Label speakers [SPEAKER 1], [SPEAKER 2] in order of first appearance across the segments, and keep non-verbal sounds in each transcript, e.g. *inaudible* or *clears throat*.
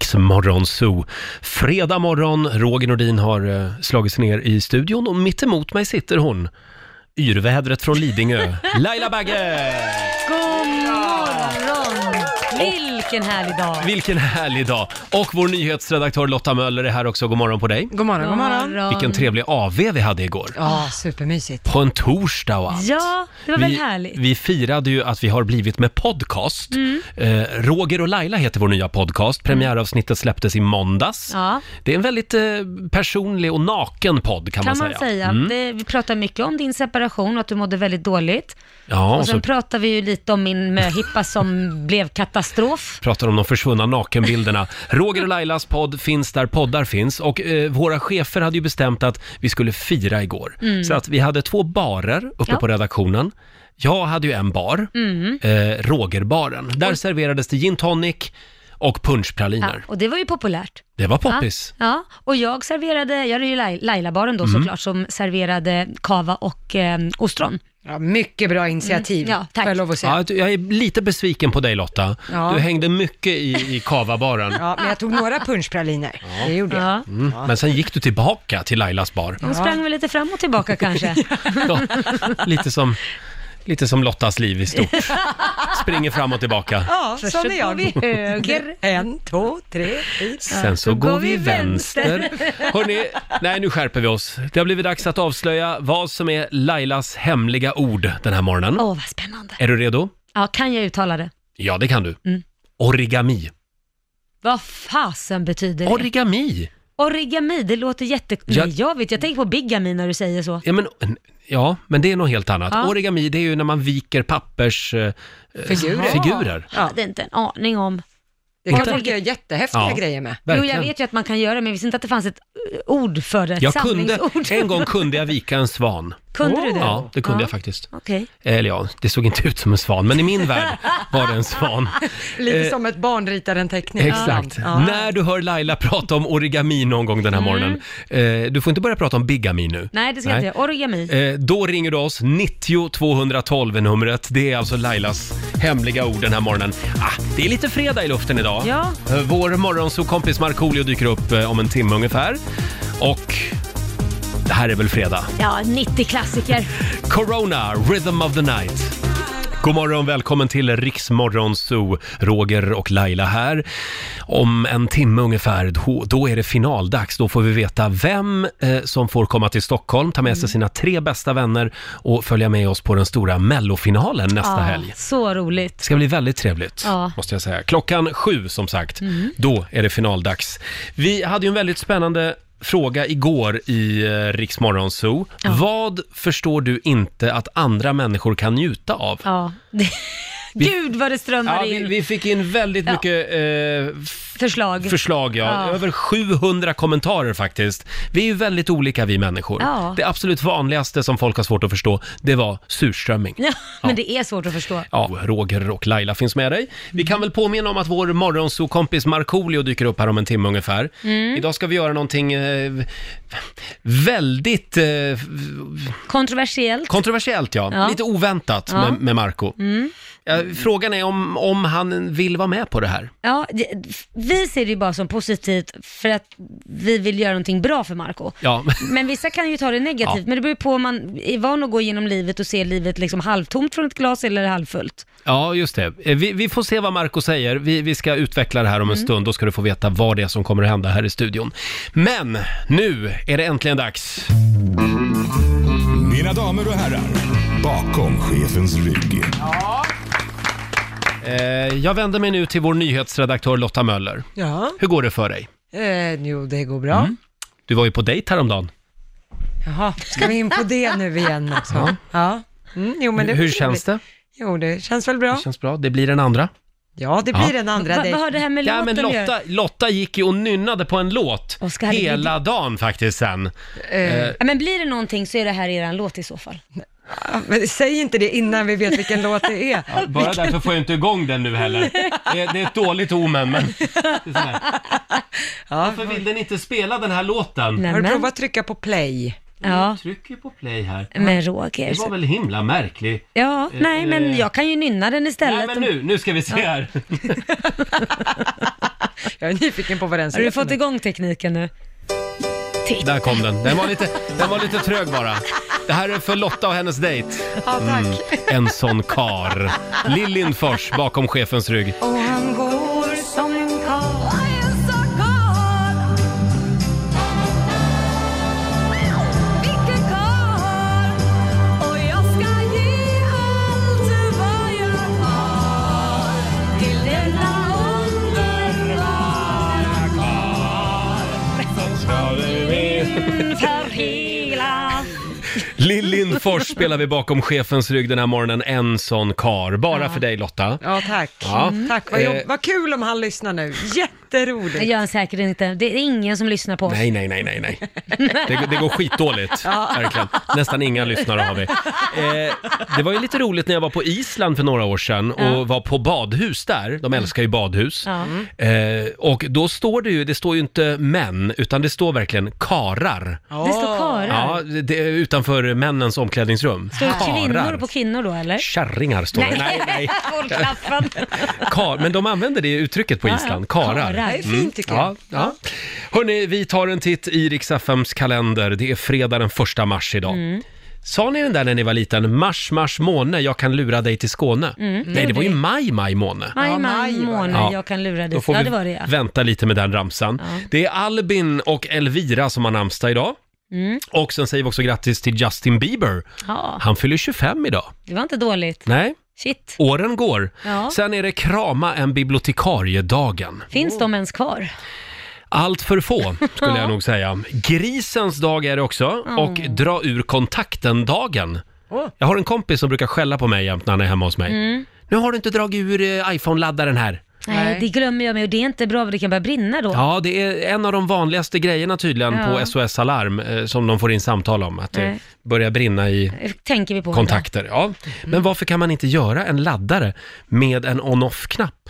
[SPEAKER 1] Riksmorgon Zoo. Fredag morgon, Roger Nordin har eh, slagit sig ner i studion och mitt emot mig sitter hon, yrvädret från Lidingö, Laila Bagge!
[SPEAKER 2] God morgon! Vilken härlig dag!
[SPEAKER 1] Vilken härlig dag! Och vår nyhetsredaktör Lotta Möller är här också, god morgon på dig.
[SPEAKER 3] God morgon, god morgon.
[SPEAKER 1] Vilken trevlig AV vi hade igår.
[SPEAKER 3] Ja, supermysigt.
[SPEAKER 1] På en torsdag och allt.
[SPEAKER 2] Ja, det var väl
[SPEAKER 1] Vi,
[SPEAKER 2] härligt? Mm.
[SPEAKER 1] vi firade ju att vi har blivit med podcast. Eh, Roger och Laila heter vår nya podcast. Premiäravsnittet släpptes i måndags.
[SPEAKER 2] ja,
[SPEAKER 1] Det är en väldigt eh, personlig och naken podd kan,
[SPEAKER 2] kan man säga.
[SPEAKER 1] Mm.
[SPEAKER 2] Det, vi pratar mycket om din separation och att du mådde väldigt dåligt.
[SPEAKER 1] Ja, och
[SPEAKER 2] och sen
[SPEAKER 1] så
[SPEAKER 2] pratar vi ju lite om min
[SPEAKER 1] *laughs*
[SPEAKER 2] möhippa som blev katastrof.
[SPEAKER 1] pratar om de försvunna
[SPEAKER 2] *laughs*
[SPEAKER 1] nakenbilderna. Roger och Lailas podd finns där poddar finns och eh, våra chefer hade ju bestämt att vi skulle fira igår. Så att vi hade två barer uppe
[SPEAKER 2] Mm. Ja.
[SPEAKER 1] på redaktionen. Jag hade ju en bar,
[SPEAKER 2] Mm.
[SPEAKER 1] eh, Rogerbaren. Där serverades det gin tonic och
[SPEAKER 2] Ja,
[SPEAKER 1] punschpraliner.
[SPEAKER 2] och det var ju populärt.
[SPEAKER 1] Det var poppis. Mm.
[SPEAKER 2] Ja, ja, och jag serverade, jag hade ju Lai- Laila-baren då såklart, som serverade kava och eh, ostron.
[SPEAKER 3] Ja, mycket bra initiativ,
[SPEAKER 2] Mm, ja, tack.
[SPEAKER 3] får jag lov att säga.
[SPEAKER 1] Ja, du- jag är lite besviken på dig Lotta.
[SPEAKER 3] Ja.
[SPEAKER 1] Du hängde mycket i, i
[SPEAKER 2] *laughs*
[SPEAKER 1] kavabaren.
[SPEAKER 3] Ja, men jag tog några punschpraliner. Det gjorde jag.
[SPEAKER 2] Ja.
[SPEAKER 1] Mm. Men sen gick du tillbaka till Lailas bar.
[SPEAKER 2] Hon sprang väl lite fram och tillbaka
[SPEAKER 3] *laughs*
[SPEAKER 2] kanske.
[SPEAKER 1] Ja, lite som... Lite som Lottas liv i stort. Springer fram och tillbaka.
[SPEAKER 3] Ja,
[SPEAKER 2] Först
[SPEAKER 3] sån
[SPEAKER 2] så
[SPEAKER 3] är jag.
[SPEAKER 2] går vi höger.
[SPEAKER 3] En, två, tre, fyra.
[SPEAKER 1] Sen så går vi vänster. Hörrni, nej nu skärper vi oss. Det har blivit dags att avslöja vad som är Lailas hemliga ord den här morgonen.
[SPEAKER 2] Åh, vad spännande.
[SPEAKER 1] Är du redo?
[SPEAKER 2] Ja, kan jag uttala det?
[SPEAKER 1] Ja, det kan du.
[SPEAKER 2] Mm.
[SPEAKER 1] Origami.
[SPEAKER 2] Vad fasen betyder det?
[SPEAKER 1] Origami?
[SPEAKER 2] Origami, det låter jätte...
[SPEAKER 1] Ja.
[SPEAKER 2] Nej, jag vet, jag tänker på bigami när du säger så.
[SPEAKER 1] Ja men, ja, men det är något helt annat.
[SPEAKER 2] Ja.
[SPEAKER 1] Origami, det är ju när man viker pappers... eh,
[SPEAKER 3] Figurer.
[SPEAKER 1] Figurer.
[SPEAKER 2] Jag hade inte en aning om.
[SPEAKER 3] Det kan
[SPEAKER 2] Okej.
[SPEAKER 3] folk göra jättehäftiga
[SPEAKER 1] Ja.
[SPEAKER 3] grejer med.
[SPEAKER 2] Jo, jag
[SPEAKER 1] Verkligen.
[SPEAKER 2] vet ju att man kan göra det, men jag visste inte att det fanns ett eh, ord för det. Ett
[SPEAKER 1] Jag kunde,
[SPEAKER 2] samlingsord.
[SPEAKER 1] en gång kunde jag vika en svan.
[SPEAKER 2] Kunde du det?
[SPEAKER 1] Ja, det kunde
[SPEAKER 2] Ja.
[SPEAKER 1] jag faktiskt.
[SPEAKER 2] Okej.
[SPEAKER 1] Eller ja, det såg inte ut som en svan, men i min värld var det en
[SPEAKER 2] *laughs*
[SPEAKER 1] svan.
[SPEAKER 3] *laughs* Lite
[SPEAKER 1] Eh,
[SPEAKER 3] som ett barn ritar en teckning.
[SPEAKER 1] Exakt.
[SPEAKER 3] Ja.
[SPEAKER 1] När du hör Laila prata om origami någon gång den här morgonen, eh, du får inte börja prata om bigami nu.
[SPEAKER 2] *laughs* Mm. Nej, det ska
[SPEAKER 1] Nej.
[SPEAKER 2] jag inte göra. Origami.
[SPEAKER 1] Eh, då ringer du oss, 90 212 är numret. Det är alltså Lailas hemliga ord den här morgonen. Ah, det är lite fredag i luften idag.
[SPEAKER 2] Ja.
[SPEAKER 1] Eh, Vår morgonsåkompis Markoolio dyker upp eh, om en timme ungefär. Och det här är väl fredag?
[SPEAKER 2] Ja, 90-klassiker.
[SPEAKER 1] Corona, Rhythm of the Night. God morgon, välkommen till Riksmorgon Zoo. Roger och Laila här. Om en timme ungefär, då- då är det finaldags. Då får vi veta vem eh, som får komma till Stockholm, ta med sig sina tre bästa vänner och följa med oss på den stora mellofinalen nästa
[SPEAKER 2] Ja,
[SPEAKER 1] helg.
[SPEAKER 2] Så roligt. *laughs*
[SPEAKER 1] Det ska bli väldigt trevligt,
[SPEAKER 2] Ja. Mm.
[SPEAKER 1] måste jag säga. Klockan sju, som sagt, då är det finaldags. Vi hade ju en väldigt spännande fråga igår i eh, Rix Morgon Zoo. Vad förstår du inte att andra människor kan njuta av?
[SPEAKER 2] Ja. Gud vad det strömmar
[SPEAKER 1] Ja, vi,
[SPEAKER 2] in
[SPEAKER 1] vi fick in väldigt
[SPEAKER 2] Ja.
[SPEAKER 1] mycket eh, f-
[SPEAKER 2] förslag.
[SPEAKER 1] förslag, ja.
[SPEAKER 2] Ja.
[SPEAKER 1] över 700 kommentarer faktiskt. Vi är ju väldigt olika vi människor.
[SPEAKER 2] Ja.
[SPEAKER 1] Det absolut vanligaste som folk har svårt att förstå, det var surströmming.
[SPEAKER 2] Ja, men det är svårt att förstå.
[SPEAKER 1] Ja, Roger och Laila finns med dig. Vi kan väl påminna om att vår morgonsokompis Markoolio dyker upp här om en timme ungefär. Idag ska vi göra någonting eh, väldigt eh,
[SPEAKER 2] Kontroversiellt.
[SPEAKER 1] kontroversiellt, ja. Mm.
[SPEAKER 2] Ja.
[SPEAKER 1] Lite oväntat med, med Marco.
[SPEAKER 2] Mm.
[SPEAKER 1] Ja, frågan är om, om han vill vara med på det här.
[SPEAKER 2] Ja, det, vi ser det ju bara som positivt för att vi vill göra någonting bra för Marco.
[SPEAKER 1] Ja. *laughs*
[SPEAKER 2] *laughs* Men vissa kan ju ta det negativt,
[SPEAKER 1] Ja.
[SPEAKER 2] men det beror ju på om man är van att gå igenom livet och se livet liksom halvtomt från ett glas eller halvfullt.
[SPEAKER 1] Ja, just det. Eh, Vi, vi får se vad Marco säger. Vi, vi ska utveckla det här om en stund. Då ska du få veta vad det är som kommer att hända här i studion. Men nu är det äntligen dags.
[SPEAKER 4] Mina damer och herrar, bakom chefens rygg.
[SPEAKER 1] Eh, jag vänder mig nu till vår nyhetsredaktör Lotta Möller.
[SPEAKER 3] Ja,
[SPEAKER 1] Hur går det för dig?
[SPEAKER 3] eh, jo det går bra.
[SPEAKER 1] Mm. Du var ju på dejt häromdagen.
[SPEAKER 3] Jaha, ska vi in på det nu igen också? Ja. Mm, jo, men det
[SPEAKER 1] Hur känns det?
[SPEAKER 3] Jo, det känns väl bra.
[SPEAKER 1] Det känns bra. Det blir den andra.
[SPEAKER 3] Ja, det
[SPEAKER 1] Ja.
[SPEAKER 3] blir en andra
[SPEAKER 2] Va,
[SPEAKER 3] dejt.
[SPEAKER 2] vad har det här med
[SPEAKER 1] Ja, men
[SPEAKER 2] låten att göra?
[SPEAKER 1] Lotta, Lotta gick ju och nynnade på en låt
[SPEAKER 2] Oskar, herregud.
[SPEAKER 1] hela dagen faktiskt sen.
[SPEAKER 3] Eh,
[SPEAKER 2] Ja, men blir det någonting så är det här eran låt i så fall.
[SPEAKER 3] ja, men säg inte det innan vi vet vilken låt det är.
[SPEAKER 1] Bara därför får jag inte igång den nu heller. Det är, det är ett dåligt omen,
[SPEAKER 2] *laughs*
[SPEAKER 1] men...
[SPEAKER 3] Ja.
[SPEAKER 1] Varför vill den inte spela den här låten?
[SPEAKER 3] Har du
[SPEAKER 2] Nämen.
[SPEAKER 3] provat att trycka på play?
[SPEAKER 2] Ja,
[SPEAKER 1] trycker på play här. Mm.
[SPEAKER 2] men Roger. så-
[SPEAKER 1] väl himla märkligt.
[SPEAKER 2] Ja, nej, men
[SPEAKER 1] eh,
[SPEAKER 2] *laughs* jag kan ju nynna den istället.
[SPEAKER 1] nu ska vi se här.
[SPEAKER 3] Jag är nyfiken på vad den
[SPEAKER 2] Har du
[SPEAKER 3] ser
[SPEAKER 2] fått igång tekniken nu?
[SPEAKER 1] Där kom den. Den var, lite, den var lite trög bara. Det här är för Lotta och hennes dejt. Mm.
[SPEAKER 3] Ja, tack.
[SPEAKER 1] En sån kar. Lill Lindfors bakom chefens rygg.
[SPEAKER 3] Och han går som en karl.
[SPEAKER 2] För hela...
[SPEAKER 1] Lill Lindfors spelar vi bakom chefens rygg den här morgonen. En sån kar. Bara för dig Lotta.
[SPEAKER 3] Ja, tack.
[SPEAKER 1] Ja.
[SPEAKER 3] Mm. Tack, vad, jobb-
[SPEAKER 1] Eh.
[SPEAKER 3] vad kul om han lyssnar nu. Jätteroligt.
[SPEAKER 2] Det gör han säkert inte. Det är ingen som lyssnar på oss.
[SPEAKER 1] Nej, nej, nej, nej, nej. Det, det går
[SPEAKER 2] *laughs*
[SPEAKER 1] skitdåligt, verkligen. Nästan inga lyssnare har vi. Eh, det var ju lite roligt när jag var på Island för några år sedan och var på badhus där. De älskar ju badhus.
[SPEAKER 2] Mm. Ja.
[SPEAKER 1] Eh, och då står det ju, det står ju inte män, utan det står verkligen karar.
[SPEAKER 2] Det står karlar.
[SPEAKER 1] Ja, det- det, är utanför männens omklädningsrum.
[SPEAKER 2] Står det kvinnor
[SPEAKER 1] Karar.
[SPEAKER 2] på kvinnor då eller?
[SPEAKER 1] Kärringar står det. Nej,
[SPEAKER 2] *laughs*
[SPEAKER 1] nej.
[SPEAKER 3] *laughs*
[SPEAKER 2] Folklappen.
[SPEAKER 1] Kar, men de använder det uttrycket på
[SPEAKER 2] Ja, ja.
[SPEAKER 1] Island, karar.
[SPEAKER 2] Karar.
[SPEAKER 3] Det är fint tycker jag.
[SPEAKER 1] Ja, ja. Hörni, vi tar en titt i riks kalender. Det är fredag den 1 mars idag.
[SPEAKER 2] Mm.
[SPEAKER 1] Sa ni den där när ni var liten? Mars, mars, måne, jag kan lura dig till Skåne.
[SPEAKER 2] Mm.
[SPEAKER 1] Nej, det var ju maj, maj, måne.
[SPEAKER 2] Maj,
[SPEAKER 3] Ja,
[SPEAKER 2] maj,
[SPEAKER 3] maj var det.
[SPEAKER 2] månad,
[SPEAKER 1] Ja.
[SPEAKER 2] jag kan lura
[SPEAKER 1] Då
[SPEAKER 2] dig.
[SPEAKER 1] får
[SPEAKER 2] Ja,
[SPEAKER 1] vi
[SPEAKER 2] det var det ja.
[SPEAKER 1] vänta lite med den ramsan. Det är Albin och Elvira som har namnsdag idag. Och sen säger vi också grattis till Justin Bieber.
[SPEAKER 2] Mm. ja.
[SPEAKER 1] Han fyller 25 idag.
[SPEAKER 2] Det var inte dåligt.
[SPEAKER 1] Nej,
[SPEAKER 2] Shit.
[SPEAKER 1] åren går.
[SPEAKER 2] Ja.
[SPEAKER 1] Sen är det krama en bibliotekariedagen.
[SPEAKER 3] Oh.
[SPEAKER 2] Finns de ens kvar?
[SPEAKER 1] Allt för få, skulle jag nog säga. Grisens dag är det också,
[SPEAKER 2] Mm.
[SPEAKER 1] och dra ur kontakten-dagen. Jag har en kompis som brukar skälla på mig jämt när han är hemma hos mig.
[SPEAKER 2] Mm.
[SPEAKER 1] Nu har du inte dragit ur eh, iPhone-laddaren här.
[SPEAKER 2] Nej,
[SPEAKER 3] Nej.
[SPEAKER 2] det glömmer jag med och det är inte bra för det kan börja brinna då.
[SPEAKER 1] Ja, det är en av de vanligaste grejerna tydligen
[SPEAKER 2] Ja.
[SPEAKER 1] på SOS Alarm eh, som de får in samtal om, att det
[SPEAKER 2] Nej.
[SPEAKER 1] börjar brinna i
[SPEAKER 2] Det Tänker vi på.
[SPEAKER 1] kontakter. Ja.
[SPEAKER 2] Mm.
[SPEAKER 1] Men varför kan man inte göra en laddare med en on-off-knapp?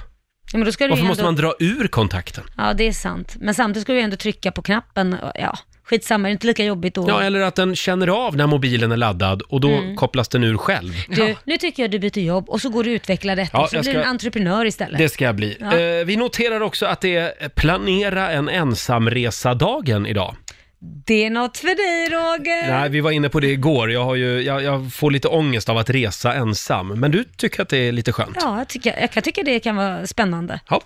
[SPEAKER 2] Ja, men då ska du
[SPEAKER 1] Varför
[SPEAKER 2] ju
[SPEAKER 1] måste
[SPEAKER 2] ändå...
[SPEAKER 1] man dra ur kontakten?
[SPEAKER 2] Ja, det är sant. Men samtidigt ska du ju ändå trycka på knappen. Ja, skitsamma, det är inte lika jobbigt då. Mm.
[SPEAKER 1] Ja, eller att den känner av när mobilen är laddad och då kopplas den ur själv.
[SPEAKER 2] Du, nu tycker jag du byter jobb och så går du och utvecklar detta
[SPEAKER 1] Ja,
[SPEAKER 2] och så
[SPEAKER 1] jag
[SPEAKER 2] blir
[SPEAKER 1] ska-
[SPEAKER 2] du en entreprenör istället.
[SPEAKER 1] Det ska jag bli.
[SPEAKER 2] Ja.
[SPEAKER 1] Eh, vi noterar också att det är planera en ensamresa-dagen idag.
[SPEAKER 2] Det är något för dig Roger.
[SPEAKER 1] Nej, vi var inne på det igår. Jag, har ju, jag, jag får lite ångest av att resa ensam. Men du tycker att det är lite skönt?
[SPEAKER 2] Ja, jag, tycker, jag kan tycka det kan vara spännande.
[SPEAKER 1] Ja.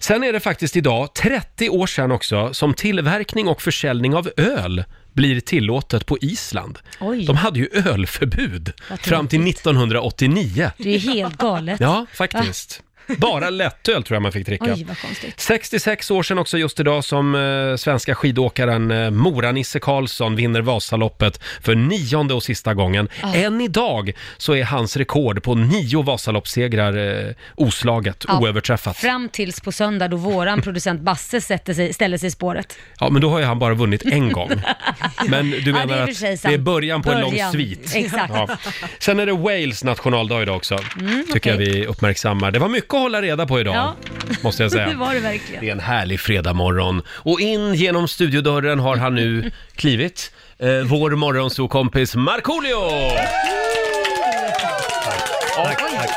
[SPEAKER 1] Sen är det faktiskt idag, 30 år sedan också, som tillverkning och försäljning av öl blir tillåtet på Island.
[SPEAKER 2] Oj.
[SPEAKER 1] De hade ju ölförbud
[SPEAKER 2] Vad
[SPEAKER 1] fram till 1989.
[SPEAKER 2] Det är helt galet.
[SPEAKER 1] Ja, faktiskt.
[SPEAKER 2] *laughs*
[SPEAKER 1] Bara lättöl tror jag man fick dricka.
[SPEAKER 2] Ah. Oj, vad konstigt.
[SPEAKER 1] 66 år sedan också just idag som eh, svenska skidåkaren eh, Moranisse Karlsson vinner Vasaloppet för nionde och sista gången.
[SPEAKER 2] Ah.
[SPEAKER 1] Än idag så är hans rekord på nio Vasaloppssegrar eh, oslaget,
[SPEAKER 2] Ja.
[SPEAKER 1] oöverträffat.
[SPEAKER 2] Fram tills på söndag
[SPEAKER 1] *laughs*
[SPEAKER 2] då våran producent Basse sätter sig, ställer sig i spåret.
[SPEAKER 1] Ja, men då har ju han bara vunnit en
[SPEAKER 2] *laughs*
[SPEAKER 1] gång. Men du menar
[SPEAKER 2] det är i och för sig
[SPEAKER 1] att det
[SPEAKER 2] sant.
[SPEAKER 1] är början på en lång
[SPEAKER 2] Början.
[SPEAKER 1] svit.
[SPEAKER 2] Exakt. Mm,
[SPEAKER 1] Ja. Sen är det Wales nationaldag idag också, tycker
[SPEAKER 2] okej.
[SPEAKER 1] jag vi uppmärksammar. Det var mycket att hålla reda på idag,
[SPEAKER 2] Ja.
[SPEAKER 1] måste jag säga.
[SPEAKER 2] *laughs* Det var det verkligen.
[SPEAKER 1] Det är en härlig fredagmorgon och in genom studiodörren har han *laughs* nu klivit. Eh, vår morgonsokompis Markoolio! Tack, tack.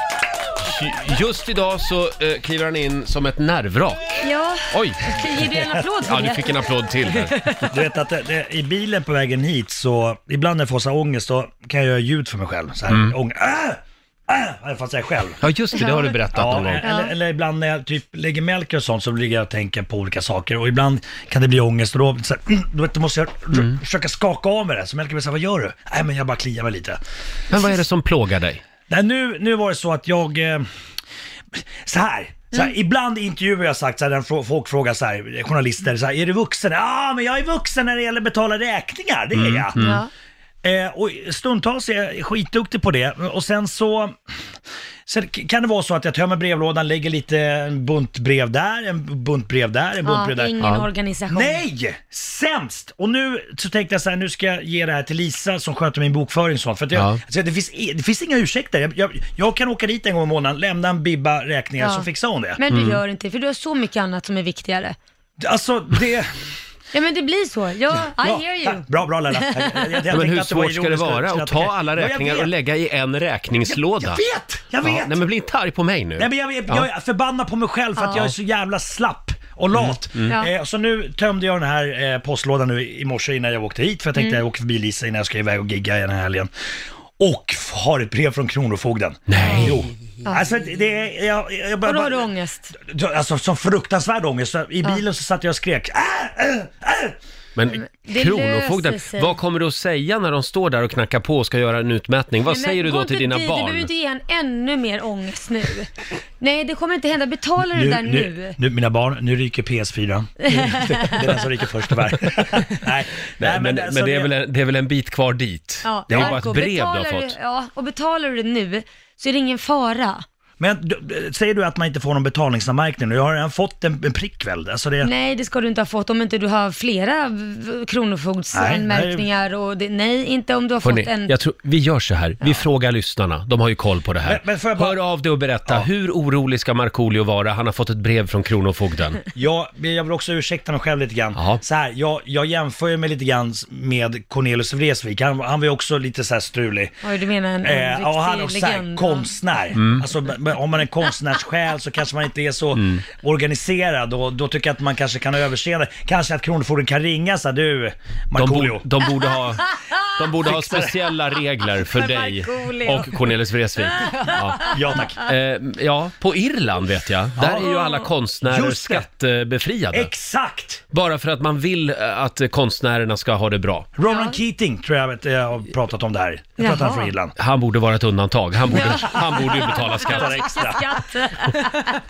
[SPEAKER 1] Just idag så eh, kliver han in som ett nervvrak.
[SPEAKER 2] Ja,
[SPEAKER 1] Oj!
[SPEAKER 2] ger du en applåd för
[SPEAKER 1] Ja, du
[SPEAKER 2] det?
[SPEAKER 1] fick en applåd till här.
[SPEAKER 5] Du vet att det, det, i bilen på vägen hit så, ibland när jag får så här ångest då kan jag göra ljud för mig själv. Så här, ång, äh, äh, har jag fått säga själv.
[SPEAKER 1] Ja, just det, det har du berättat
[SPEAKER 5] Ja,
[SPEAKER 1] någon gång.
[SPEAKER 5] eller, eller ibland när jag typ lägger mjölk och sånt så ligger jag och tänker på olika saker och ibland kan det bli ångest och då, så här, *clears throat* mm, då vet, du, måste jag r- försöka skaka av mig det. Så mjölken blir så här, vad gör du? Nej men jag bara kliar mig lite.
[SPEAKER 1] Men vad är det som plågar dig?
[SPEAKER 5] Nej, nu, nu var det så att jag... Eh, så här. Så här, Ibland i intervjuer har jag sagt så här, när fro- folk frågar så här, journalister, så här, är du vuxen? Ja, men jag är vuxen när det gäller att betala räkningar, det
[SPEAKER 1] Mm,
[SPEAKER 5] är jag.
[SPEAKER 2] Ja.
[SPEAKER 5] Eh, och stundtals är jag skitduktig på det och sen så Sen k- kan det vara så att jag tömmer brevlådan, lägger lite en bunt brev där, en bunt brev där, en bunt brev
[SPEAKER 2] Ja,
[SPEAKER 5] där.
[SPEAKER 2] ingen
[SPEAKER 1] Ja.
[SPEAKER 2] organisation.
[SPEAKER 5] Nej! Sämst! Och nu så tänkte jag så här, nu ska jag ge det här till Lisa som sköter min bokföring och sånt. För att jag,
[SPEAKER 1] Ja.
[SPEAKER 5] alltså, det, finns, i- det finns inga ursäkter. Jag, jag, jag kan åka dit en gång i månaden, lämna en bibba räkningar
[SPEAKER 2] Ja.
[SPEAKER 5] så fixar hon det.
[SPEAKER 1] Mm.
[SPEAKER 2] Men du gör inte det, för du har så mycket annat som är viktigare.
[SPEAKER 5] Alltså det...
[SPEAKER 2] Ja, men det blir så. Ja, I
[SPEAKER 5] bra,
[SPEAKER 2] hear you.
[SPEAKER 5] tack. Bra,
[SPEAKER 1] *laughs*
[SPEAKER 5] bra Laila. Jag- jag- jag
[SPEAKER 1] Ja, men
[SPEAKER 5] tänkte
[SPEAKER 1] hur
[SPEAKER 5] att var
[SPEAKER 1] svårt ska det
[SPEAKER 5] ironiskt,
[SPEAKER 1] vara
[SPEAKER 5] men
[SPEAKER 1] att
[SPEAKER 5] jag-
[SPEAKER 1] ta alla
[SPEAKER 5] Ja, jag
[SPEAKER 1] räkningar och
[SPEAKER 5] vet.
[SPEAKER 1] lägga i en räkningslåda?
[SPEAKER 5] Jag vet! Jag vet!
[SPEAKER 1] Ja, nej men bli inte arg på mig nu.
[SPEAKER 5] Nej men jag, jag, jag är förbannad på mig själv för att
[SPEAKER 2] Ja.
[SPEAKER 5] jag är så jävla slapp. och lat.
[SPEAKER 1] Mm.
[SPEAKER 2] Ja.
[SPEAKER 5] Eh, så nu tömde jag den här eh, postlådan nu i morse innan jag åkte hit, för jag tänkte
[SPEAKER 2] Mm.
[SPEAKER 5] jag åker förbi Lisa innan jag ska iväg och gigga den här helgen. Och f- har ett brev från Kronofogden. Nej! Jo. Alltså, det är... Jag, jag, jag bara,
[SPEAKER 2] Och då har du ångest.
[SPEAKER 5] Alltså, som fruktansvärd ångest. Så I bilen så satt jag och skrek. "Ah, ah, ah!"
[SPEAKER 1] Men
[SPEAKER 2] Det
[SPEAKER 1] Kronofogden,
[SPEAKER 2] löser sig.
[SPEAKER 1] vad kommer du att säga när de står där och knackar på och ska göra en utmätning? Vad
[SPEAKER 2] Nej, men
[SPEAKER 1] säger du
[SPEAKER 2] gå
[SPEAKER 1] då
[SPEAKER 2] inte
[SPEAKER 1] till dina
[SPEAKER 2] dit, Du
[SPEAKER 1] barn?
[SPEAKER 2] behöver inte ge han ännu mer ångest nu. Nej, det kommer inte hända. Betala det där nu.
[SPEAKER 5] nu. Mina barn, nu
[SPEAKER 2] *laughs*
[SPEAKER 5] ryker PS4. Det är den som ryker först tyvärr. Nej, nej,
[SPEAKER 1] Nej, men, men,
[SPEAKER 5] alltså,
[SPEAKER 1] det, är väl en, det är väl en bit kvar dit?
[SPEAKER 2] Ja,
[SPEAKER 1] det är ju bara
[SPEAKER 2] Marco,
[SPEAKER 1] ett brev du har
[SPEAKER 2] betalar
[SPEAKER 1] fått.
[SPEAKER 2] Ja, och betalar du det nu så är det ingen fara.
[SPEAKER 5] Men du- du- säger du att man inte får någon betalningsanmärkning nu? Jag har redan fått en, en prick väl? Alltså det,
[SPEAKER 2] Nej, det ska du inte ha fått om inte du har flera v- kronofogdsanmärkningar. Och det, nej, inte om du har
[SPEAKER 1] Hörrni,
[SPEAKER 2] fått en...
[SPEAKER 1] jag tror, vi gör så här, vi frågar lyssnarna, de har ju koll på det här.
[SPEAKER 5] Men- men får jag bara-
[SPEAKER 1] Hör av dig och berätta, hur orolig ska Markoolio vara? Han har fått ett brev från
[SPEAKER 2] *laughs*
[SPEAKER 1] Kronofogden.
[SPEAKER 5] jag, jag vill också ursäkta mig själv lite grann.
[SPEAKER 1] Ja.
[SPEAKER 5] Så här, jag, jag jämför ju mig lite grann med Cornelius Vreeswijk. Han, han var ju också lite så här strulig.
[SPEAKER 2] Oj, du menar en, en
[SPEAKER 5] Eh,
[SPEAKER 2] riktig
[SPEAKER 5] ja, han är också så här,
[SPEAKER 2] legend.
[SPEAKER 5] konstnär.
[SPEAKER 1] Mm.
[SPEAKER 5] Alltså, b- b- om man är konstnärssjäl så kanske man inte är så organiserad och då tycker jag att man kanske kan överseende. Kanske att Kronofogden kan ringa så här, du
[SPEAKER 1] De,
[SPEAKER 5] Markoolio.
[SPEAKER 1] bo, de borde
[SPEAKER 5] *laughs*
[SPEAKER 1] ha, de borde ha speciella regler
[SPEAKER 2] *laughs*
[SPEAKER 1] för dig
[SPEAKER 2] Markoolio.
[SPEAKER 1] och Cornelis Vreeswijk. Ja.
[SPEAKER 5] *laughs* Ja tack.
[SPEAKER 1] Eh, ja, på Irland vet jag. Där är ju alla konstnärer
[SPEAKER 5] Just det.
[SPEAKER 1] skattebefriade.
[SPEAKER 5] Exakt!
[SPEAKER 1] Bara för att man vill eh, att eh, konstnärerna ska ha det bra.
[SPEAKER 5] Ronan Keating tror jag att jag har pratat om det här. Jag tror att han är
[SPEAKER 2] Jaha.
[SPEAKER 5] från Irland.
[SPEAKER 1] Han borde vara ett undantag. Han borde, han borde ju betala skatt. *laughs*
[SPEAKER 5] Extra.
[SPEAKER 2] Skatt.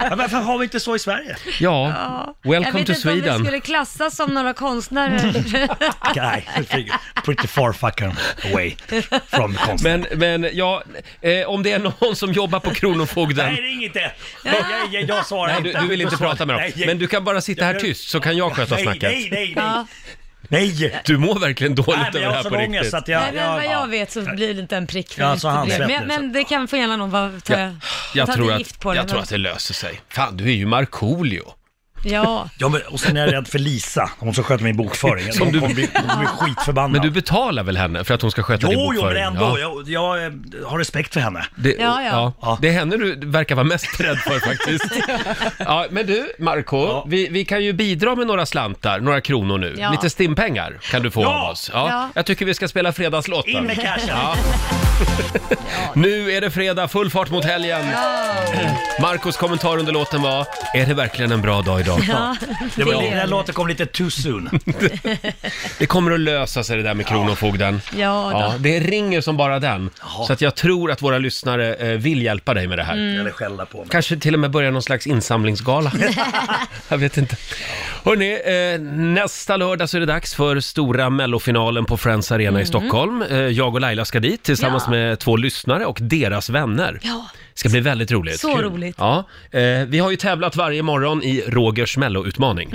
[SPEAKER 5] Men varför har vi inte så i Sverige?
[SPEAKER 1] Ja,
[SPEAKER 2] Jag
[SPEAKER 1] welcome
[SPEAKER 2] vet
[SPEAKER 1] to
[SPEAKER 2] inte om det
[SPEAKER 1] Sweden. Mm.
[SPEAKER 2] skulle klassas som några konstnärer.
[SPEAKER 5] *laughs* Nej, pretty far fucking away from konst.
[SPEAKER 1] Men, men ja, eh, om det är någon som jobbar på Kronofogden
[SPEAKER 5] Nej, ring inte! Jag, jag, jag svarar
[SPEAKER 1] Nej, du,
[SPEAKER 5] inte.
[SPEAKER 1] du vill inte prata med dem.
[SPEAKER 5] Nej,
[SPEAKER 1] Men du kan bara sitta här tyst så kan *laughs* jag sköta
[SPEAKER 5] nej,
[SPEAKER 1] snacket.
[SPEAKER 5] Nej, nej, nej.
[SPEAKER 2] Ja.
[SPEAKER 5] Nej!
[SPEAKER 1] Du mår verkligen
[SPEAKER 5] Nej,
[SPEAKER 1] dåligt
[SPEAKER 5] men
[SPEAKER 1] över
[SPEAKER 5] jag
[SPEAKER 1] det
[SPEAKER 5] har
[SPEAKER 1] här på
[SPEAKER 5] sån ångest
[SPEAKER 1] riktigt.
[SPEAKER 5] så att jag...
[SPEAKER 2] Nej, men vad jag vet så blir det inte en prick.
[SPEAKER 5] Ja, så han släpper
[SPEAKER 2] men,
[SPEAKER 5] det,
[SPEAKER 2] men det kan få gärna någon bara ta,
[SPEAKER 1] Jag, jag,
[SPEAKER 2] ta
[SPEAKER 1] tror
[SPEAKER 2] lite
[SPEAKER 1] att,
[SPEAKER 2] gift på
[SPEAKER 1] jag
[SPEAKER 2] det,
[SPEAKER 1] tror
[SPEAKER 2] men-
[SPEAKER 1] att det löser sig. Fan, du är ju Markoolio.
[SPEAKER 2] Ja,
[SPEAKER 5] Ja, men, och sen är jag rädd för Lisa, hon som sköter min bokföring.
[SPEAKER 1] Som
[SPEAKER 5] Hon
[SPEAKER 1] du-
[SPEAKER 5] kommer bli, hon kommer
[SPEAKER 1] *laughs*
[SPEAKER 5] bli skitförbannad.
[SPEAKER 1] Men du betalar väl henne för att hon ska sköta din
[SPEAKER 5] Jo, jo, men
[SPEAKER 1] bokföring?
[SPEAKER 5] ändå. Jag, jag eh, har respekt för henne.
[SPEAKER 1] Det,
[SPEAKER 2] Ja, ja.
[SPEAKER 1] Det är henne du verkar vara mest rädd för
[SPEAKER 2] *laughs*
[SPEAKER 1] faktiskt. ja, men du, Marco, vi, vi kan ju bidra med några slantar, några kronor nu.
[SPEAKER 2] Ja.
[SPEAKER 1] Lite stimpengar kan du få
[SPEAKER 5] Ja.
[SPEAKER 1] av oss. Ja,
[SPEAKER 2] Ja.
[SPEAKER 1] Jag tycker vi ska spela fredagslåten.
[SPEAKER 5] In med cashen!
[SPEAKER 2] *laughs*
[SPEAKER 1] Nu är det fredag, full fart mot helgen. Marcos kommentar under låten var, är det verkligen en bra dag idag?
[SPEAKER 5] Det var,
[SPEAKER 2] Det är
[SPEAKER 5] den här
[SPEAKER 2] det.
[SPEAKER 5] låten kom lite too soon.
[SPEAKER 1] *laughs* Det kommer att lösa sig det där med Kronofogden.
[SPEAKER 2] Ja, då.
[SPEAKER 1] det ringer som bara den. Så att jag tror att våra lyssnare eh, vill hjälpa dig med det här.
[SPEAKER 2] Mm.
[SPEAKER 5] Eller skälla på mig.
[SPEAKER 1] Kanske till och med börja någon slags insamlingsgala.
[SPEAKER 2] *laughs*
[SPEAKER 1] jag vet inte. Hörrni, eh, nästa lördag så är det dags för stora mellofinalen på Friends Arena i Stockholm. Eh, jag och Laila ska dit tillsammans
[SPEAKER 2] Mm. Ja.
[SPEAKER 1] med två lyssnare och deras vänner.
[SPEAKER 2] Ja.
[SPEAKER 1] ska bli väldigt roligt.
[SPEAKER 2] Så Kul. roligt.
[SPEAKER 1] Ja. Eh, vi har ju tävlat varje morgon i Rogers melloutmaning.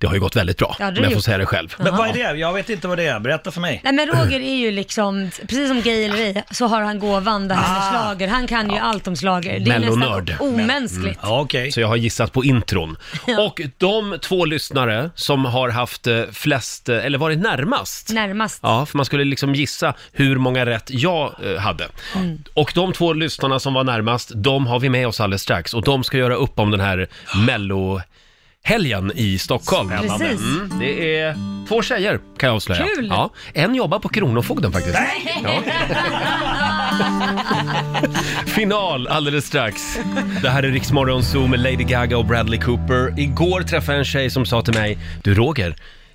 [SPEAKER 1] Det har ju gått väldigt bra,
[SPEAKER 2] Mm. Ja, det
[SPEAKER 1] om jag
[SPEAKER 2] har det
[SPEAKER 1] får
[SPEAKER 2] gjort.
[SPEAKER 1] säga det själv.
[SPEAKER 5] Men vad är det? Jag vet inte vad det är. Berätta för mig.
[SPEAKER 2] Nej men Roger är ju liksom, precis som Gay eller ej, så har han gåvan det här med schlager. Han kan ju allt om schlager. Det är
[SPEAKER 1] Ah. Mellonörd.
[SPEAKER 2] nästan omänskligt.
[SPEAKER 5] Mm. Ja, okej.
[SPEAKER 1] Så jag har gissat på intron.
[SPEAKER 2] *laughs* Ja.
[SPEAKER 1] Och de två lyssnare som har haft eh, flest, eh, eller varit närmast,
[SPEAKER 2] Närmast.
[SPEAKER 1] Ja, för man skulle liksom gissa hur många rätt jag eh, hade.
[SPEAKER 2] Mm.
[SPEAKER 1] Och de två lyssnarna som var närmast, de har vi med oss alldeles strax. Och de ska göra upp om den här mellohelgen i Stockholm.
[SPEAKER 2] Precis.
[SPEAKER 1] Mm, det är två tjejer, kan jag avslöja.
[SPEAKER 2] Kul!
[SPEAKER 1] Ja, en jobbar på Kronofogden faktiskt. Ja. Final alldeles strax. Det här är Riksmorgon Zoo med Lady Gaga och Bradley Cooper. Igår träffade jag en tjej som sa till mig, du Roger,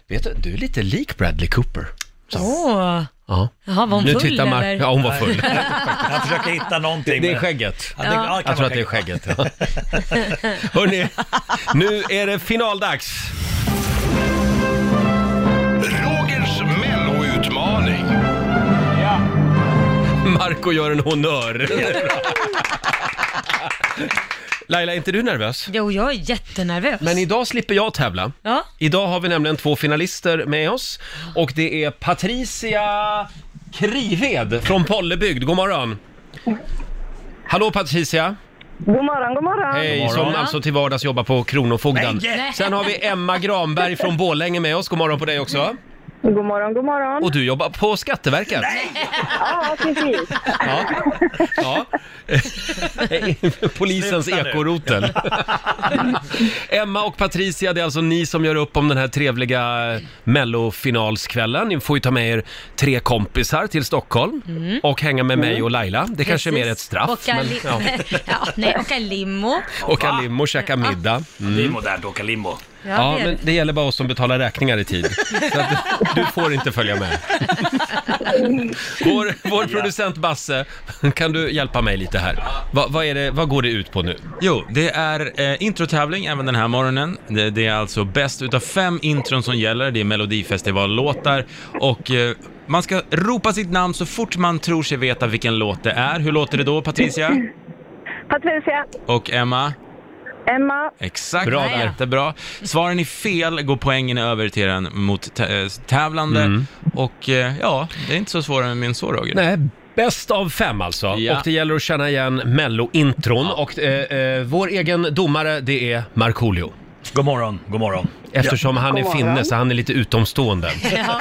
[SPEAKER 1] vet du, du är lite lik Bradley Cooper.
[SPEAKER 2] Åh.
[SPEAKER 1] Ja.
[SPEAKER 2] Jaha, var hon
[SPEAKER 1] Nu
[SPEAKER 2] full
[SPEAKER 1] tittar Mar-
[SPEAKER 2] eller?
[SPEAKER 1] Ja, hon var full.
[SPEAKER 5] *laughs* Jag försöker hitta någonting.
[SPEAKER 1] Det är
[SPEAKER 5] men-
[SPEAKER 1] skägget.
[SPEAKER 5] Ja, det- ja, det kan
[SPEAKER 1] Jag tror
[SPEAKER 5] vara
[SPEAKER 1] att det är
[SPEAKER 5] skägget.
[SPEAKER 1] skägget. Ja. *laughs* Hörni, nu är det finaldags.
[SPEAKER 4] Rogers melloutmaning.
[SPEAKER 1] Marco gör en honnör. Laila, är inte du nervös?
[SPEAKER 2] Jo, jag är jättenervös.
[SPEAKER 1] Men idag slipper jag tävla.
[SPEAKER 2] Ja.
[SPEAKER 1] Idag har vi nämligen två finalister med oss och det är Patricia Krived från Bollebygd. God morgon! Hallå Patricia!
[SPEAKER 6] God morgon, god morgon.
[SPEAKER 1] Hej,
[SPEAKER 5] morgon.
[SPEAKER 1] som alltså till vardags jobbar på Kronofogden.
[SPEAKER 5] Nej,
[SPEAKER 1] Sen har vi Emma Granberg från Borlänge med oss. God morgon på dig också.
[SPEAKER 6] God morgon, god morgon.
[SPEAKER 1] Och du jobbar på Skatteverket?
[SPEAKER 6] Ja, precis.
[SPEAKER 1] Ja. ja.
[SPEAKER 2] *laughs*
[SPEAKER 1] Polisens
[SPEAKER 5] Sluta nu.
[SPEAKER 1] ekorotel. Emma och Patricia, det är alltså ni som gör upp om den här trevliga mellofinalskvällen. Ni får ju ta med er tre kompisar till Stockholm och hänga med mig och Laila. Det kanske är mer ett straff.
[SPEAKER 2] Mm. Åka,
[SPEAKER 1] men-
[SPEAKER 2] li-
[SPEAKER 1] ja.
[SPEAKER 2] *laughs* ja. nej, åka limo.
[SPEAKER 1] Åka limo och käka middag. Mm.
[SPEAKER 5] Det är modernt att åka limbo.
[SPEAKER 1] Ja,
[SPEAKER 2] det är
[SPEAKER 1] men det gäller bara oss som betalar räkningar i tid. Så att du får inte följa med. Vår, vår producent Basse, Mm, kan du hjälpa mig lite här? Va, vad, är det, vad går det ut på nu?
[SPEAKER 7] Jo, det är eh, introtävling även den här morgonen. Det, det är alltså bäst utav fem intron som gäller. Det är Melodifestivallåtar och eh, man ska ropa sitt namn så fort man tror sig veta vilken låt det är. Hur låter det då, Patricia?
[SPEAKER 6] Patricia,
[SPEAKER 7] Och Emma?
[SPEAKER 6] Emma,
[SPEAKER 7] Exakt,
[SPEAKER 1] Bra
[SPEAKER 2] där.
[SPEAKER 7] jättebra. Svaren är fel, går poängen över till den mot tä- eh, tävlande. Och eh, ja, det är inte så svårare än så, Roger.
[SPEAKER 1] Mm. Nej, bäst av fem alltså.
[SPEAKER 7] Ja.
[SPEAKER 1] Och det gäller att känna igen mello-intron. Och eh, eh, vår egen domare, det är Markoolio.
[SPEAKER 5] God morgon, god morgon.
[SPEAKER 1] Eftersom han är
[SPEAKER 6] God morgon.
[SPEAKER 1] finne så han är lite
[SPEAKER 6] *laughs*
[SPEAKER 1] utomstående,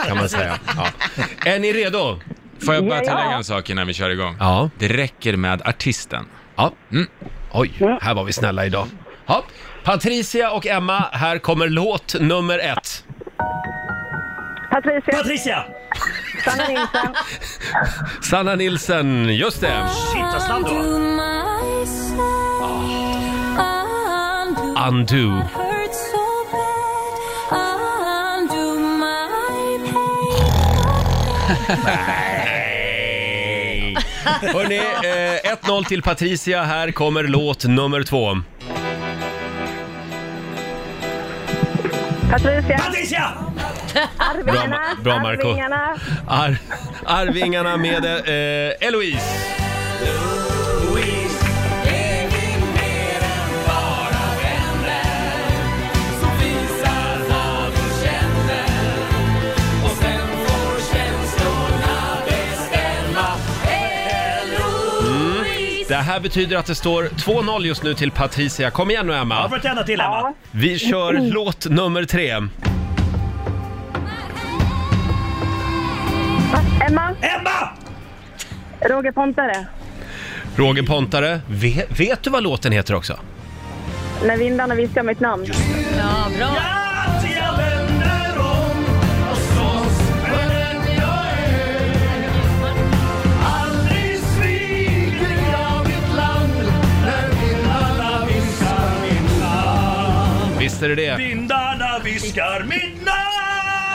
[SPEAKER 1] kan man säga. Ja. Är ni redo?
[SPEAKER 7] Får jag bara
[SPEAKER 6] Ja, ja.
[SPEAKER 7] tillägga en sak innan vi kör igång?
[SPEAKER 1] Ja.
[SPEAKER 7] Det räcker med artisten.
[SPEAKER 1] Ja. Mm. Oj, här var vi snälla idag. Ja. Patricia och Emma, här kommer låt nummer ett.
[SPEAKER 6] Patricia,
[SPEAKER 5] Patricia!
[SPEAKER 6] Sanna Nilsson,
[SPEAKER 1] Sanna Nilsson, just det.
[SPEAKER 5] Shit, vad snabb du var.
[SPEAKER 1] Ah. Undo. Hörni, eh, 1-0 till Patricia. Här kommer låt nummer två.
[SPEAKER 6] Patricia,
[SPEAKER 5] Patricia!
[SPEAKER 6] Arvingarna,
[SPEAKER 1] bra, Marco.
[SPEAKER 6] Arvingarna,
[SPEAKER 1] Ar- Arvingarna med eh, Eloise. Mm. Det här betyder att det står 2-0 just nu till Patricia. Kom igen nu
[SPEAKER 5] Ja,
[SPEAKER 1] Emma.
[SPEAKER 5] får du tända till Emma.
[SPEAKER 1] Vi kör låt nummer tre.
[SPEAKER 6] Emma,
[SPEAKER 5] Emma!
[SPEAKER 6] Roger Pontare,
[SPEAKER 1] Roger Pontare, vet, vet du vad låten heter också?
[SPEAKER 6] När vindarna viskar mitt namn.
[SPEAKER 2] Ja, bra.
[SPEAKER 5] Att jag vänder om och slåss för den jag är. Aldrig sviker jag mitt land när vindarna viskar mitt namn.
[SPEAKER 1] Visst är det det?
[SPEAKER 5] Vindarna viskar mitt namn!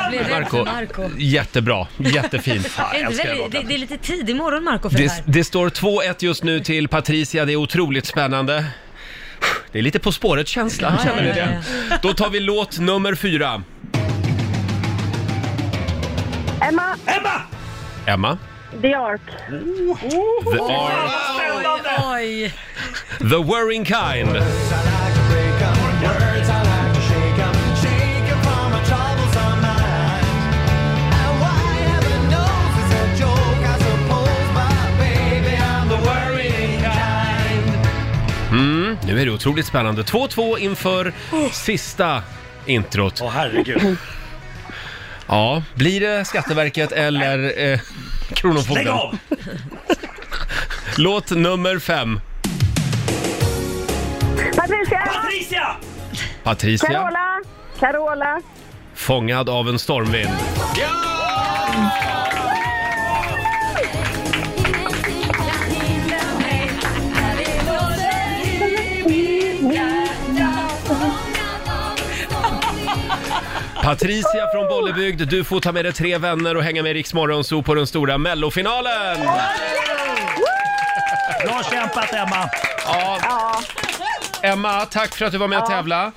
[SPEAKER 2] Blev rädd för Marco.
[SPEAKER 1] Jättebra, jättefint.
[SPEAKER 2] *laughs* Är det, inte väldigt, det, det är lite tidig morgon Marco för det
[SPEAKER 1] Det,
[SPEAKER 2] här.
[SPEAKER 1] det står 2-1 just nu till Patricia, det är otroligt spännande. Det är lite På spåret-känsla, känner ni
[SPEAKER 2] ja,
[SPEAKER 1] det? Då tar vi låt nummer fyra.
[SPEAKER 6] Emma,
[SPEAKER 5] Emma!
[SPEAKER 1] Emma,
[SPEAKER 6] The Ark,
[SPEAKER 1] The, are,
[SPEAKER 5] Spännande!
[SPEAKER 2] Oj,
[SPEAKER 1] the Worrying Kind. Mm, nu är det otroligt spännande. 2-2 inför sista introt.
[SPEAKER 5] Oh. Åh herregud.
[SPEAKER 1] Ja, blir det Skatteverket eller eh,
[SPEAKER 5] Lägg
[SPEAKER 1] Kronofogden?
[SPEAKER 5] av!
[SPEAKER 1] Låt nummer fem.
[SPEAKER 6] Patricia,
[SPEAKER 5] Patricia!
[SPEAKER 1] Patricia,
[SPEAKER 6] Carola, Carola,
[SPEAKER 1] fångad av en stormvind. Patricia från Bollebygd, du får ta med dig tre vänner och hänga med Rix Morgonzoo på den stora mellofinalen!
[SPEAKER 5] Bra kämpat Emma!
[SPEAKER 1] Ja. Emma, tack för att du var med och tävla.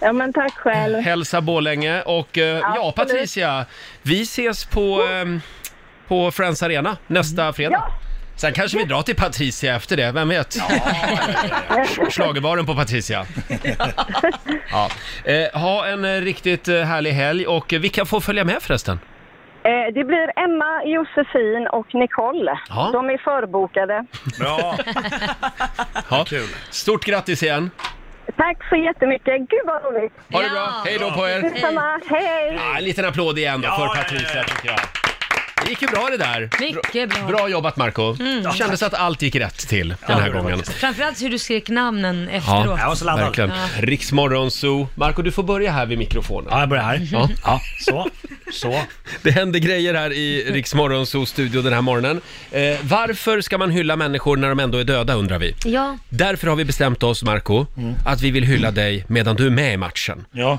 [SPEAKER 6] ja men tack själv.
[SPEAKER 1] Hälsa Borlänge och eh, ja,
[SPEAKER 6] Absolut.
[SPEAKER 1] Patricia, vi ses på, ehm, på Friends Arena nästa fredag. Sen kanske vi drar till Patricia efter det, vem vet? Schlagervaren på
[SPEAKER 6] *laughs*
[SPEAKER 1] Patricia. Ja. Eh, ha en eh, riktigt eh, härlig helg och eh, vilka får följa med förresten?
[SPEAKER 6] Eh, det blir Emma, Josefin och Nicole.
[SPEAKER 1] Ja.
[SPEAKER 6] De är förbokade.
[SPEAKER 5] Bra!
[SPEAKER 1] Ja.
[SPEAKER 5] Kul.
[SPEAKER 1] Stort grattis igen!
[SPEAKER 6] Tack så jättemycket. Gud vad roligt.
[SPEAKER 1] Ha det bra, hej då på er!
[SPEAKER 6] Detsamma. Hej.
[SPEAKER 1] Ja, en liten applåd igen då för
[SPEAKER 5] ja, ja,
[SPEAKER 1] Patricia
[SPEAKER 5] ja.
[SPEAKER 1] tycker jag. Det gick ju bra det där.
[SPEAKER 2] Mycket bra.
[SPEAKER 1] Bra jobbat Marco Kändes att allt gick rätt till den här
[SPEAKER 5] det var
[SPEAKER 1] gången.
[SPEAKER 2] Framförallt hur du skrek namnen efteråt.
[SPEAKER 5] Jag var så laddad.
[SPEAKER 1] Verkligen. Riksmorgon Zoo. Marco du får börja här vid mikrofonen.
[SPEAKER 5] Ja, jag börjar här.
[SPEAKER 1] Ja.
[SPEAKER 5] Ja, så, så.
[SPEAKER 1] Det händer grejer här i Riksmorgon Zoos studio den här morgonen. Eh, varför ska man hylla människor när de ändå är döda undrar vi.
[SPEAKER 2] Ja,
[SPEAKER 1] Därför har vi bestämt oss, Marco, att vi vill hylla dig medan du är med i matchen.
[SPEAKER 5] Mm. Ja.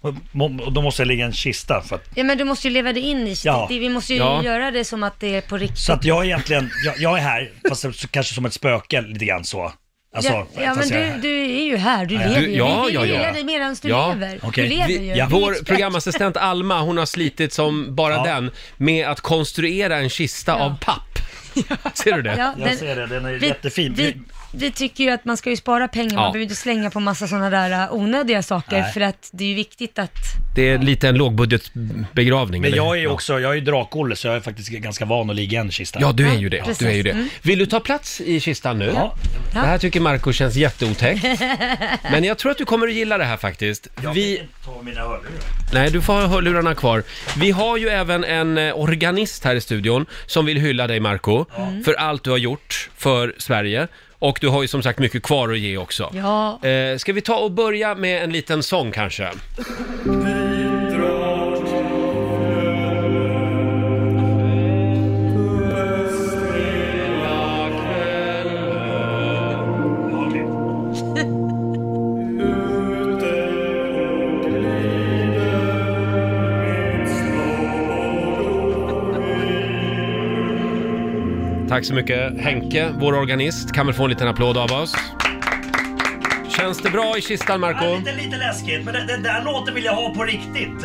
[SPEAKER 5] Och må- och Då måste jag ligga i en kista för att,
[SPEAKER 2] ja men du måste ju leva det in i
[SPEAKER 5] Ja.
[SPEAKER 2] det, Vi måste ju
[SPEAKER 1] Ja.
[SPEAKER 2] göra det som att det är på riktigt.
[SPEAKER 5] så att jag är egentligen, jag, jag är här, fast så- kanske som ett spöke lite grann så. Alltså,
[SPEAKER 2] ja, ja men
[SPEAKER 5] fast jag är här.
[SPEAKER 2] du, du är ju här, du
[SPEAKER 5] ja.
[SPEAKER 2] lever ju.
[SPEAKER 1] Ja,
[SPEAKER 2] vi vill
[SPEAKER 1] ja,
[SPEAKER 2] ju
[SPEAKER 1] ja.
[SPEAKER 2] hylla dig medan du
[SPEAKER 1] Ja.
[SPEAKER 2] lever.
[SPEAKER 5] Okej.
[SPEAKER 2] Du lever
[SPEAKER 1] Vi,
[SPEAKER 2] ju.
[SPEAKER 5] ja.
[SPEAKER 2] Du är
[SPEAKER 1] Vår
[SPEAKER 2] expert.
[SPEAKER 1] programassistent Alma, hon har slitit som bara
[SPEAKER 5] Ja.
[SPEAKER 1] den med att konstruera en kista av
[SPEAKER 2] *laughs*
[SPEAKER 1] papp. Ser du det?
[SPEAKER 2] Ja,
[SPEAKER 5] Jag ser det, den är jättefin.
[SPEAKER 2] Vi, vi tycker ju att man ska ju spara pengar,
[SPEAKER 1] Ja.
[SPEAKER 2] man behöver inte slänga på massa sådana där äh, onödiga saker
[SPEAKER 5] Nej.
[SPEAKER 2] för att det är ju viktigt att...
[SPEAKER 1] Det är lite en lågbudgetbegravning.
[SPEAKER 5] Men
[SPEAKER 1] eller?
[SPEAKER 5] jag är ju
[SPEAKER 1] Ja.
[SPEAKER 5] också, jag är ju drakolle så jag är faktiskt ganska van att ligga i en kista.
[SPEAKER 1] Ja, du är ju det.
[SPEAKER 2] Ja, precis.
[SPEAKER 1] Du är ju det.
[SPEAKER 2] Mm.
[SPEAKER 1] Vill du ta plats i kistan nu?
[SPEAKER 5] Ja.
[SPEAKER 1] Det här tycker Marco känns
[SPEAKER 2] *laughs*
[SPEAKER 1] jätteotäckt. Men jag tror att du kommer att gilla det här faktiskt. Vi,
[SPEAKER 5] Ta mina hörlurar.
[SPEAKER 1] nej, du får ha hörlurarna kvar. Vi har ju även en eh, organist här i studion som vill hylla dig Marco
[SPEAKER 2] Mm.
[SPEAKER 1] för allt du har gjort för Sverige. Och du har ju som sagt mycket kvar att ge också.
[SPEAKER 2] Ja,
[SPEAKER 1] Eh, ska vi ta och börja med en liten sång kanske? Tack så mycket Henke, vår organist, kan väl få en liten applåd av oss. Känns det bra i kistan Marco?
[SPEAKER 5] lite, lite läskigt, men den, den där låten vill jag ha på riktigt.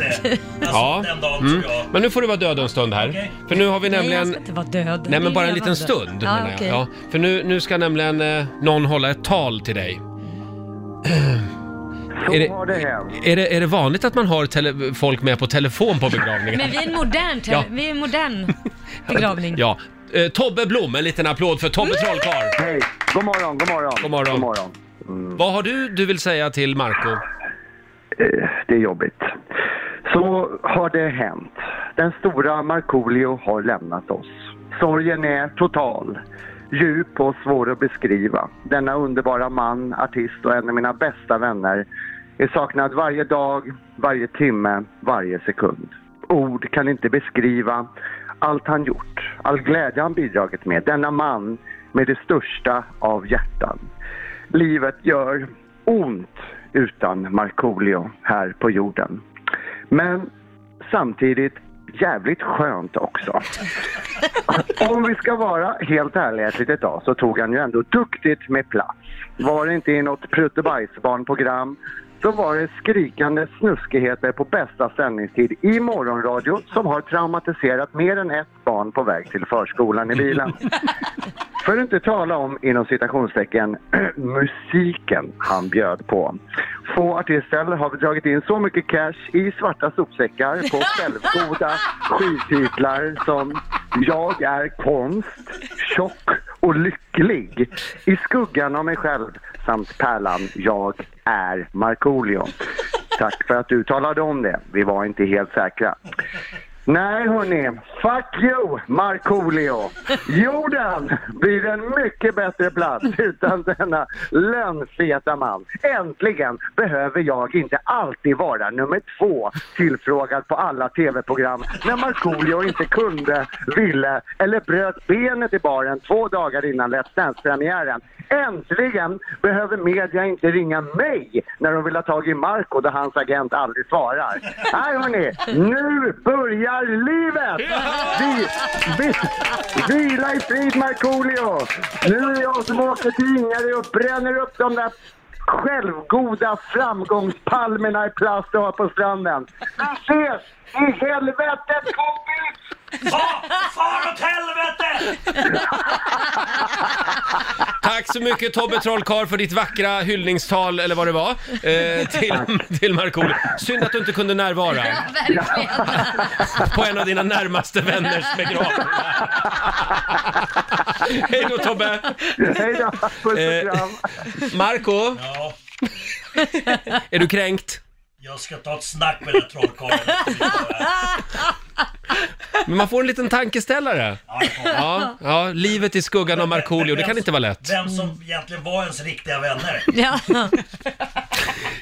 [SPEAKER 1] *laughs*
[SPEAKER 5] eh. Alltså,
[SPEAKER 1] Ja.
[SPEAKER 5] Den dagen
[SPEAKER 1] Mm.
[SPEAKER 5] tror jag.
[SPEAKER 1] Men nu får du vara död en stund här.
[SPEAKER 5] Okej.
[SPEAKER 1] För nu har vi
[SPEAKER 2] nej han
[SPEAKER 1] nämligen...
[SPEAKER 2] ska inte vara död.
[SPEAKER 1] Nej
[SPEAKER 2] Det
[SPEAKER 1] men
[SPEAKER 2] är
[SPEAKER 1] bara en
[SPEAKER 2] ju
[SPEAKER 1] liten
[SPEAKER 2] levande.
[SPEAKER 1] stund
[SPEAKER 2] ja,
[SPEAKER 1] menar jag.
[SPEAKER 2] okej.
[SPEAKER 1] Ja, för nu, nu ska nämligen eh, någon hålla ett tal
[SPEAKER 8] *clears throat*
[SPEAKER 1] till dig. Är det, är, det, är det vanligt att man har tele, folk med på telefon på begravningar?
[SPEAKER 2] *laughs* Men vi är en modern, te-
[SPEAKER 1] Ja.
[SPEAKER 2] vi är en modern begravning.
[SPEAKER 1] Ja. Eh, Tobbe Blom, en liten applåd för Tobbe Trollkarl!
[SPEAKER 8] Hej, god morgon, god morgon.
[SPEAKER 1] God morgon.
[SPEAKER 8] God morgon. Mm.
[SPEAKER 1] Vad har du du vill säga till Marco?
[SPEAKER 8] Eh, det är jobbigt. Så har det hänt. Den stora Markoolio har lämnat oss. Sorgen är total, djup och svår att beskriva. Denna underbara man, artist och en av mina bästa vänner är saknad varje dag, varje timme, varje sekund. Ord kan inte beskriva allt han gjort, all glädje han bidragit med. Denna man med det största av hjärtan. Livet gör ont utan Markoolio här på jorden. Men samtidigt jävligt skönt också. Om vi ska vara helt ärliga ett litet tag så tog han ju ändå duktigt med plats. Var det inte i något pruttebajsbarnprogram så var det skrikande snuskigheter på bästa sändningstid i morgonradio som har traumatiserat mer än ett barn på väg till förskolan i bilen. För att inte tala om, inom citationstecken, *clears throat* musiken han bjöd på. Få artister har dragit in så mycket cash i svarta sopsäckar på självgoda skivtitlar som Jag är konst, tjock och lycklig, I skuggan av mig själv samt pärlan Jag är Markoolio. Tack för att du talade om det. Vi var inte helt säkra. Nej, hörni. Fuck you, Markoolio. Jorden blir en mycket bättre plats utan denna lönnfeta man. Äntligen behöver jag inte alltid vara nummer två tillfrågad på alla tv-program när Markoolio inte kunde, ville eller bröt benet i baren två dagar innan Let's Dance-premiären. Äntligen behöver media inte ringa mig när de vill ha tag i Marco då hans agent aldrig svarar. Nej hörni, nu börjar livet! Vi, vi, vila i frid Markoolio! Nu är det jag som åker till Ingarö och bränner upp de där självgoda framgångspalmerna i plast och har på stranden. Vi ses i helvetet kompis!
[SPEAKER 5] Fa, far åt helvete!
[SPEAKER 1] Tack så mycket Tobbe Trollkarl för ditt vackra hyllningstal, eller vad det var, eh, till, till Markoolio. Synd att du inte kunde närvara
[SPEAKER 2] Ja, verkligen.
[SPEAKER 1] på en av dina närmaste vänners begravning. Hej då Tobbe! Eh,
[SPEAKER 8] Hej då, puss och kram!
[SPEAKER 1] Marco, Är du kränkt?
[SPEAKER 5] Jag ska ta ett snack med den
[SPEAKER 1] *laughs*
[SPEAKER 5] här trollkarlen.
[SPEAKER 1] Men man får en liten tankeställare.
[SPEAKER 5] Ja, jag får-
[SPEAKER 1] Ja, ja livet i skuggan av Markoolio, det kan inte vara lätt.
[SPEAKER 5] Vem som egentligen var ens riktiga *laughs* vänner.
[SPEAKER 2] Ja.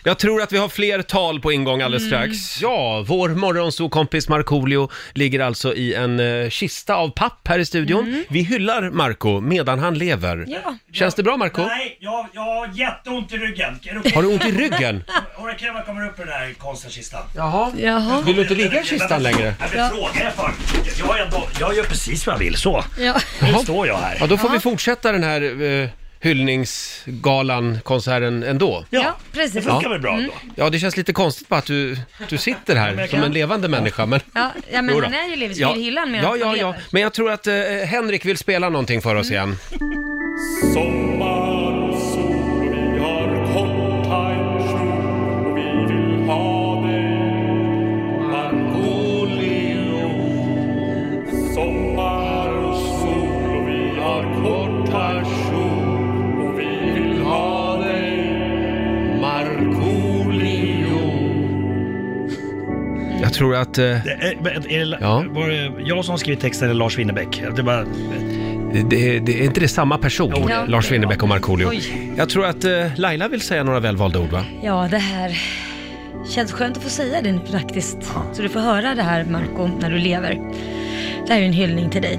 [SPEAKER 1] Jag tror att vi har fler tal på ingång alldeles
[SPEAKER 2] Mm.
[SPEAKER 1] strax. Ja, vår morgonsokompis Markoolio ligger alltså i en eh, kista av papp här i studion. Vi hyllar Marco medan han lever.
[SPEAKER 2] Mm. Ja.
[SPEAKER 1] Känns det bra Marco?
[SPEAKER 5] Nej, jag, jag har jätteont i ryggen. Är du-
[SPEAKER 1] Har du ont i
[SPEAKER 5] *laughs*
[SPEAKER 1] ryggen?
[SPEAKER 5] Orrkräman kommer upp i den här konstiga kistan.
[SPEAKER 1] Jaha.
[SPEAKER 2] Jaha.
[SPEAKER 1] Vill du inte ligga i kistan längre?
[SPEAKER 5] Nej, men fråga er för. Jag, är ändå, jag gör precis vad jag vill, så.
[SPEAKER 2] Ja.
[SPEAKER 5] Nu
[SPEAKER 1] Jaha.
[SPEAKER 5] står jag här.
[SPEAKER 1] Ja, då får vi fortsätta den här eh, hyllningsgalan, konserten ändå.
[SPEAKER 2] ja,
[SPEAKER 5] Det
[SPEAKER 2] precis. Mm.
[SPEAKER 5] funkar
[SPEAKER 1] Ja. Mm.
[SPEAKER 5] väl bra då?
[SPEAKER 1] Ja, det känns lite konstigt bara att du, du sitter här som en levande människa. Men...
[SPEAKER 2] Ja, ja, men
[SPEAKER 1] Jodå.
[SPEAKER 2] han är ju livets
[SPEAKER 1] Ja.
[SPEAKER 2] ja. hyllan medan
[SPEAKER 1] Ja, ja,
[SPEAKER 2] han
[SPEAKER 1] ja.
[SPEAKER 2] lever. Mm.
[SPEAKER 1] Men jag tror att eh, Henrik vill spela någonting för oss igen.
[SPEAKER 9] Sommarsol, vi har kort en kjol och vi vill ha dig Markoolio Sommarsol och vi har kort en kjol och vi vill ha dig Markoolio
[SPEAKER 1] Jag tror att... eh,
[SPEAKER 5] Det, är, men är, det-
[SPEAKER 1] Ja.
[SPEAKER 5] Var det jag som har skrivit texten eller Lars Winnerbäck? Det är bara,
[SPEAKER 1] Det, det, är inte det samma person,
[SPEAKER 5] Jo,
[SPEAKER 2] det-
[SPEAKER 1] Lars Winnerbäck och Markoolio?
[SPEAKER 2] Oj.
[SPEAKER 1] Jag tror att eh, Laila vill säga några välvalda ord, va?
[SPEAKER 2] Ja, det här känns skönt att få säga det nu praktiskt. Så du får höra det här Marco när du lever. Det här är en hyllning till dig.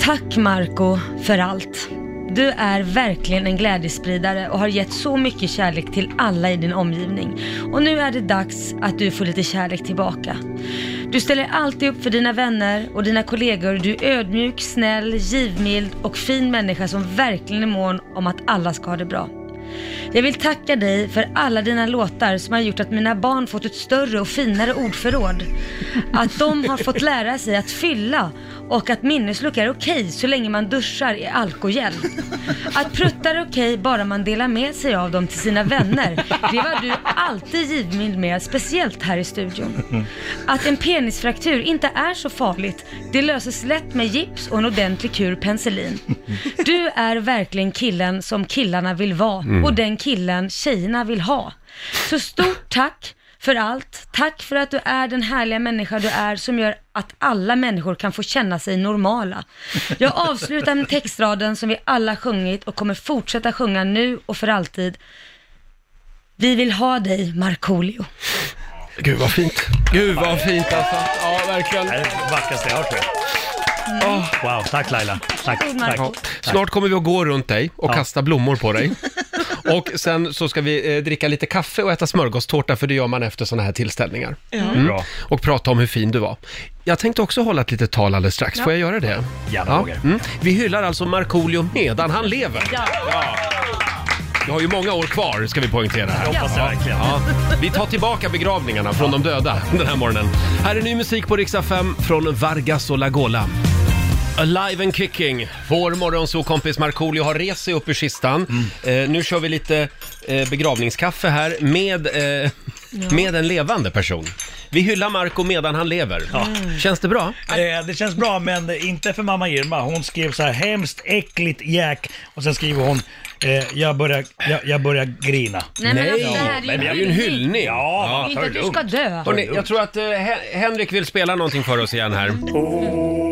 [SPEAKER 2] Tack Marco för allt. Du är verkligen en glädjespridare och har gett så mycket kärlek till alla i din omgivning. Och nu är det dags att du får lite kärlek tillbaka. Du ställer alltid upp för dina vänner och dina kollegor. Du är ödmjuk, snäll, givmild och fin människa som verkligen är mån om att alla ska ha det bra. Jag vill tacka dig för alla dina låtar som har gjort att mina barn fått ett större och finare ordförråd. Att de har fått lära sig att fylla och att minnesluckor är okej så länge man duschar i alkogel. Att pruttar är okej bara man delar med sig av dem till sina vänner. Det var du alltid givmild med, speciellt här i studion. Att en penisfraktur inte är så farligt, det löses lätt med gips och en ordentlig kur penicillin. Du är verkligen killen som killarna vill vara och den killen tjejerna vill ha. Så stort tack för allt. Tack för att du är den härliga människa du är som gör att alla människor kan få känna sig normala. Jag avslutar med textraden som vi alla sjungit och kommer fortsätta sjunga nu och för alltid. Vi vill ha dig, Markoolio.
[SPEAKER 1] Gud, vad fint. Gud, vad fint alltså. Ja, verkligen.
[SPEAKER 5] det är Mm. det vackraste jag har hört tror jag. Wow, tack Laila. Tack,
[SPEAKER 2] Varsågod,
[SPEAKER 5] tack.
[SPEAKER 1] Ja. Snart kommer vi att gå runt dig och kasta blommor på
[SPEAKER 5] *laughs*
[SPEAKER 1] dig. Och sen så ska vi eh, dricka lite kaffe och äta smörgåstårta, för det gör man efter sådana här tillställningar. Mm.
[SPEAKER 5] Bra.
[SPEAKER 1] Och prata om hur fin du var. Jag tänkte också hålla ett litet tal alldeles strax. Får jag göra det?
[SPEAKER 5] Gärna, Roger.
[SPEAKER 1] Mm. Vi hyllar alltså Markoolio medan han lever.
[SPEAKER 2] Ja.
[SPEAKER 1] Vi har ju många år kvar, ska vi poängtera här.
[SPEAKER 5] Jag hoppas det verkligen.
[SPEAKER 1] Ja, vi tar tillbaka begravningarna från de döda den här morgonen. Här är ny musik på Riksdag 5 från Vargas och Lagola. Alive and kicking! Vår morgonsåkompis Markoolio har rest sig upp ur kistan.
[SPEAKER 5] Mm.
[SPEAKER 1] Eh, nu kör vi lite eh, begravningskaffe här med, eh, med en levande person. Vi hyllar Marco medan han lever.
[SPEAKER 2] Mm.
[SPEAKER 1] Känns det bra?
[SPEAKER 5] Eh, det känns bra, men inte för mamma Irma. Hon skrev så här, hemskt äckligt Jack. Och sen skriver hon, eh, jag, börjar, jag, jag börjar grina.
[SPEAKER 2] Nej, men alltså, det här
[SPEAKER 1] men det
[SPEAKER 2] är
[SPEAKER 1] är ju en hyllning.
[SPEAKER 5] Ja,
[SPEAKER 2] Inte att du ska dö.
[SPEAKER 1] Hörrni, jag tror att eh, Hen- Henrik vill spela någonting för oss igen här.
[SPEAKER 5] Oh.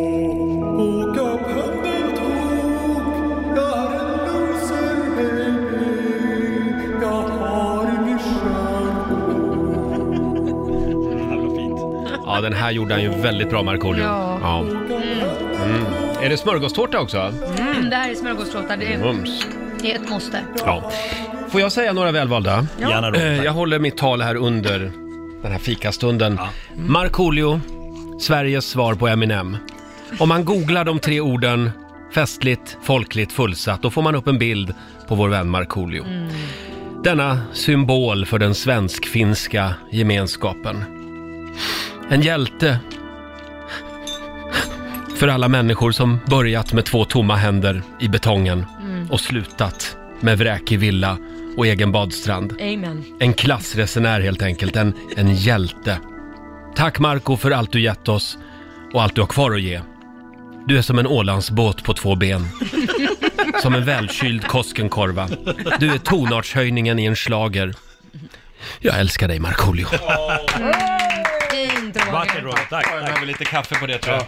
[SPEAKER 1] Ja, den här gjorde han ju väldigt bra, Markoolio.
[SPEAKER 2] Ja.
[SPEAKER 1] Mm. Är det smörgåstårta också?
[SPEAKER 2] Mm, det här är smörgåstårta, det är,
[SPEAKER 1] Mums.
[SPEAKER 2] det är ett måste.
[SPEAKER 1] Mm. Ja. Får jag säga några välvalda?
[SPEAKER 5] Gärna då.
[SPEAKER 1] Eh,
[SPEAKER 5] tack.
[SPEAKER 1] Jag håller mitt tal här under den här fikastunden. Markoolio, Sveriges svar på Eminem. Om man googlar de tre orden festligt, folkligt, fullsatt, då får man upp en bild på vår vän Markoolio.
[SPEAKER 5] Mm.
[SPEAKER 1] Denna symbol för den svensk-finska gemenskapen. En hjälte för alla människor som börjat med två tomma händer i betongen
[SPEAKER 5] Mm.
[SPEAKER 1] och slutat med vräkig villa och egen badstrand.
[SPEAKER 2] Amen.
[SPEAKER 1] En klassresenär helt enkelt, en, en hjälte. Tack Marco för allt du gett oss och allt du har kvar att ge. Du är som en Ålandsbåt på två ben. Som en välkyld Koskenkorva. Du är tonartshöjningen i en slager. Jag älskar dig Markoolio.
[SPEAKER 2] Fint Roger.
[SPEAKER 5] Vackert Roger,
[SPEAKER 7] Jag
[SPEAKER 5] tack. tack.
[SPEAKER 7] behöver lite kaffe på det tror jag.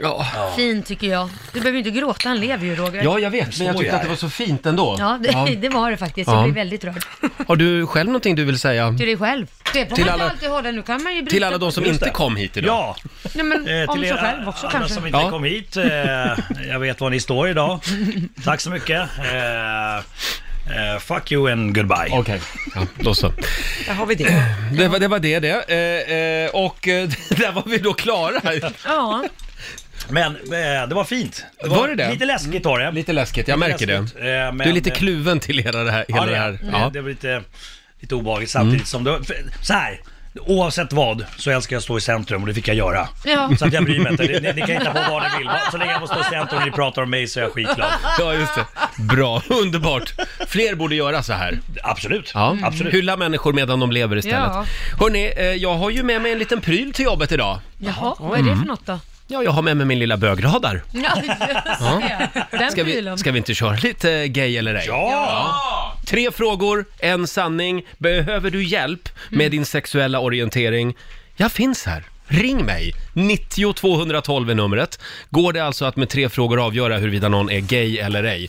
[SPEAKER 1] Ja.
[SPEAKER 2] Fint tycker jag. Du behöver ju inte gråta, han lever ju Roger.
[SPEAKER 1] ja, jag vet, men jag tyckte att det var så fint ändå.
[SPEAKER 2] Ja, det, *laughs* det var det faktiskt. Jag
[SPEAKER 1] Ja.
[SPEAKER 2] blev väldigt rörd.
[SPEAKER 1] Har du själv någonting du vill säga?
[SPEAKER 2] Till dig själv. Det får
[SPEAKER 1] Till
[SPEAKER 2] man
[SPEAKER 1] alla-
[SPEAKER 2] inte alltid hålla. Nu kan man ju bryta.
[SPEAKER 1] Till alla de som inte kom hit idag.
[SPEAKER 5] Ja,
[SPEAKER 2] Nej, men
[SPEAKER 5] eh,
[SPEAKER 2] om
[SPEAKER 5] till
[SPEAKER 2] sig
[SPEAKER 5] er
[SPEAKER 2] själv också
[SPEAKER 5] alla
[SPEAKER 2] kanske.
[SPEAKER 5] som inte
[SPEAKER 1] Ja.
[SPEAKER 5] kom hit. Eh, jag vet var ni
[SPEAKER 1] *laughs*
[SPEAKER 5] står idag. Tack så mycket. Eh, eh, fuck you and goodbye.
[SPEAKER 1] Okej, ja, då så.
[SPEAKER 3] Där har vi det.
[SPEAKER 1] Det var det, var det, det. Eh, eh, och eh, *laughs* där var vi då klara.
[SPEAKER 2] Ja,
[SPEAKER 5] Men eh, det var fint.
[SPEAKER 1] Var det det?
[SPEAKER 5] Lite läskigt var det.
[SPEAKER 1] Lite läskigt, jag märker det.
[SPEAKER 5] läskigt, eh, men-
[SPEAKER 1] Du är lite kluven till hela det här. Hela
[SPEAKER 5] Ja,
[SPEAKER 1] det
[SPEAKER 5] det,
[SPEAKER 1] här.
[SPEAKER 5] det,
[SPEAKER 1] Ja.
[SPEAKER 5] det var lite, lite obehagligt samtidigt som det var, för, så här. Oavsett vad så älskar jag att stå i centrum och det fick jag göra.
[SPEAKER 2] ja.
[SPEAKER 5] Så att jag bryr mig inte. Ni, ni, ni kan hitta på vad ni vill. Så länge jag får stå i centrum och ni pratar om mig så är jag skitglad.
[SPEAKER 1] *laughs* ja, just det. Bra, underbart. Fler borde göra så här.
[SPEAKER 5] Absolut.
[SPEAKER 1] Ja.
[SPEAKER 5] Absolut.
[SPEAKER 1] Hylla människor medan de lever istället.
[SPEAKER 2] Ja.
[SPEAKER 1] Hörni, eh, jag har ju med mig en liten pryl till jobbet idag.
[SPEAKER 2] Jaha, vad är det för något då?
[SPEAKER 1] Ja, jag har med mig min lilla bögradar.
[SPEAKER 2] Ja, just det. Den
[SPEAKER 1] Ska vi,
[SPEAKER 2] prylen.
[SPEAKER 1] ska vi inte köra lite gay eller ej?
[SPEAKER 5] Ja!
[SPEAKER 1] Tre frågor, en sanning. Behöver du hjälp med din sexuella orientering? Jag finns här. Ring mig! 90 212 är numret. Går det alltså att med tre frågor avgöra huruvida någon är gay eller ej?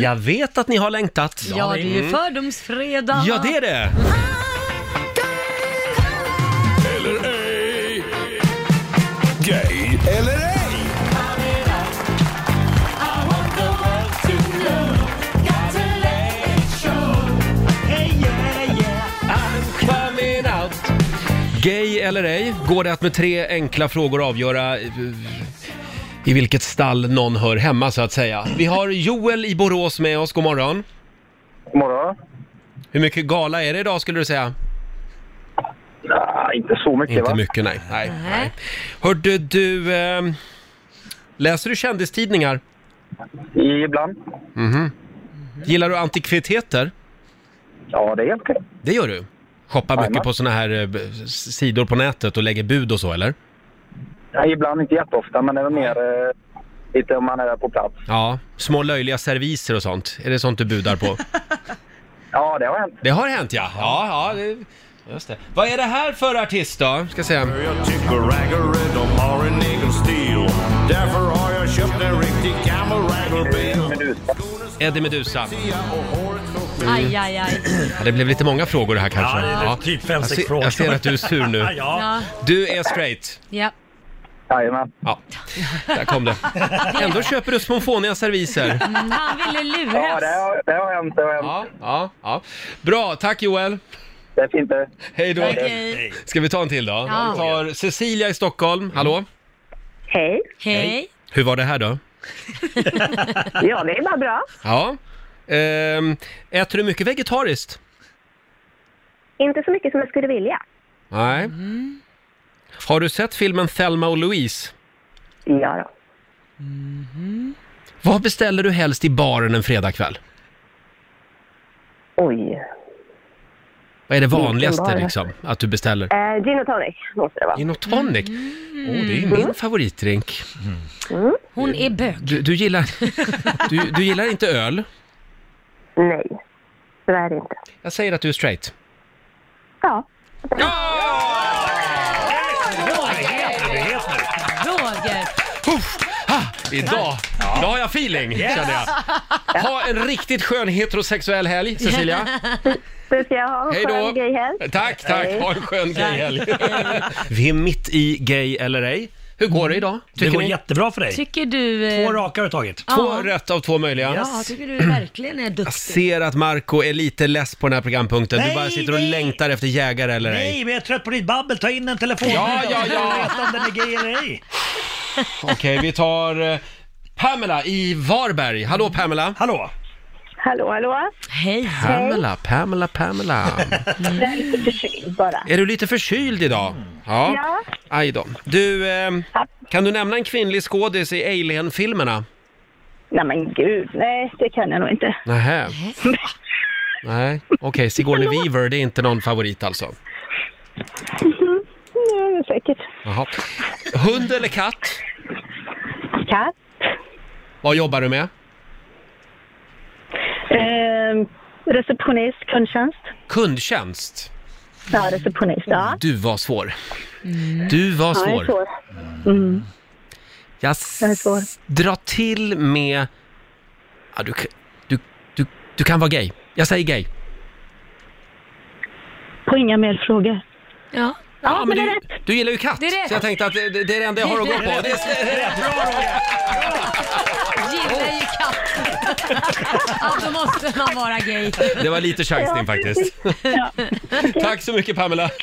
[SPEAKER 1] Jag vet att ni har längtat.
[SPEAKER 2] Ja, det är ju fördomsfredag.
[SPEAKER 1] Mm. Ja, det är det!
[SPEAKER 4] Gay eller ej?
[SPEAKER 1] Gay eller ej? Går det att med tre enkla frågor avgöra eh, i vilket stall någon hör hemma så att säga? Vi har Joel i Borås med oss, god morgon.
[SPEAKER 8] God morgon.
[SPEAKER 1] Hur mycket gala är det idag skulle du säga?
[SPEAKER 8] Nej, inte så mycket
[SPEAKER 1] Inte
[SPEAKER 8] va?
[SPEAKER 1] mycket, nej. nej, nej.
[SPEAKER 2] Nej.
[SPEAKER 1] Hörde du... Eh, läser du kändistidningar?
[SPEAKER 8] Ibland.
[SPEAKER 1] Gillar du antikviteter?
[SPEAKER 8] Ja, det är helt okej.
[SPEAKER 1] Det gör du? Shoppar mycket på såna här eh, b- s- sidor på nätet och lägger bud och så, eller?
[SPEAKER 8] Nej, ibland inte jätteofta, men det är mer eh, lite om man är på plats.
[SPEAKER 1] Ja. Små löjliga serviser och sånt. Är det sånt du budar på?
[SPEAKER 8] *laughs* Ja, det har hänt.
[SPEAKER 1] det har hänt, ja. Ja, ja. Det... Just det. Vad är det här för artist då? Ska se.
[SPEAKER 9] Jag tycker raggare de har en egen stil Därför har jag köpt en riktig gammal raggarbil
[SPEAKER 1] Eddie Meduza.
[SPEAKER 2] Aj, aj, aj.
[SPEAKER 1] Ja, det blev lite många frågor det här kanske.
[SPEAKER 5] Ja, det är typ fem,
[SPEAKER 1] jag,
[SPEAKER 5] sex
[SPEAKER 1] ser,
[SPEAKER 5] frågor.
[SPEAKER 1] jag ser att du är sur nu.
[SPEAKER 5] *laughs* Ja.
[SPEAKER 2] Ja,
[SPEAKER 1] Du är straight.
[SPEAKER 2] *laughs* ja.
[SPEAKER 8] Jajamän.
[SPEAKER 1] Ja, där kom det. Ändå köper du små fåniga serviser.
[SPEAKER 2] Mm, Han ville
[SPEAKER 8] Ja,
[SPEAKER 2] luras.
[SPEAKER 8] det har, det har hänt. Det har hänt.
[SPEAKER 1] Ja, ja, ja. Bra, tack Joel.
[SPEAKER 8] Det är fint det.
[SPEAKER 1] Hej då.
[SPEAKER 2] Okej.
[SPEAKER 5] Hej.
[SPEAKER 1] Ska vi ta en till då?
[SPEAKER 2] Ja.
[SPEAKER 1] Vi tar Cecilia i Stockholm. Hallå?
[SPEAKER 6] Hej.
[SPEAKER 2] Hej.
[SPEAKER 1] Hur var det här då?
[SPEAKER 6] Ja, det är bara bra.
[SPEAKER 1] Ja. Ehm, äter du mycket vegetariskt?
[SPEAKER 6] Inte så mycket som jag skulle vilja.
[SPEAKER 1] Nej. Har du sett filmen Thelma och Louise? Mm-hmm.
[SPEAKER 6] Ja, då.
[SPEAKER 1] Vad beställer du helst i baren en fredagkväll?
[SPEAKER 6] Oj.
[SPEAKER 1] Vad är det
[SPEAKER 6] bar.
[SPEAKER 1] vanligaste liksom, att du beställer?
[SPEAKER 6] Eh, gin och tonic måste det vara. Mm.
[SPEAKER 1] Gin och tonic? Åh, det är ju min favoritdrink. Mm.
[SPEAKER 2] Hon är bög.
[SPEAKER 1] Du, du, gillar, du, du gillar *laughs* inte öl?
[SPEAKER 6] Nej, tyvärr inte.
[SPEAKER 1] Jag säger att du är straight.
[SPEAKER 6] Ja.
[SPEAKER 5] Vet nu.
[SPEAKER 2] Roger.
[SPEAKER 1] Uff, ah, idag, idag har jag feeling, kände jag. Ha en riktigt skön heterosexuell helg,
[SPEAKER 6] *laughs*
[SPEAKER 5] *laughs*
[SPEAKER 1] Cecilia.
[SPEAKER 6] Du ska jag ha en
[SPEAKER 1] Hej då.
[SPEAKER 6] skön grej här.
[SPEAKER 1] Tack, tack. Ha en skön gay-helg. Vi är mitt i Gay eller ej. Hur går det idag?
[SPEAKER 5] Mm. Det
[SPEAKER 1] Tycker
[SPEAKER 5] går
[SPEAKER 1] ni?
[SPEAKER 5] jättebra för dig.
[SPEAKER 2] Tycker du... eh,
[SPEAKER 5] Två raka har du tagit.
[SPEAKER 1] Två
[SPEAKER 2] ja.
[SPEAKER 1] rätt av två möjliga.
[SPEAKER 2] Ja, tycker du verkligen är
[SPEAKER 1] Jag
[SPEAKER 2] duktig.
[SPEAKER 1] ser att Marco är lite less på den här programpunkten. Du
[SPEAKER 5] Nej,
[SPEAKER 1] bara sitter och
[SPEAKER 5] nej.
[SPEAKER 1] längtar efter jägare eller ej.
[SPEAKER 5] Nej, men jag är trött på ditt babbel. Ta in en telefon.
[SPEAKER 1] Ja, ja, ja.
[SPEAKER 5] Jag vet om den är gay eller ej.
[SPEAKER 1] Okej, vi tar eh, Pamela i Varberg. Hallå Pamela!
[SPEAKER 5] Hallå?
[SPEAKER 6] Hallå, hallå.
[SPEAKER 2] Hej.
[SPEAKER 1] Pamela, Pamela, Pamela.
[SPEAKER 6] Jag är lite förkyld bara.
[SPEAKER 1] Är du lite förkyld idag? Ja.
[SPEAKER 6] Ja.
[SPEAKER 1] Aj då. Du, eh, kan du nämna en kvinnlig skådis i Alien-filmerna?
[SPEAKER 6] Nej men gud, nej det kan jag nog inte. *laughs*
[SPEAKER 1] Nähä.
[SPEAKER 10] Äh?
[SPEAKER 1] Nej, okej. Sigourney Weaver, det är inte någon favorit alltså.
[SPEAKER 6] Nej, säkert.
[SPEAKER 1] Jaha. Hund eller katt?
[SPEAKER 10] katt.
[SPEAKER 1] Vad jobbar du med?
[SPEAKER 6] Ehm,
[SPEAKER 10] Eh, receptionist, kundtjänst.
[SPEAKER 1] Kundtjänst.
[SPEAKER 10] Ja, receptionist. Ja.
[SPEAKER 1] Du var svår. Du var
[SPEAKER 10] Ja, jag är
[SPEAKER 1] Mm. svår.
[SPEAKER 10] svår. Mm.
[SPEAKER 1] Jag s-
[SPEAKER 10] Jag är svår.
[SPEAKER 1] drar till med... Ja, du, k- du, du, du kan vara gay. Jag säger gay.
[SPEAKER 10] På inga mer frågor.
[SPEAKER 2] Ja.
[SPEAKER 10] Ja, men, det är
[SPEAKER 1] du,
[SPEAKER 10] rätt.
[SPEAKER 1] du gillar ju katt,
[SPEAKER 10] Det är rätt.
[SPEAKER 1] så jag tänkte att det, det är det enda jag har att gå på. Det är,
[SPEAKER 2] Gillar ju
[SPEAKER 5] *laughs*
[SPEAKER 2] katt. Ja, då måste man vara gay.
[SPEAKER 1] det var lite chansning faktiskt. Tack så mycket Pamela.
[SPEAKER 10] *laughs*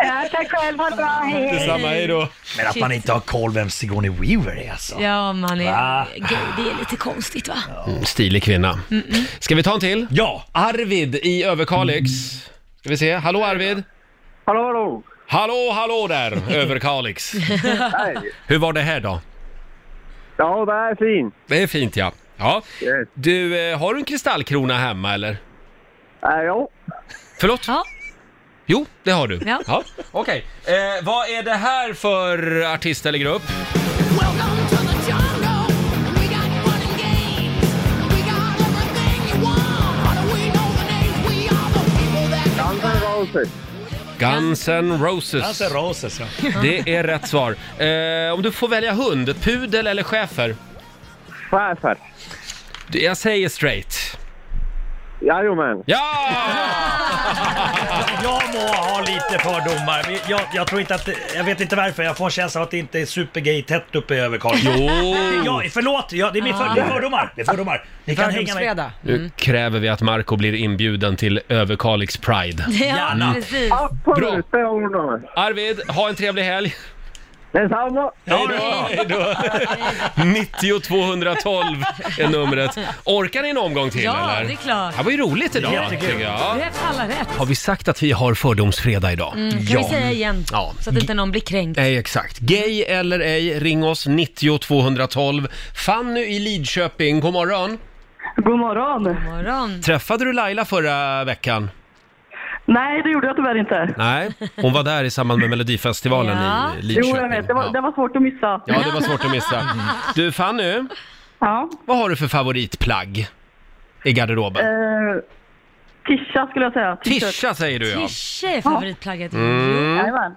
[SPEAKER 10] Ja, tack själv. Ha det bra. Hej, hej.
[SPEAKER 1] då.
[SPEAKER 5] Men att man
[SPEAKER 2] Shit.
[SPEAKER 5] inte har koll vem Sigourney Weaver är alltså.
[SPEAKER 2] Ja, om man är
[SPEAKER 5] Va?
[SPEAKER 2] gay. Det är lite konstigt va?
[SPEAKER 1] Mm, Stilig kvinna. Ska vi ta en till?
[SPEAKER 5] Ja!
[SPEAKER 1] Arvid i Överkalix. Ska vi se. Hallå Arvid!
[SPEAKER 11] Hallå, hallå!
[SPEAKER 1] Hallå, hallå där
[SPEAKER 10] *laughs*
[SPEAKER 1] Överkalix!
[SPEAKER 11] Hej!
[SPEAKER 1] Hur var det här då?
[SPEAKER 11] Ja, det är fint.
[SPEAKER 1] Det är fint ja. Ja. Du, eh, har du en kristallkrona hemma eller?
[SPEAKER 11] Äh, ja.
[SPEAKER 1] Förlåt?
[SPEAKER 2] Ja.
[SPEAKER 1] Jo, det har du.
[SPEAKER 2] Ja.
[SPEAKER 1] Okej. Eh, vad är det här för artist eller grupp?
[SPEAKER 11] Guns N' Roses.
[SPEAKER 1] Guns N'
[SPEAKER 5] Guns N'
[SPEAKER 1] Roses.
[SPEAKER 5] Roses ja.
[SPEAKER 1] *laughs* Det är rätt svar. Eh, om du får välja hund, pudel eller schäfer?
[SPEAKER 11] Schäfer.
[SPEAKER 1] Du, Jag säger straight.
[SPEAKER 11] Jajamän.
[SPEAKER 1] Ja!
[SPEAKER 5] Jag må ha lite fördomar. Vi- Jag, jag tror inte att... det- Jag vet inte varför. Jag får en känsla av att det inte är supergay tätt uppe i Överkalix.
[SPEAKER 1] Jo!
[SPEAKER 5] Jag, förlåt, jag, det är min för, det är fördomar. Det är fördomar. Ni kan hänga med.
[SPEAKER 3] Fördomsfredag.
[SPEAKER 2] Mm.
[SPEAKER 1] Nu kräver vi att Marco blir inbjuden till Överkalix Pride.
[SPEAKER 2] *laughs* Ja,
[SPEAKER 5] Gärna.
[SPEAKER 2] precis.
[SPEAKER 1] Bra.
[SPEAKER 11] Absolut, det ordnar vi.
[SPEAKER 1] Arvid, ha en trevlig helg!
[SPEAKER 11] Detsamma.
[SPEAKER 5] Ja,
[SPEAKER 1] Hej
[SPEAKER 2] *laughs*
[SPEAKER 1] då! 90 212 är numret. Orkar ni en omgång till
[SPEAKER 2] Ja,
[SPEAKER 1] eller?
[SPEAKER 2] det är klart.
[SPEAKER 1] Det här var ju roligt idag.
[SPEAKER 5] Jättekul.
[SPEAKER 1] tycker jag.
[SPEAKER 2] Rätt alla rätt.
[SPEAKER 1] Har vi sagt att vi har fördomsfredag idag?
[SPEAKER 2] Mm, kan vi säga igen?
[SPEAKER 1] Ja.
[SPEAKER 2] Så att inte någon blir kränkt.
[SPEAKER 1] Nej, exakt. Gay eller ej, ring oss 90 212. Fanny i Lidköping, god morgon.
[SPEAKER 10] God morgon.
[SPEAKER 2] God morgon.
[SPEAKER 1] Träffade du Laila förra veckan?
[SPEAKER 10] Nej, det gjorde jag tyvärr inte.
[SPEAKER 1] Nej, hon var där i samband med Melodifestivalen
[SPEAKER 2] Ja.
[SPEAKER 1] i Lidköping. Ja.
[SPEAKER 10] var svårt att missa.
[SPEAKER 1] ja, det var svårt att missa. Du Fanny,
[SPEAKER 10] Ja.
[SPEAKER 1] vad har du för favoritplagg i garderoben?
[SPEAKER 10] Eh, tisha skulle jag säga.
[SPEAKER 1] Tisha säger du ja. Mm.
[SPEAKER 2] Tische är favoritplagget.
[SPEAKER 10] Jajamän.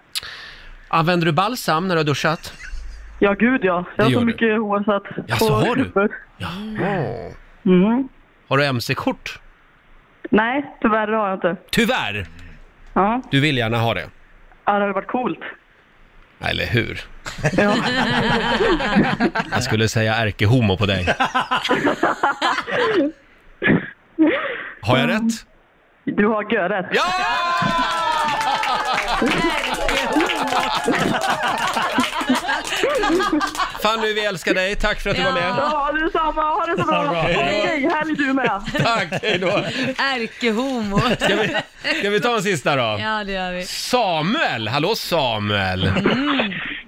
[SPEAKER 1] Använder du balsam när du har duschat?
[SPEAKER 10] Ja, gud ja.
[SPEAKER 1] Det gör du.
[SPEAKER 10] hår så att...
[SPEAKER 1] Jaså,
[SPEAKER 10] på
[SPEAKER 1] har du?
[SPEAKER 10] huvudet. Mm.
[SPEAKER 1] Har du mc-kort?
[SPEAKER 10] Nej, tyvärr har jag inte.
[SPEAKER 1] Tyvärr!
[SPEAKER 10] Ja,
[SPEAKER 1] Du vill gärna ha det.
[SPEAKER 10] ja, det hade varit coolt.
[SPEAKER 1] Eller hur?
[SPEAKER 10] Ja.
[SPEAKER 1] Jag skulle säga ärkehomo på dig. Har jag rätt?
[SPEAKER 10] Mm. Du har göret.
[SPEAKER 1] Ja! Fanny, vi älskar dig. Tack för att du var med.
[SPEAKER 10] Ja, detsamma. Ha det så bra.
[SPEAKER 5] bra.
[SPEAKER 10] Ha en gay helg du med.
[SPEAKER 1] Tack, hej då.
[SPEAKER 2] Ärkehomo.
[SPEAKER 1] Ska vi, ska vi ta en sista då?
[SPEAKER 2] Ja, det gör vi.
[SPEAKER 1] Samuel! Hallå Samuel!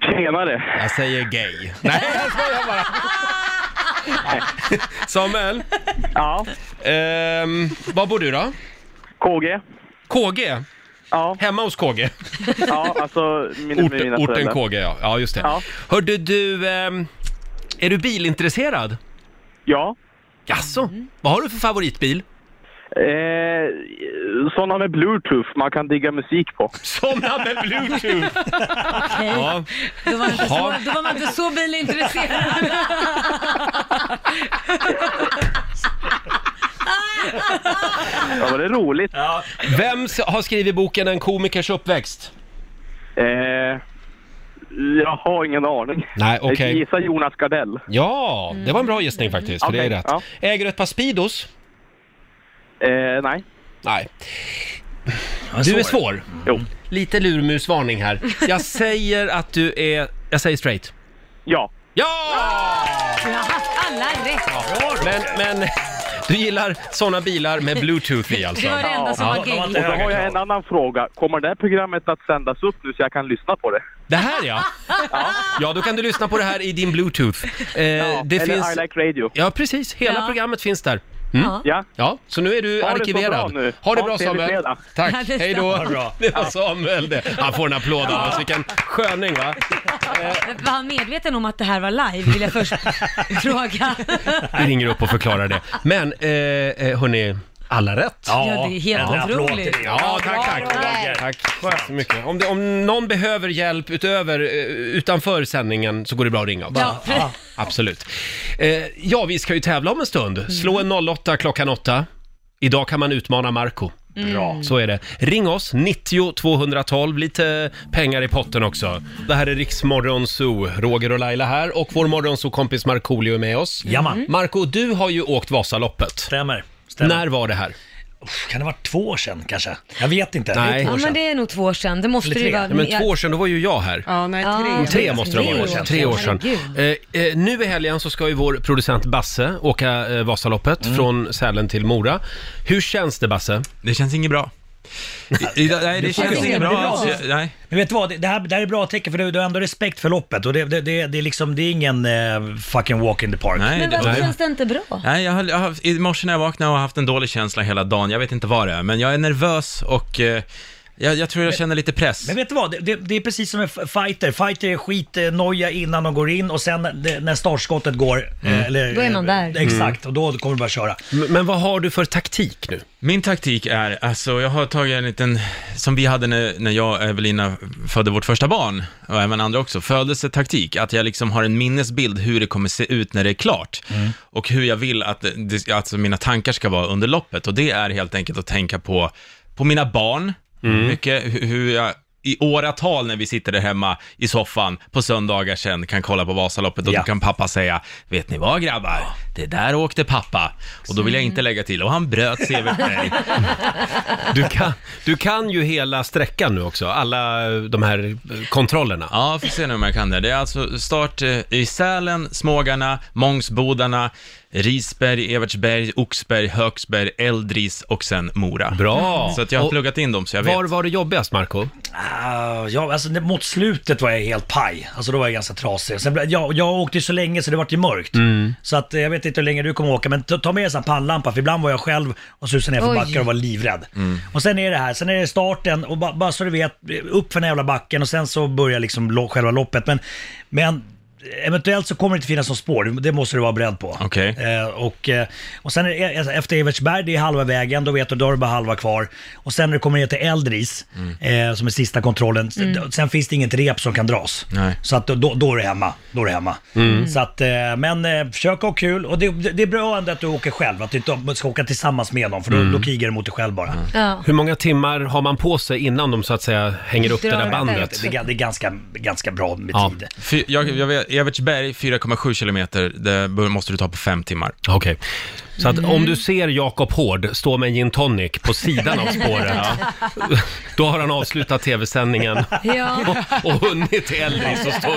[SPEAKER 11] Tjenare.
[SPEAKER 1] Jag säger gay. Nej, jag skojar bara. Samuel,
[SPEAKER 11] Ja.
[SPEAKER 1] ehm, var bor du då?
[SPEAKER 11] KG.
[SPEAKER 1] KG?
[SPEAKER 11] Ja.
[SPEAKER 1] Hemma hos KG?
[SPEAKER 11] Ja, alltså mina,
[SPEAKER 1] Ort, orten KG, ja. Ja, just det.
[SPEAKER 11] Ja.
[SPEAKER 1] Hörde du, ehm, är du bilintresserad?
[SPEAKER 11] Ja.
[SPEAKER 1] Jaså? Vad har du för favoritbil?
[SPEAKER 11] Eh, sådana med bluetooth man kan digga musik på.
[SPEAKER 1] Såna med bluetooth! ja.
[SPEAKER 2] Då var, man inte så,
[SPEAKER 1] Jaha.
[SPEAKER 2] då var man inte så bilintresserad.
[SPEAKER 11] Ja, var det roligt?
[SPEAKER 1] Vem s- har skrivit boken En komikers uppväxt?
[SPEAKER 11] Eh, jag har ingen aning.
[SPEAKER 1] Nej, okej.
[SPEAKER 11] Gissa Jonas Gardell.
[SPEAKER 1] Ja, det var en bra gissning faktiskt, för
[SPEAKER 11] Okej,
[SPEAKER 1] det är rätt.
[SPEAKER 11] ja.
[SPEAKER 1] Äger du ett par Speedos?
[SPEAKER 11] Eh, nej.
[SPEAKER 1] Nej. Du är svår.
[SPEAKER 11] Jo.
[SPEAKER 1] Lite lurmusvarning här.
[SPEAKER 11] *laughs*
[SPEAKER 1] Jag säger att du är... Jag säger straight.
[SPEAKER 11] Ja.
[SPEAKER 1] Ja!
[SPEAKER 2] Du har haft alla rätt.
[SPEAKER 1] Men, men du gillar såna bilar med bluetooth i alltså?
[SPEAKER 2] Det var det enda som
[SPEAKER 1] Ja.
[SPEAKER 2] var
[SPEAKER 5] De var
[SPEAKER 2] gay.
[SPEAKER 5] inte
[SPEAKER 11] Och så har
[SPEAKER 5] höga
[SPEAKER 11] jag en
[SPEAKER 5] krav.
[SPEAKER 11] annan fråga. Kommer det här programmet att sändas upp nu så jag kan lyssna på det?
[SPEAKER 1] Det här ja. Ja, då kan du lyssna på det här i din bluetooth. Eh,
[SPEAKER 11] Ja,
[SPEAKER 1] det
[SPEAKER 11] Eller
[SPEAKER 1] finns...
[SPEAKER 11] I like radio.
[SPEAKER 1] Ja, precis. Hela
[SPEAKER 2] Ja.
[SPEAKER 1] programmet finns där. Mm.
[SPEAKER 11] Ja.
[SPEAKER 1] ja, så nu är du
[SPEAKER 11] Ha det så
[SPEAKER 1] arkiverad.
[SPEAKER 11] bra nu.
[SPEAKER 1] Ha det
[SPEAKER 11] Ha
[SPEAKER 1] bra
[SPEAKER 11] en trevlig
[SPEAKER 1] Samuel.
[SPEAKER 11] fredag.
[SPEAKER 1] Tack,
[SPEAKER 11] Ja, detsamma.
[SPEAKER 1] hej då.
[SPEAKER 11] Ha det bra.
[SPEAKER 1] Det var Samuel det. Han får en applåd av oss, vilken sköning va?
[SPEAKER 2] Eh, Var han medveten om att det här var live, vill jag först fråga.
[SPEAKER 1] Vi ringer upp och förklarar det. Men eh, eh, hörni, alla rätt.
[SPEAKER 2] Ja, Ja, det är helt en applåd otroligt. till dig.
[SPEAKER 1] Ja, tack, tack. Tack så mycket. Om, det, om någon behöver hjälp utöver, eh, utanför sändningen så går det bra att ringa också.
[SPEAKER 2] Ja. Ja.
[SPEAKER 1] Absolut. Eh, ja, vi ska ju tävla om en
[SPEAKER 2] Mm.
[SPEAKER 1] stund. Slå en 08 klockan 8. Idag kan man utmana Marco.
[SPEAKER 2] Mm. Bra.
[SPEAKER 1] Så är det. Ring oss, 90 212, lite pengar i potten också. Det här är Riksmorgon Zoo, Roger och Laila här och vår morgonzoo-kompis Markoolio är med oss.
[SPEAKER 5] Jajamän.
[SPEAKER 1] Marco, du har ju åkt Vasaloppet.
[SPEAKER 5] Stämmer.
[SPEAKER 1] När var det här?
[SPEAKER 5] Kan det ha varit två år sedan kanske? Jag vet inte.
[SPEAKER 1] Nej.
[SPEAKER 5] Det är två
[SPEAKER 2] Ja,
[SPEAKER 5] år
[SPEAKER 2] men
[SPEAKER 5] sedan.
[SPEAKER 2] det är nog två år sedan. Det måste det ju vara.
[SPEAKER 1] Ja, men två år sedan, då var ju jag här.
[SPEAKER 2] Ja, nej, tre.
[SPEAKER 1] Tre måste det ha varit. Tre år sedan.
[SPEAKER 2] Herregud.
[SPEAKER 1] Eh, eh, nu i helgen så ska ju vår producent Basse åka eh, Vasaloppet från Sälen till Mora. Hur känns det Basse?
[SPEAKER 7] Mm. Det känns inget
[SPEAKER 1] *laughs*
[SPEAKER 7] bra. I, nej, det känns inget bra alls. Jag- Nej.
[SPEAKER 5] Men vet du vad, det, det, här, det här är bra tecken för du, du har ändå respekt för loppet och det, det, det, det, är, liksom, det är ingen eh, fucking walk in the park.
[SPEAKER 2] Men varför känns det inte bra?
[SPEAKER 7] Nej, jag har, jag har, I morse när jag vaknade har jag haft en dålig känsla hela dagen. Jag vet inte vad det är, men jag är nervös och eh, jag, jag tror jag känner lite press.
[SPEAKER 5] Men vet du vad, det, det, det är precis som en f- fighter. Fighter är skitnoja innan de går in och sen det, när startskottet går...
[SPEAKER 7] Mm.
[SPEAKER 5] eh, Eller,
[SPEAKER 2] Då är man där.
[SPEAKER 5] eh, Exakt, och då kommer du bara köra.
[SPEAKER 1] Men vad har du för taktik nu?
[SPEAKER 7] Min taktik är, alltså jag har tagit en liten, som vi hade när, när jag och Evelina födde vårt första barn, och även andra också, födelsetaktik, att jag liksom har en minnesbild hur det kommer se ut när det är klart.
[SPEAKER 1] Mm.
[SPEAKER 7] Och hur jag vill att det, alltså mina tankar ska vara under loppet. Och det är helt enkelt att tänka på, på mina barn, mycket hu- hur jag i åratal när vi sitter där hemma i soffan på söndagar sen kan kolla på Vasaloppet och
[SPEAKER 5] Ja.
[SPEAKER 7] då kan pappa säga Vet ni vad grabbar? Det där åkte pappa. Och då vill jag inte lägga till och han bröt eh, Seversberg.
[SPEAKER 1] Du kan, du kan ju hela sträckan nu också, alla eh, de här eh, kontrollerna.
[SPEAKER 7] Ja, får se nu om jag kan det. Det är alltså start eh, i Sälen, Smågarna, Mångsbodarna, Risberg, Evertsberg, Oxberg, Högsberg, Eldris och sen Mora.
[SPEAKER 1] Bra!
[SPEAKER 7] Så att jag har
[SPEAKER 1] Och
[SPEAKER 7] pluggat in dem så jag vet.
[SPEAKER 1] Var var det jobbigast Marco?
[SPEAKER 5] Ah, ja, alltså, det- mot slutet var jag helt paj. Alltså då var jag ganska trasig. Sen, blev- jag, jag åkte ju så länge så det vart ju mörkt.
[SPEAKER 1] Mm.
[SPEAKER 5] Så att, eh, jag vet inte hur länge du kommer åka, men ta, ta med en sån här pannlampa för ibland var jag själv och susade ner för
[SPEAKER 12] Oj.
[SPEAKER 5] backar och var livrädd. Och sen är det här, sen är det starten och ba, bara så du vet, upp för den här jävla backen och sen så börjar liksom lo, själva loppet. Men, men eventuellt så kommer det inte finnas något spår, det måste du vara beredd på.
[SPEAKER 7] Okej.
[SPEAKER 5] Eh, och, eh, och sen är det, alltså, efter Evertsberg, det är halva vägen, då vet du, då har du bara halva kvar. Och sen när du kommer ner till Eldris, eh, som är sista kontrollen, s-
[SPEAKER 7] Mm.
[SPEAKER 5] sen finns det inget rep som kan dras.
[SPEAKER 7] Nej.
[SPEAKER 5] Så att då, då, då är du hemma. Då är du hemma.
[SPEAKER 7] Mm.
[SPEAKER 5] Så att, eh, men eh, försök ha kul. Och det, det det är bra ändå att du åker själv, att du inte ska åka tillsammans med dem, för då,
[SPEAKER 1] Mm.
[SPEAKER 5] då krigar du mot dig själv bara.
[SPEAKER 2] Ja.
[SPEAKER 1] Hur många timmar har man på sig innan de så att säga hänger upp det
[SPEAKER 5] Drar
[SPEAKER 1] där
[SPEAKER 5] det
[SPEAKER 1] bandet?
[SPEAKER 5] Det är ganska, ganska bra med
[SPEAKER 1] Ja.
[SPEAKER 5] tid.
[SPEAKER 7] Fy, jag, jag vet, Evertsberg 4,7 kilometer, det bör- måste du ta på fem timmar.
[SPEAKER 1] Okej. Så att om du ser Jakob Hård stå med en gin tonic på sidan av
[SPEAKER 7] *laughs*
[SPEAKER 1] spåren, *laughs* då har han avslutat tv-sändningen
[SPEAKER 2] Ja.
[SPEAKER 1] och hunnit till Elvis och stå...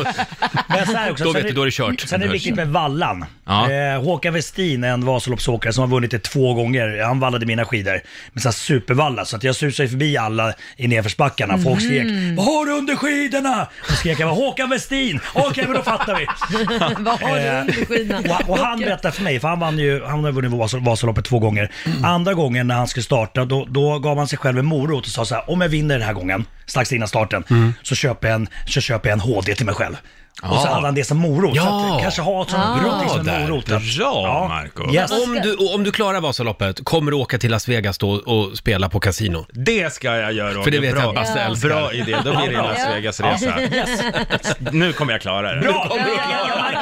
[SPEAKER 5] Men så här också,
[SPEAKER 1] Då
[SPEAKER 5] sen
[SPEAKER 1] vet du, då är det kört.
[SPEAKER 5] Mm. Sen är det viktigt med vallan.
[SPEAKER 1] Ja.
[SPEAKER 5] Eh, Håkan Westin är en Vasaloppsåkare som har vunnit det två gånger. Han vallade mina skidor med så här supervalla, så att jag susade ju förbi alla i nedförsbackarna. Folk skrek “Vad har du under skidorna?” Då skrek jag bara, “Håkan Westin!” Okej, men då fattar vi.
[SPEAKER 2] *laughs* Vad har du under skidorna?
[SPEAKER 5] Eh, och, och han berättade för mig, för han, vann ju, han har vunnit Vas- Vasaloppet två gånger. Andra gången när han skulle starta, då, då gav han sig själv en morot och sa så här, om jag vinner den här gången, strax innan starten,
[SPEAKER 1] Mm.
[SPEAKER 5] så, köper jag en, så köper jag en HD till mig själv. Och så
[SPEAKER 1] Ja.
[SPEAKER 5] hade han det som morot. Så
[SPEAKER 1] Ja.
[SPEAKER 5] att, kanske ha ett sånt
[SPEAKER 1] Ah.
[SPEAKER 5] morot som
[SPEAKER 1] Bra
[SPEAKER 5] Liksom en
[SPEAKER 1] där.
[SPEAKER 5] morot. att-
[SPEAKER 1] Bra,
[SPEAKER 5] ja.
[SPEAKER 1] Marco.
[SPEAKER 5] Yes.
[SPEAKER 1] Om, du, om du klarar Vasaloppet, kommer du åka till Las Vegas då och spela på kasino?
[SPEAKER 7] Det ska jag göra Roger.
[SPEAKER 1] För det vet
[SPEAKER 7] bra,
[SPEAKER 1] jag att Basse älskar.
[SPEAKER 7] Bra idé, då blir det en
[SPEAKER 1] Ja.
[SPEAKER 7] Las Vegas-resa.
[SPEAKER 1] Ja. Yes.
[SPEAKER 7] Nu kommer jag klara det.
[SPEAKER 5] Bra!
[SPEAKER 7] Bra.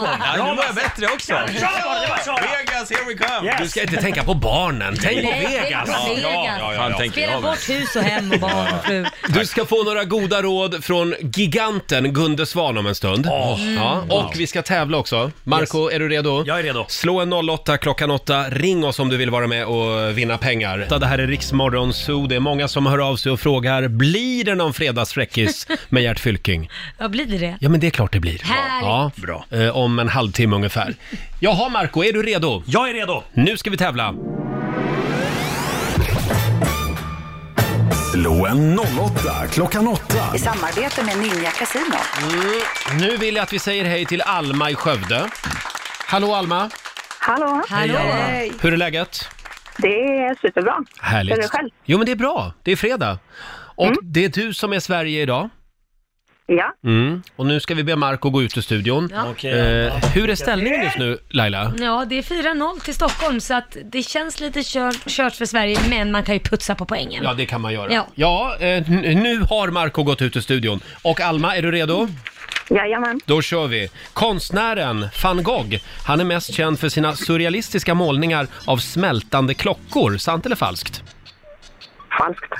[SPEAKER 7] Ja, nu var jag bättre också.
[SPEAKER 5] Vegas,
[SPEAKER 7] here we come!
[SPEAKER 1] Du ska inte tänka på barnen, tänk på
[SPEAKER 2] Nej,
[SPEAKER 1] Vegas!
[SPEAKER 2] tänk på Vegas.
[SPEAKER 1] Fan, tänker
[SPEAKER 2] Spela
[SPEAKER 1] jag
[SPEAKER 2] bort hus och hem och barn och fru.
[SPEAKER 1] Du ska få några goda råd från giganten Gunde Svan om en stund. Ja,
[SPEAKER 5] Mm.
[SPEAKER 1] och
[SPEAKER 7] Wow.
[SPEAKER 1] vi ska tävla också. Marco, är du redo? Jag
[SPEAKER 5] är redo.
[SPEAKER 1] Slå en 08 klockan 8. Ring oss om du vill vara med och vinna pengar. Det här är Riksmorgon Zoo. Det är många som hör av sig och frågar, blir det någon fredagsfräckis med Gert Fylking?
[SPEAKER 2] Ja, blir det det?
[SPEAKER 1] Ja, men det är klart det blir.
[SPEAKER 2] Härligt.
[SPEAKER 1] Ja, bra. Eh, om en halvtimme ungefär. Jaha, Marco, är du redo?
[SPEAKER 5] Jag är redo.
[SPEAKER 1] Nu ska vi tävla.
[SPEAKER 4] Slå
[SPEAKER 1] Mm.
[SPEAKER 4] en 08 klockan 8.
[SPEAKER 13] I samarbete med Ninja Casino.
[SPEAKER 1] Nu vill jag att vi säger hej till Alma i Skövde. Hallå Alma!
[SPEAKER 6] Hallå!
[SPEAKER 1] Hej, Alma. Hur är läget?
[SPEAKER 6] Det är superbra.
[SPEAKER 1] Härligt.
[SPEAKER 6] Hur är det själv? Mm.
[SPEAKER 1] Jo, men det är bra. Det är fredag. Och det är du som är Sverige idag.
[SPEAKER 6] Ja.
[SPEAKER 1] Mm. Och nu ska vi be Marco gå ut ur studion.
[SPEAKER 2] Ja. Okej.
[SPEAKER 1] Eh, hur är ställningen just nu, Laila?
[SPEAKER 2] Ja, det är 4-0 till Stockholm så att det känns lite kört, kört för Sverige, men man kan ju putsa på poängen.
[SPEAKER 1] Ja, det kan man göra.
[SPEAKER 2] Ja.
[SPEAKER 1] Ja, eh, n- nu har Marco gått ut ur studion. Och Alma, är du redo?
[SPEAKER 6] Jajamän.
[SPEAKER 1] Då kör vi! Konstnären van Gogh, han är mest känd för sina surrealistiska målningar av smältande klockor. Sant eller falskt?
[SPEAKER 6] Falskt.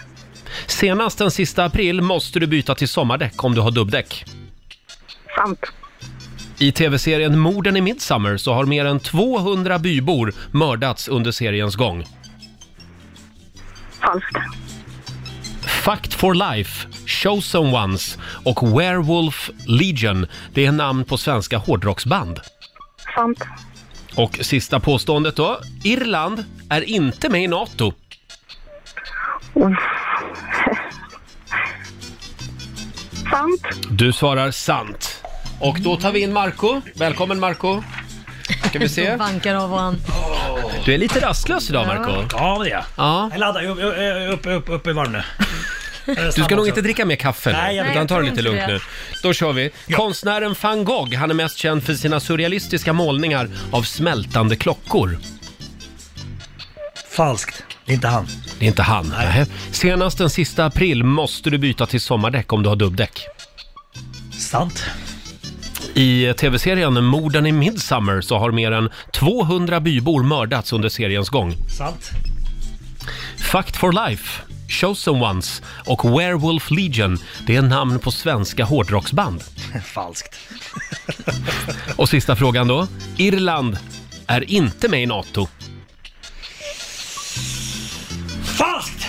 [SPEAKER 1] Senast den sista april måste du byta till sommardäck om du har dubbdäck.
[SPEAKER 6] Sant.
[SPEAKER 1] I tv-serien Morden i Midsummer så har mer än 200 bybor mördats under seriens gång.
[SPEAKER 6] Falskt.
[SPEAKER 1] Fact for Life, Chosen Ones och Werewolf Legion, det är namn på svenska hårdrocksband.
[SPEAKER 6] Sant.
[SPEAKER 1] Och sista påståendet då. Irland är inte med i NATO.
[SPEAKER 6] Sant.
[SPEAKER 1] Du svarar sant. Och då tar vi in Marco. Välkommen Marco. Ska vi se.
[SPEAKER 2] *laughs* De bankar av varann.
[SPEAKER 1] Du är lite rastlös idag Marco.
[SPEAKER 5] Ja, det är jag.
[SPEAKER 1] Ja.
[SPEAKER 5] Jag laddar, jag är upp, upp, upp, upp i varv nu.
[SPEAKER 1] Du ska nog inte dricka mer kaffe
[SPEAKER 5] Nej,
[SPEAKER 1] nu,
[SPEAKER 5] jag
[SPEAKER 1] utan
[SPEAKER 5] vet.
[SPEAKER 1] ta det
[SPEAKER 5] Jag
[SPEAKER 1] lite
[SPEAKER 5] tror
[SPEAKER 1] lugnt
[SPEAKER 5] inte
[SPEAKER 1] nu.
[SPEAKER 5] det.
[SPEAKER 1] Då kör vi. Konstnären van Gogh, han är mest känd för sina surrealistiska målningar av smältande klockor.
[SPEAKER 5] Falskt. Det är inte han.
[SPEAKER 1] Det är inte han. Nähä. Senast den sista april måste du byta till sommardäck om du har dubbdäck.
[SPEAKER 5] Sant. *laughs*
[SPEAKER 1] I tv-serien Morden i Midsummer så har mer än 200 bybor mördats under seriens gång.
[SPEAKER 5] Sant.
[SPEAKER 1] Fact for Life, Chosen Ones och Werewolf Legion, det är namn på svenska hårdrocksband.
[SPEAKER 5] Falskt.
[SPEAKER 1] Och sista frågan då. Irland är inte med i NATO.
[SPEAKER 5] Falskt!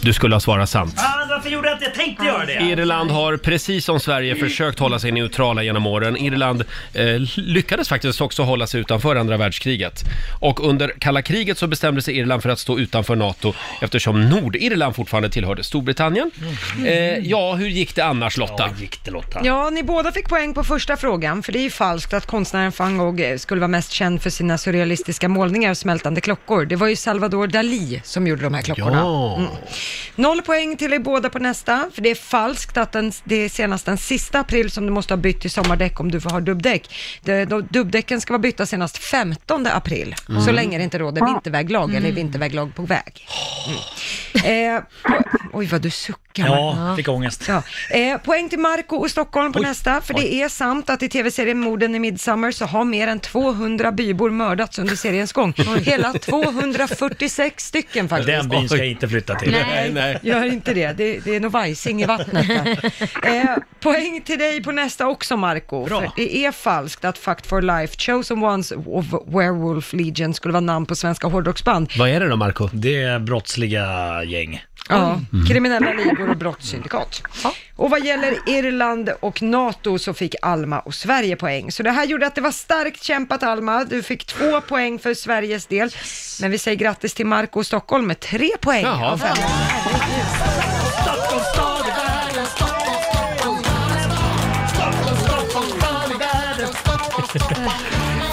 [SPEAKER 1] Du skulle ha svarat sant.
[SPEAKER 5] Ah, varför gjorde jag inte Jag tänkte göra det.
[SPEAKER 1] Irland har precis som Sverige försökt hålla sig neutrala genom åren. Irland eh, lyckades faktiskt också hålla sig utanför andra världskriget. Och under kalla kriget så bestämde sig Irland för att stå utanför NATO eftersom Nordirland fortfarande tillhörde Storbritannien. Eh, ja, hur gick det annars Lotta? Ja,
[SPEAKER 5] Mm. gick det Lotta?
[SPEAKER 3] Ja, ni båda fick poäng på första frågan, för det är ju falskt att konstnären van Gogh eh, skulle vara mest känd för sina surrealistiska målningar av smältande klockor. Det var ju Salvador Dalí som gjorde de här klockorna.
[SPEAKER 1] Ja.
[SPEAKER 3] Mm. Noll poäng till er båda på nästa, för det är falskt att den, det är senast den sista april som du måste ha bytt till sommardäck om du har dubbdäck. De, de, dubbdäcken ska vara bytta senast 15 april, så
[SPEAKER 13] Mm.
[SPEAKER 3] länge det inte råder vinterväglag
[SPEAKER 5] Mm.
[SPEAKER 3] eller vinterväglag på väg. Mm. Eh, po- oj, vad du suckar.
[SPEAKER 5] Oh. Ja, fick ångest.
[SPEAKER 3] Ja. Eh, poäng till Marco och Stockholm på
[SPEAKER 5] Oj.
[SPEAKER 3] nästa, för det är sant att i tv-serien Morden i Midsummer så har mer än 200 bybor mördats under seriens gång. Hela 246 stycken faktiskt.
[SPEAKER 5] Den byn ska jag inte flytta till.
[SPEAKER 3] Nej, gör inte det. Det, det är nog vajsing i vattnet. där. Eh, poäng till dig på nästa också, Marco.
[SPEAKER 5] Bra.
[SPEAKER 3] För Det är falskt att Fact for Life, Chosen Ones och Werewolf Legion skulle vara namn på svenska hårdrocksband.
[SPEAKER 1] Vad är det då Marco?
[SPEAKER 5] Det är brottsliga gäng.
[SPEAKER 3] Ja,
[SPEAKER 5] Mm.
[SPEAKER 3] kriminella ligor och brottssyndikat. Och vad gäller Irland och NATO så fick Alma och Sverige poäng. Så det här gjorde att det var starkt kämpat Alma. Du fick två poäng för Sveriges del. Men vi säger grattis till Marco och Stockholm med tre poäng
[SPEAKER 9] Jaha.
[SPEAKER 3] av fem.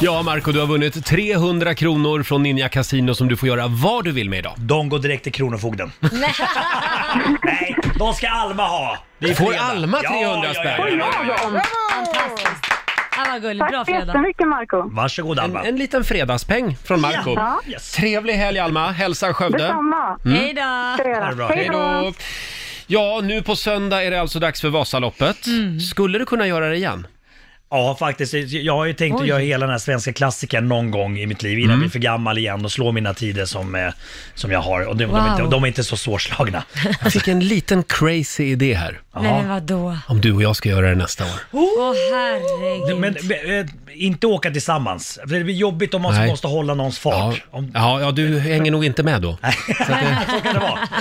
[SPEAKER 1] Ja, Marco, du har vunnit 300 kronor från Ninja Casino som du får göra vad du vill med idag.
[SPEAKER 5] De går direkt till Kronofogden. Nej, de ska Alma ha. Det är
[SPEAKER 1] Får
[SPEAKER 5] fredag.
[SPEAKER 1] Alma
[SPEAKER 5] Ja,
[SPEAKER 1] 300
[SPEAKER 5] ja, ja,
[SPEAKER 1] spänn?
[SPEAKER 5] ja, ja, ja.
[SPEAKER 7] *laughs*
[SPEAKER 2] Fantastiskt. Ja, vad gulligt.
[SPEAKER 6] Tack
[SPEAKER 2] Bra
[SPEAKER 6] så
[SPEAKER 2] fredag.
[SPEAKER 6] jättemycket, Marco.
[SPEAKER 5] Varsågod
[SPEAKER 1] Alma. En, en liten fredagspeng från Marco.
[SPEAKER 6] Ja.
[SPEAKER 1] Trevlig helg Alma, hälsar Skövde.
[SPEAKER 6] Detsamma.
[SPEAKER 1] Mm.
[SPEAKER 2] Hej då.
[SPEAKER 1] Ha det bra. Hej då. Ja, nu på söndag är det alltså dags för Vasaloppet.
[SPEAKER 2] Mm.
[SPEAKER 1] Skulle du kunna göra det igen?
[SPEAKER 5] Ja, faktiskt. Jag har ju tänkt
[SPEAKER 1] Oj.
[SPEAKER 5] att göra hela den här svenska klassikern någon gång i mitt liv innan
[SPEAKER 1] Mm.
[SPEAKER 5] jag blir för gammal igen och slå mina tider som, eh, som jag har. Och de, de, är inte,
[SPEAKER 2] Wow.
[SPEAKER 5] de är inte så svårslagna.
[SPEAKER 1] Jag fick en liten crazy idé här.
[SPEAKER 2] Nej, men vadå?
[SPEAKER 1] Om du och jag ska göra det nästa år.
[SPEAKER 2] Åh herregud.
[SPEAKER 5] Oh! Men eh, inte åka tillsammans. För Det blir jobbigt om man
[SPEAKER 1] Nej.
[SPEAKER 5] måste hålla någons fart. Om,
[SPEAKER 1] Ja, ja du hänger nog inte med då.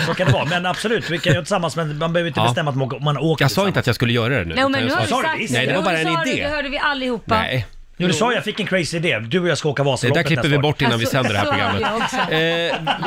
[SPEAKER 5] så kan det vara. Men absolut, vi kan göra tillsammans men man behöver inte
[SPEAKER 1] Ja.
[SPEAKER 5] bestämma att man åker- man åker
[SPEAKER 1] Jag sa inte att jag skulle göra det nu.
[SPEAKER 2] Nej, men
[SPEAKER 1] utan
[SPEAKER 2] nu
[SPEAKER 1] jag
[SPEAKER 2] har
[SPEAKER 1] sa-
[SPEAKER 2] vi sagt
[SPEAKER 1] Nej, det var bara en
[SPEAKER 2] Nu sa du, Det
[SPEAKER 1] idé.
[SPEAKER 2] hörde vi allihopa.
[SPEAKER 1] Nej,
[SPEAKER 5] Jo, du sa ju jag fick en crazy idé. Du och jag ska åka Vasaloppet
[SPEAKER 1] Det där klipper vi bort innan vi
[SPEAKER 5] Alltså,
[SPEAKER 1] sänder det här
[SPEAKER 5] så hade
[SPEAKER 1] programmet.
[SPEAKER 5] jag också.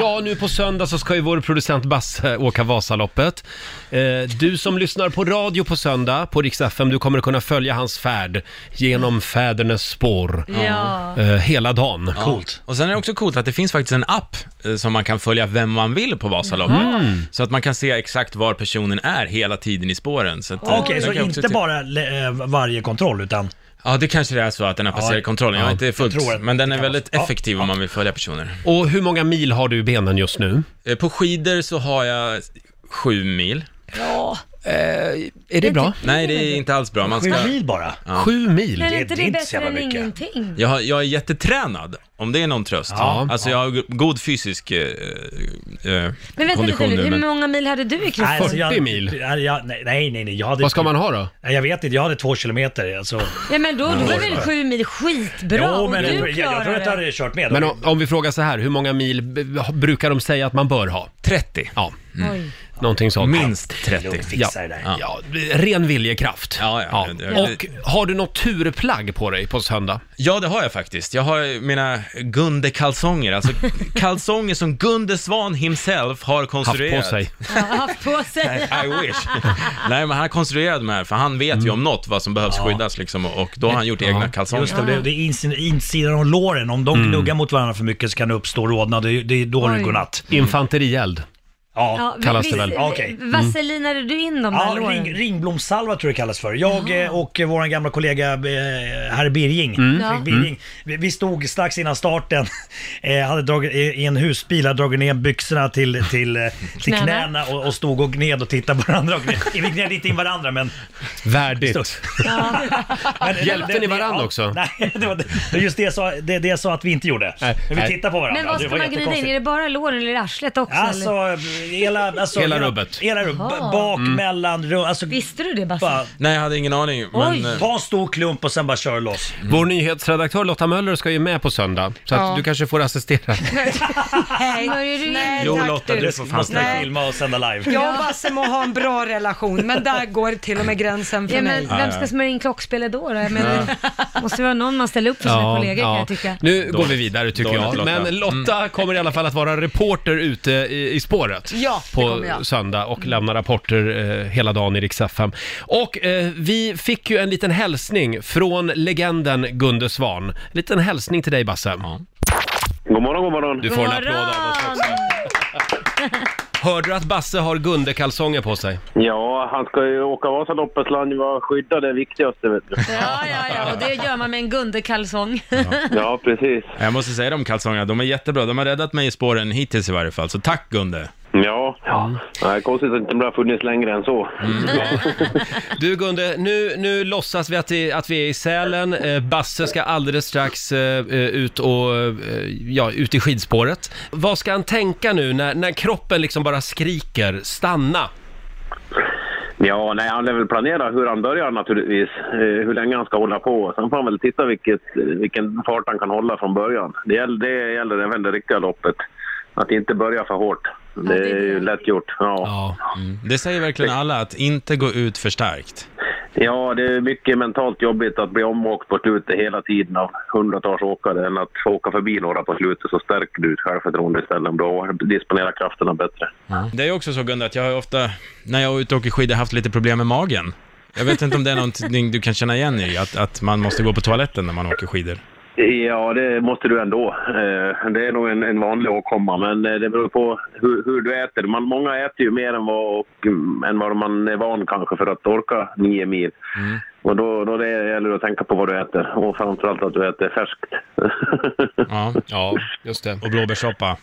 [SPEAKER 1] Eh, ja, nu på söndag så ska ju vår producent Basse åka Vasaloppet. Eh, du som lyssnar på radio på söndag på Rix FM, du kommer att kunna följa hans färd genom fädernes spår
[SPEAKER 7] Ja.
[SPEAKER 1] eh, hela dagen.
[SPEAKER 7] Ja. Och sen är det också coolt att det finns faktiskt en app eh, som man kan följa vem man vill på Vasaloppet.
[SPEAKER 1] Mm.
[SPEAKER 7] Så att man kan se exakt var personen är hela tiden i spåren. Så att, eh,
[SPEAKER 5] Okej,
[SPEAKER 7] den
[SPEAKER 5] så
[SPEAKER 7] kan jag också
[SPEAKER 5] inte
[SPEAKER 7] titta-
[SPEAKER 5] bara le- eh, varje kontroll utan...
[SPEAKER 7] Ja, det kanske det är så att den har passerat
[SPEAKER 5] Ja,
[SPEAKER 7] kontrollen. Jag
[SPEAKER 5] ja,
[SPEAKER 7] har inte
[SPEAKER 5] jag
[SPEAKER 7] fullt,
[SPEAKER 5] tror det.
[SPEAKER 7] men den
[SPEAKER 5] Det
[SPEAKER 7] är
[SPEAKER 5] kan
[SPEAKER 7] väldigt
[SPEAKER 5] vara så. Ja,
[SPEAKER 7] effektiv om man vill följa personer.
[SPEAKER 1] Och hur många mil har du i benen just nu?
[SPEAKER 7] Eh, På skidor så har jag sju mil.
[SPEAKER 2] Ja.
[SPEAKER 1] Eh, är det
[SPEAKER 2] typ-
[SPEAKER 1] bra?
[SPEAKER 7] Nej, det är inte alls bra. Man
[SPEAKER 5] Sju
[SPEAKER 7] ska...
[SPEAKER 5] mil bara?
[SPEAKER 7] Ja.
[SPEAKER 1] Sju mil?
[SPEAKER 2] Men är inte det bättre än ingenting?
[SPEAKER 7] Jag, har- jag är jättetränad, om det är någon tröst.
[SPEAKER 2] Ja.
[SPEAKER 7] alltså jag har go- god fysisk eh, eh,
[SPEAKER 2] Men vänta lite
[SPEAKER 7] kondition
[SPEAKER 2] nu,
[SPEAKER 7] nu.
[SPEAKER 2] hur
[SPEAKER 7] Men...
[SPEAKER 2] många mil hade du i kroppen?
[SPEAKER 5] alltså, jag-
[SPEAKER 1] mil?
[SPEAKER 5] Ja, ja, nej, nej, nej. Jag hade typ-
[SPEAKER 1] Vad ska man ha då?
[SPEAKER 5] Nej, Jag vet inte, jag hade två kilometer. Alltså.
[SPEAKER 2] Ja men då, då var väl
[SPEAKER 5] Ja.
[SPEAKER 2] sju mil skitbra?
[SPEAKER 5] Jo, men
[SPEAKER 2] och
[SPEAKER 5] jag,
[SPEAKER 2] du
[SPEAKER 5] tror- jag, jag
[SPEAKER 2] klarar
[SPEAKER 5] tror att jag
[SPEAKER 2] det.
[SPEAKER 5] hade kört med.
[SPEAKER 1] Men om, om vi frågar så här, hur många mil b- brukar de säga att man bör ha?
[SPEAKER 7] 30.
[SPEAKER 1] Ja. Mm.
[SPEAKER 2] Oj.
[SPEAKER 1] Någonting sånt.
[SPEAKER 7] Minst 30.
[SPEAKER 1] Ja.
[SPEAKER 7] Fixar det där.
[SPEAKER 1] Ja. Ren viljekraft.
[SPEAKER 7] Ja, ja.
[SPEAKER 1] Ja. Och har du något turplagg på dig på söndag?
[SPEAKER 7] Ja, det har jag faktiskt. Jag har mina Gunde-kalsonger, alltså kalsonger som Gunde Svan himself har konstruerat.
[SPEAKER 1] sig.
[SPEAKER 2] Ja, haft på sig.
[SPEAKER 7] I wish. Nej, men han har konstruerat de här, för han vet ju om
[SPEAKER 1] Mm.
[SPEAKER 7] något vad som behövs skyddas liksom, och då har han gjort egna kalsonger.
[SPEAKER 5] Just det, det, det är insidan, insidan av låren. Om
[SPEAKER 1] Mm.
[SPEAKER 5] de gnuggar mot varandra för mycket så kan det uppstå rodnad. Det, är- det är då
[SPEAKER 2] Oj.
[SPEAKER 5] det går natt.
[SPEAKER 1] Infanterield.
[SPEAKER 5] Ja,
[SPEAKER 2] men visst-
[SPEAKER 1] Mm.
[SPEAKER 2] Vasselinade du in de
[SPEAKER 5] Mm. Ja,
[SPEAKER 2] här låren?
[SPEAKER 5] ring, ringblomssalva tror jag det kallas för. Jag eh, och eh, vår gamla kollega eh, herr Birging,
[SPEAKER 2] Mm.
[SPEAKER 5] Fredrik
[SPEAKER 2] Ja.
[SPEAKER 5] Birging vi, vi stod strax innan starten, *laughs* eh, hade dragit, i i en husbil, hade dragit ner byxorna till, till, eh, till
[SPEAKER 2] Knäna.
[SPEAKER 5] knäna och, och stod och gned och tittade på varandra. Och gned. Vi gned inte in varandra men...
[SPEAKER 1] Värdigt.
[SPEAKER 5] *laughs* men
[SPEAKER 1] Hjälpte ni varandra också?
[SPEAKER 5] Nej, det var det- det är just det jag sa, det, det jag sa att vi inte gjorde. Men vi
[SPEAKER 1] nej.
[SPEAKER 5] tittade på varandra.
[SPEAKER 2] Men vad
[SPEAKER 5] Det
[SPEAKER 2] ska
[SPEAKER 5] var
[SPEAKER 2] man gnida in?
[SPEAKER 5] jättekonstigt.
[SPEAKER 2] Är det bara låren eller är det arslet också?
[SPEAKER 5] Alltså,
[SPEAKER 2] eller?
[SPEAKER 5] hela, alltså,
[SPEAKER 1] Hela rubbet.
[SPEAKER 5] Hela rubbet.
[SPEAKER 2] Jaha.
[SPEAKER 5] Bak,
[SPEAKER 1] Mm.
[SPEAKER 5] mellan, ru- alltså...
[SPEAKER 2] Visste du det
[SPEAKER 5] bara-
[SPEAKER 2] Basse?
[SPEAKER 7] Nej, jag hade ingen aning. Men, eh,
[SPEAKER 5] Ta en stor klump och sen bara kör loss.
[SPEAKER 1] Mm. Vår nyhetsredaktör Lotta Möller ska ju med på söndag, så att
[SPEAKER 5] Ja.
[SPEAKER 1] du kanske får
[SPEAKER 12] *laughs*
[SPEAKER 1] assistera.
[SPEAKER 2] Nej, Smörjer du in?
[SPEAKER 7] Jo, Lotta, du får fan ställa
[SPEAKER 3] Nej.
[SPEAKER 7] upp.
[SPEAKER 5] Filma och sända live.
[SPEAKER 3] Jag och Basse må ha en bra relation, men där går till och med gränsen för
[SPEAKER 2] Ja,
[SPEAKER 3] mig.
[SPEAKER 2] men vem ska smörja in klockspelet då? då? Jag menar, *laughs* måste ju vara någon man ställer upp för sina kollegor kan jag tycka.
[SPEAKER 1] Nu går
[SPEAKER 7] Dåligt.
[SPEAKER 1] vi vidare tycker
[SPEAKER 7] Dåligt,
[SPEAKER 1] jag.
[SPEAKER 7] Lotta.
[SPEAKER 1] Men Lotta
[SPEAKER 7] Mm.
[SPEAKER 1] kommer i alla fall att vara reporter ute i, i spåret
[SPEAKER 12] Ja, det
[SPEAKER 1] på
[SPEAKER 12] kommer jag.
[SPEAKER 1] söndag och lämna rapporter eh, hela dagen i Rix FM. Och eh, vi fick ju en liten hälsning från legenden Gunde Svan. En liten hälsning till dig Basse.
[SPEAKER 11] God morgon, god morgon.
[SPEAKER 1] Du får en applåd av oss också. Hörde du att Basse har Gunde-kalsonger på sig?
[SPEAKER 11] Ja, han ska ju åka Vasaloppet, så han var skyddad det viktigaste vet du.
[SPEAKER 2] Ja, ja, ja, och det gör man med en Gunde-kalsong.
[SPEAKER 11] Ja, precis.
[SPEAKER 7] Jag måste säga de kalsongerna, de är jättebra. De har räddat mig i spåren hittills i varje fall, så tack Gunde.
[SPEAKER 11] Ja, Nej, konstigt att det inte har funnits längre än så.
[SPEAKER 1] Mm. Du Gunde, nu, nu låtsas vi att, det, att vi är i Sälen. Eh, Basse ska alldeles strax eh, eh, ut, och, eh, ja, ut i skidspåret. Vad ska han tänka nu när, när kroppen liksom bara skriker stanna?
[SPEAKER 11] Ja, nej, han lär väl planera hur han börjar naturligtvis, eh, hur länge han ska hålla på. Sen får han väl titta vilket, eh, vilken fart han kan hålla från början. Det gäller, det gäller även det riktiga loppet. Att inte börja för hårt. Det är ju lätt gjort. Ja.
[SPEAKER 7] Mm. Det säger verkligen alla, att inte gå ut för starkt.
[SPEAKER 11] ja, det är mycket mentalt jobbigt att bli omåkt på slutet hela tiden av hundratals åkare än att åka förbi några på slutet så stärker du ditt självförtroende istället om du har- disponerar krafterna bättre.
[SPEAKER 7] Det är ju också så Gunde, att jag har ofta, när jag är ute och åker skidor, haft lite problem med magen. Jag vet inte om det är någonting du kan känna igen i, att, att man måste gå på toaletten när man åker skidor.
[SPEAKER 11] Ja, det måste du ändå. Eh, Det är nog en, en vanlig åkomma, men eh, det beror på hur, hur du äter. Man, många äter ju mer än vad, och, mm, än vad man är van kanske för att orka nio mil.
[SPEAKER 1] Mm.
[SPEAKER 11] Och då, då det gäller det att tänka på vad du äter och framförallt att du äter färskt.
[SPEAKER 7] Ja,
[SPEAKER 1] *laughs* ja just det.
[SPEAKER 7] Och blåbärssoppa.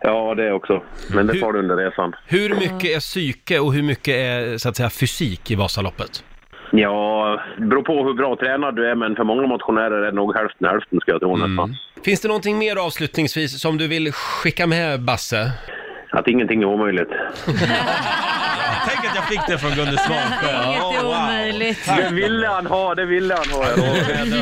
[SPEAKER 11] Ja, det också. Men det
[SPEAKER 1] Hur-
[SPEAKER 11] tar du under resan.
[SPEAKER 1] Hur mycket är psyke och hur mycket är så att säga, fysik i Vasaloppet?
[SPEAKER 11] Ja, det beror på hur bra tränad du är, men för många motionärer är det nog hälften hälften skulle jag tro
[SPEAKER 1] Mm.
[SPEAKER 11] nästan.
[SPEAKER 1] Finns det någonting mer avslutningsvis som du
[SPEAKER 5] *laughs*
[SPEAKER 1] vill skicka med Basse?
[SPEAKER 11] Att ingenting är omöjligt.
[SPEAKER 7] Tänk att jag fick det från Gunde Svansjö.
[SPEAKER 2] Inget är
[SPEAKER 7] Åh, wow.
[SPEAKER 2] omöjligt.
[SPEAKER 7] Tack.
[SPEAKER 11] ville han ha, det ville han ha.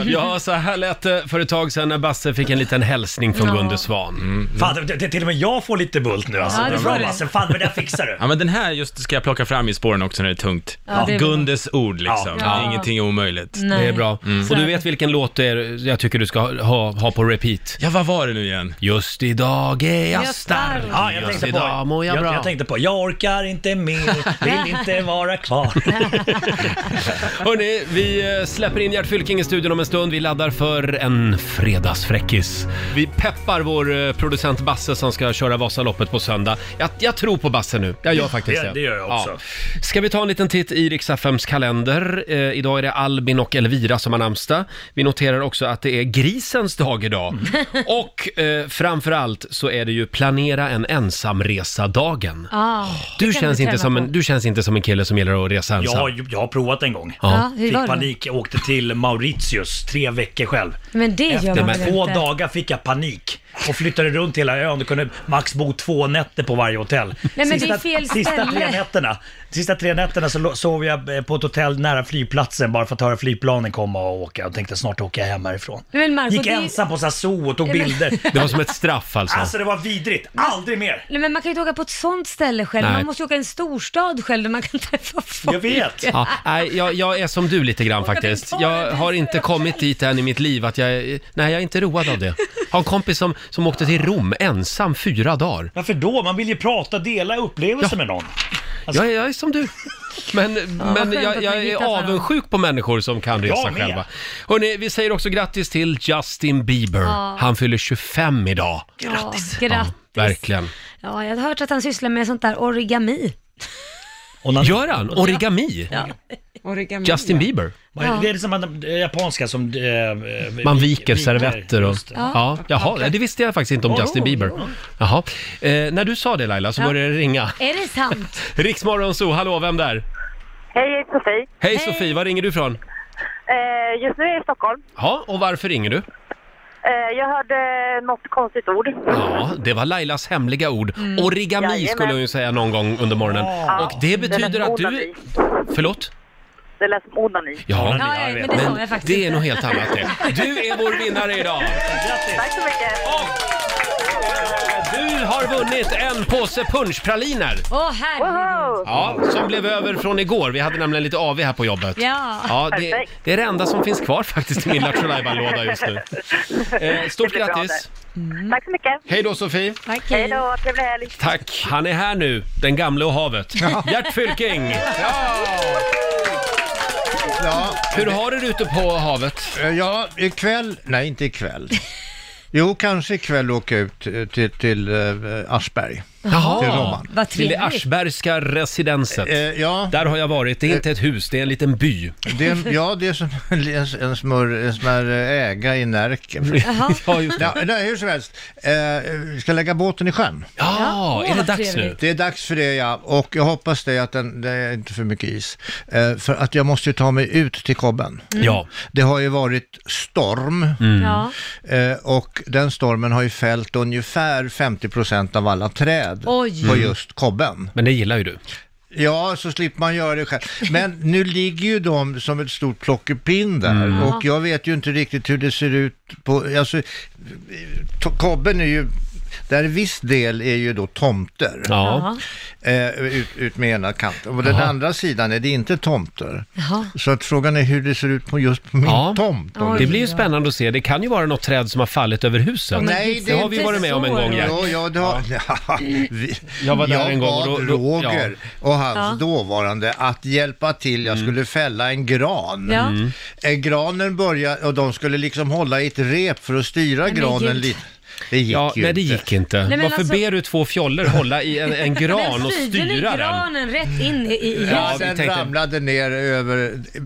[SPEAKER 1] Ja, så här lät det för ett tag sedan när Basse fick en liten hälsning från
[SPEAKER 7] Ja.
[SPEAKER 1] Gunde Svan.
[SPEAKER 5] Mm. Fan, det, det, till och med jag får lite bult nu alltså.
[SPEAKER 7] Ja, det får
[SPEAKER 5] Bra
[SPEAKER 7] du.
[SPEAKER 5] Basse, fan men det
[SPEAKER 1] *laughs*
[SPEAKER 5] fixar du.
[SPEAKER 7] Ja men den här just ska jag plocka fram i spåren också när det är tungt.
[SPEAKER 5] Ja, det är bra.
[SPEAKER 7] Gundes ord liksom.
[SPEAKER 1] Ja.
[SPEAKER 7] Det är ingenting omöjligt. Mm.
[SPEAKER 1] Nej. Det är bra. Och du vet vilken låt det är jag tycker du ska ha, ha på repeat?
[SPEAKER 7] Ja, vad var det nu igen?
[SPEAKER 1] Just idag är jag stark.
[SPEAKER 5] Ja, jag
[SPEAKER 1] Just
[SPEAKER 5] tänkte på,
[SPEAKER 1] idag mår jag
[SPEAKER 5] jag,
[SPEAKER 1] bra.
[SPEAKER 5] jag tänkte på, jag orkar inte mer, vill
[SPEAKER 1] *laughs*
[SPEAKER 5] inte vara kvar.
[SPEAKER 1] Hörni, vi eh, släpper in Gert Fylking i studion om en stund. Vi laddar för en fredagsfräckis. Vi peppar vår eh, producent Basse som ska köra Vasaloppet på söndag. Jag, jag tror på Basse nu. Jag gör faktiskt
[SPEAKER 5] Det-
[SPEAKER 1] det.
[SPEAKER 5] det gör jag också.
[SPEAKER 1] Ja. Ska vi ta en liten titt i Rix FMs kalender? Eh, idag är det Albin och Elvira som har namnsdag. Vi noterar också att det är grisens dag idag. Och eh, framförallt så är det ju planera en ensamresa-dagen.
[SPEAKER 2] Ah, det
[SPEAKER 1] Du
[SPEAKER 2] kan
[SPEAKER 1] känns,
[SPEAKER 2] vi
[SPEAKER 1] inte
[SPEAKER 2] träna
[SPEAKER 1] som
[SPEAKER 2] på.
[SPEAKER 1] en, du känns inte som en kille som gillar att resa
[SPEAKER 5] Jag,
[SPEAKER 1] ensam.
[SPEAKER 5] har ju- jag har provat en gång.
[SPEAKER 1] Ja. Ja,
[SPEAKER 2] hur
[SPEAKER 5] fick
[SPEAKER 2] var det?
[SPEAKER 5] panik, jag åkte till Mauritius tre veckor själv.
[SPEAKER 2] *laughs* Men det gör
[SPEAKER 5] Efter
[SPEAKER 2] man väl inte?
[SPEAKER 5] två dagar fick jag panik och flyttade runt hela ön. Du kunde max bo två nätter på varje hotell.
[SPEAKER 2] men det är fel
[SPEAKER 5] sista,
[SPEAKER 2] ställe.
[SPEAKER 5] tre nätterna, sista tre nätterna så lo- sov jag eh, på ett hotell nära flygplatsen bara för att höra flygplanen komma och åka. Och tänkte snart åker jag hem härifrån.
[SPEAKER 2] Men Marco,
[SPEAKER 5] Gick
[SPEAKER 2] det är ju-
[SPEAKER 5] ensam på så här zoo och tog
[SPEAKER 2] Ja, men-
[SPEAKER 5] bilder.
[SPEAKER 2] *laughs*
[SPEAKER 1] Det var som ett straff alltså.
[SPEAKER 5] Alltså det var vidrigt. Aldrig mer.
[SPEAKER 2] Nej, men man kan ju inte åka på ett sånt ställe själv.
[SPEAKER 1] Nej.
[SPEAKER 2] Man måste ju åka i en storstad själv där man kan träffa folk.
[SPEAKER 5] Jag vet.
[SPEAKER 1] Ja, nej, jag, jag är som du lite grann faktiskt. Jag har inte kommit dit än i mitt liv att jag... är- Nej, jag är inte road av det. Har en kompis som, som åkte till Rom ensam fyra dagar.
[SPEAKER 5] Varför då? Man vill ju prata, dela upplevelser med någon. Alltså-
[SPEAKER 1] Jag, är- jag är som du. Men,
[SPEAKER 5] vad
[SPEAKER 1] men
[SPEAKER 5] skönt
[SPEAKER 1] jag,
[SPEAKER 5] att
[SPEAKER 1] jag
[SPEAKER 5] man
[SPEAKER 1] är
[SPEAKER 5] hittar varandra.
[SPEAKER 1] avundsjuk på människor som kan
[SPEAKER 5] Jag
[SPEAKER 1] resa
[SPEAKER 5] med.
[SPEAKER 1] själva. Hörrni, vi säger också grattis till Justin Bieber.
[SPEAKER 2] Ja.
[SPEAKER 1] Han fyller 25 idag.
[SPEAKER 2] Grattis. Ja, grattis.
[SPEAKER 1] Verkligen.
[SPEAKER 2] Ja, jag har hört att han sysslar med sånt där origami.
[SPEAKER 1] Gör han? Origami?
[SPEAKER 3] Origami.
[SPEAKER 1] Justin Bieber?
[SPEAKER 5] Ja. Det är som man, det japanska som... eh, eh,
[SPEAKER 1] Man
[SPEAKER 5] vik-
[SPEAKER 1] viker servetter och...
[SPEAKER 5] just det.
[SPEAKER 1] Ja. Jaha, det visste jag faktiskt inte om
[SPEAKER 5] Oj,
[SPEAKER 1] Justin Bieber.
[SPEAKER 5] oj.
[SPEAKER 1] Jaha. Eh, när du sa det Laila så
[SPEAKER 2] Ja.
[SPEAKER 1] började det ringa.
[SPEAKER 2] Är det sant?
[SPEAKER 1] Riksmorgon så, hallå, vem där?
[SPEAKER 6] Hej, jag heter Sofie.
[SPEAKER 1] Hej Sofie, var ringer du från?
[SPEAKER 6] Eh, just nu är jag i Stockholm.
[SPEAKER 1] Ja, och varför ringer du?
[SPEAKER 6] Eh, jag hörde något konstigt ord.
[SPEAKER 1] Ja, det var Lailas hemliga ord.
[SPEAKER 6] Mm.
[SPEAKER 1] Origami
[SPEAKER 6] Jajamän.
[SPEAKER 1] skulle hon ju säga någon gång under morgonen.
[SPEAKER 6] Ja.
[SPEAKER 1] Och det
[SPEAKER 6] Ja, det
[SPEAKER 1] betyder
[SPEAKER 6] lät
[SPEAKER 1] att du...
[SPEAKER 6] onani.
[SPEAKER 1] Förlåt?
[SPEAKER 6] Det lät som onani.
[SPEAKER 1] Ja,
[SPEAKER 2] Ja, men det sa jag faktiskt
[SPEAKER 1] det är
[SPEAKER 2] inte.
[SPEAKER 1] nog helt annat det. Du är vår vinnare idag!
[SPEAKER 6] Tack så mycket.
[SPEAKER 1] Du har vunnit en påse punschpraliner!
[SPEAKER 2] Åh, herregud.
[SPEAKER 1] Ja, som blev över från igår. Vi hade nämligen lite AV här på jobbet.
[SPEAKER 2] Ja.
[SPEAKER 1] Ja, det,
[SPEAKER 2] Perfekt.
[SPEAKER 1] det är det enda som finns kvar faktiskt i min Lattjo låda just nu. Eh, stort
[SPEAKER 6] Det blir bra
[SPEAKER 1] grattis!
[SPEAKER 6] Tack så mycket.
[SPEAKER 1] *laughs* Hej då Sofie!
[SPEAKER 2] Mm. Tack.
[SPEAKER 6] Hej då,
[SPEAKER 2] *laughs*
[SPEAKER 6] trevlig helg.
[SPEAKER 1] Tack! Han är här nu, den gamle och havet. Gert Fylking!
[SPEAKER 12] Ja. Eh,
[SPEAKER 1] Hur har du det ute på havet?
[SPEAKER 12] Ja, ikväll, nej inte ikväll. Jo, kanske ikväll åka ut eh, till, till eh, Aschberg. Till Eh, Roman.
[SPEAKER 2] vad
[SPEAKER 1] till det
[SPEAKER 2] trevligt.
[SPEAKER 1] Aschbergska residenset.
[SPEAKER 12] ja.
[SPEAKER 1] Där har jag varit. Det är inte ett hus, det är en liten by.
[SPEAKER 12] Det är, en- ja, det är som en, en, smör, en smör äga i Närke.
[SPEAKER 1] Jaha. *laughs* Ja, just det.
[SPEAKER 12] Nej, nej, hur som helst. Eh, vi ska lägga båten i sjön.
[SPEAKER 1] Ja, är det vad dags trevligt. nu?
[SPEAKER 12] Det är dags för det, ja. Och jag hoppas det att den, det är inte för mycket is. Eh, för att jag måste ju ta mig ut till kobben.
[SPEAKER 1] Mm. Ja.
[SPEAKER 12] Det har ju varit storm.
[SPEAKER 1] Mm.
[SPEAKER 2] Ja.
[SPEAKER 12] Eh, och den stormen har ju fällt ungefär 50 procent av alla träd
[SPEAKER 2] Oj.
[SPEAKER 12] på
[SPEAKER 2] Mm.
[SPEAKER 12] just kobben.
[SPEAKER 1] Men det gillar ju du.
[SPEAKER 12] Ja, så slipper man göra det själv. Men nu ligger ju de som ett stort plockepinn där
[SPEAKER 1] Mm.
[SPEAKER 12] och jag vet ju inte riktigt hur det ser ut på, alltså, to- kobben är ju, där en viss del är ju då tomter.
[SPEAKER 1] Ja.
[SPEAKER 12] Eh, ut, ut med ena kanten. Och den
[SPEAKER 1] Jaha.
[SPEAKER 12] andra sidan är det inte tomter.
[SPEAKER 2] Jaha.
[SPEAKER 12] Så att frågan är hur det ser ut på just på min tomt. om
[SPEAKER 1] Det
[SPEAKER 12] du-
[SPEAKER 1] blir ju spännande att se. Det kan ju vara något träd som har fallit över huset.
[SPEAKER 12] Nej,
[SPEAKER 1] det har vi varit med om en gång, Gert.
[SPEAKER 12] Ja, ja, det har, *laughs* ja. vi,
[SPEAKER 1] Jag var där
[SPEAKER 12] jag
[SPEAKER 1] en gång och
[SPEAKER 12] bad
[SPEAKER 1] då- då-
[SPEAKER 12] Roger och hans
[SPEAKER 1] Ja. Mm.
[SPEAKER 12] dåvarande att hjälpa till. Jag skulle fälla en gran.
[SPEAKER 2] Ja. Mm.
[SPEAKER 12] Eh, Granen började och de skulle liksom hålla i ett rep för att styra
[SPEAKER 1] men
[SPEAKER 12] granen
[SPEAKER 1] Gud.
[SPEAKER 12] lite. Det gick
[SPEAKER 1] Ja,
[SPEAKER 12] ju
[SPEAKER 1] nej, det
[SPEAKER 12] inte.
[SPEAKER 1] gick inte.
[SPEAKER 2] men
[SPEAKER 1] Varför
[SPEAKER 2] alltså-
[SPEAKER 1] ber du två fjollor hålla i
[SPEAKER 12] *laughs*
[SPEAKER 1] en, en gran och
[SPEAKER 2] Den svider i
[SPEAKER 1] styra den?
[SPEAKER 2] granen Alltså, rätt in i, i i
[SPEAKER 12] Ja,
[SPEAKER 1] vi
[SPEAKER 12] sen
[SPEAKER 1] tänkte-
[SPEAKER 12] ramlade ner över eh,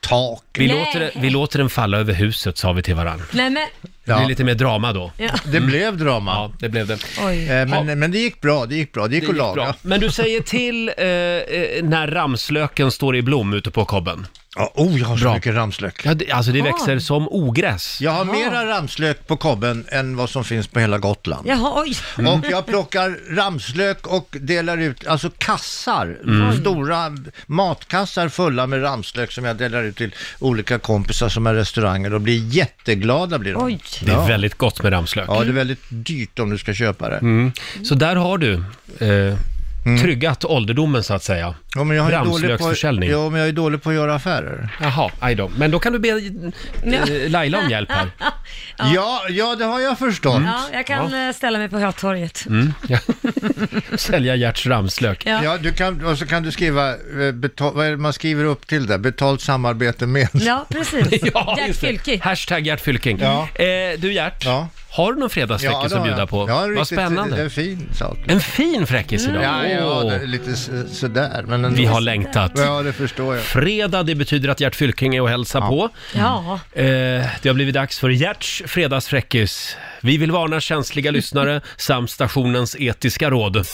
[SPEAKER 12] tak.
[SPEAKER 1] Vi
[SPEAKER 2] Nej.
[SPEAKER 1] låter, den- vi låter den falla över huset, sa vi till varandra.
[SPEAKER 2] Nej men,
[SPEAKER 1] Det blir lite mer drama då.
[SPEAKER 2] Ja.
[SPEAKER 12] Det blev drama.
[SPEAKER 1] Ja, det blev det.
[SPEAKER 2] oj.
[SPEAKER 12] Eh, Men, men det gick bra, det gick bra, det gick att laga.
[SPEAKER 1] Men du säger till eh, eh, när ramslöken står i blom ute på kobben.
[SPEAKER 12] Ja, oh, jag har så mycket ramslök.
[SPEAKER 1] alltså
[SPEAKER 2] Ah.
[SPEAKER 1] det växer som ogräs.
[SPEAKER 12] Jag har
[SPEAKER 2] Ja.
[SPEAKER 12] mera ramslök på kobben än vad som finns på hela Gotland. Mm.
[SPEAKER 2] Jaha, oj.
[SPEAKER 12] Och jag plockar ramslök och delar ut, alltså kassar,
[SPEAKER 2] Mm.
[SPEAKER 12] stora matkassar fulla med ramslök som jag delar ut till olika kompisar som är restauranger och blir jätteglada blir de.
[SPEAKER 2] Oj.
[SPEAKER 1] Det är väldigt gott med ramslök.
[SPEAKER 12] Ja, det är väldigt dyrt om du ska köpa det.
[SPEAKER 1] Mm. Så där har du eh, tryggat ålderdomen så att säga.
[SPEAKER 12] Mm. Ja, men jag är dålig på,
[SPEAKER 1] Ramslöksförsäljning.
[SPEAKER 12] ja, men jag är dålig på att göra affärer.
[SPEAKER 1] Jaha, aj då. Men då kan du be eh, Laila om hjälp
[SPEAKER 2] *laughs*
[SPEAKER 1] här.
[SPEAKER 12] Ja, ja, det har jag förstått.
[SPEAKER 2] Ja, jag kan eh, ställa mig på Hötorget. *laughs*
[SPEAKER 1] Mm. Ja. Sälja Gerts ramslök.
[SPEAKER 2] Ja.
[SPEAKER 12] Ja, du kan, och så kan du skriva, eh, betal, vad är det man skriver upp till det? Betalt samarbete med.
[SPEAKER 2] Ja, precis.
[SPEAKER 1] *laughs* Ja,
[SPEAKER 2] Gert
[SPEAKER 1] just det.
[SPEAKER 2] Fylking.
[SPEAKER 1] Hashtag Gert Fylking.
[SPEAKER 12] Ja.
[SPEAKER 1] Eh, du Gert, har du någon fredagsfräckis
[SPEAKER 12] Ja, det
[SPEAKER 1] att
[SPEAKER 12] har jag.
[SPEAKER 1] bjuda på?
[SPEAKER 12] Ja,
[SPEAKER 1] Vad
[SPEAKER 12] riktigt,
[SPEAKER 1] spännande.
[SPEAKER 12] det är en fin sak.
[SPEAKER 1] En fin fräckis idag.
[SPEAKER 12] Ja, ja,
[SPEAKER 1] Åh.
[SPEAKER 12] det är lite så- sådär. Men ändå.
[SPEAKER 1] Vi har längtat.
[SPEAKER 12] Ja, det förstår jag.
[SPEAKER 1] Fredag, det betyder att Gert Fylking är och hälsa på.
[SPEAKER 2] Ja.
[SPEAKER 1] Eh, det har blivit dags för Gerts fredagsfräckis. Vi vill varna känsliga lyssnare
[SPEAKER 12] *laughs*
[SPEAKER 1] samt stationens etiska råd.
[SPEAKER 2] Eh.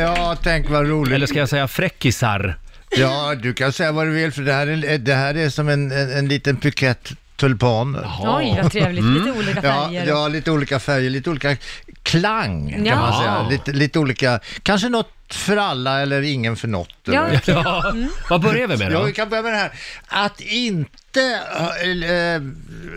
[SPEAKER 12] Ja, tänk vad roligt.
[SPEAKER 1] Eller ska jag säga fräckisar?
[SPEAKER 12] Ja, du kan säga vad du vill för det här är, eh, det här är som en, en, en liten bukett tulpaner.
[SPEAKER 2] Oj, vad trevligt. Lite olika färger.
[SPEAKER 12] Ja, ja, lite olika färger, lite olika klang kan
[SPEAKER 2] Ja.
[SPEAKER 12] man säga. Lite, lite olika, kanske något för alla eller ingen för något.
[SPEAKER 2] Ja,
[SPEAKER 12] eller-
[SPEAKER 2] okej. Ja, Mm.
[SPEAKER 1] vad börjar vi med då?
[SPEAKER 12] Ja, vi kan börja med det här. Att inte, eh,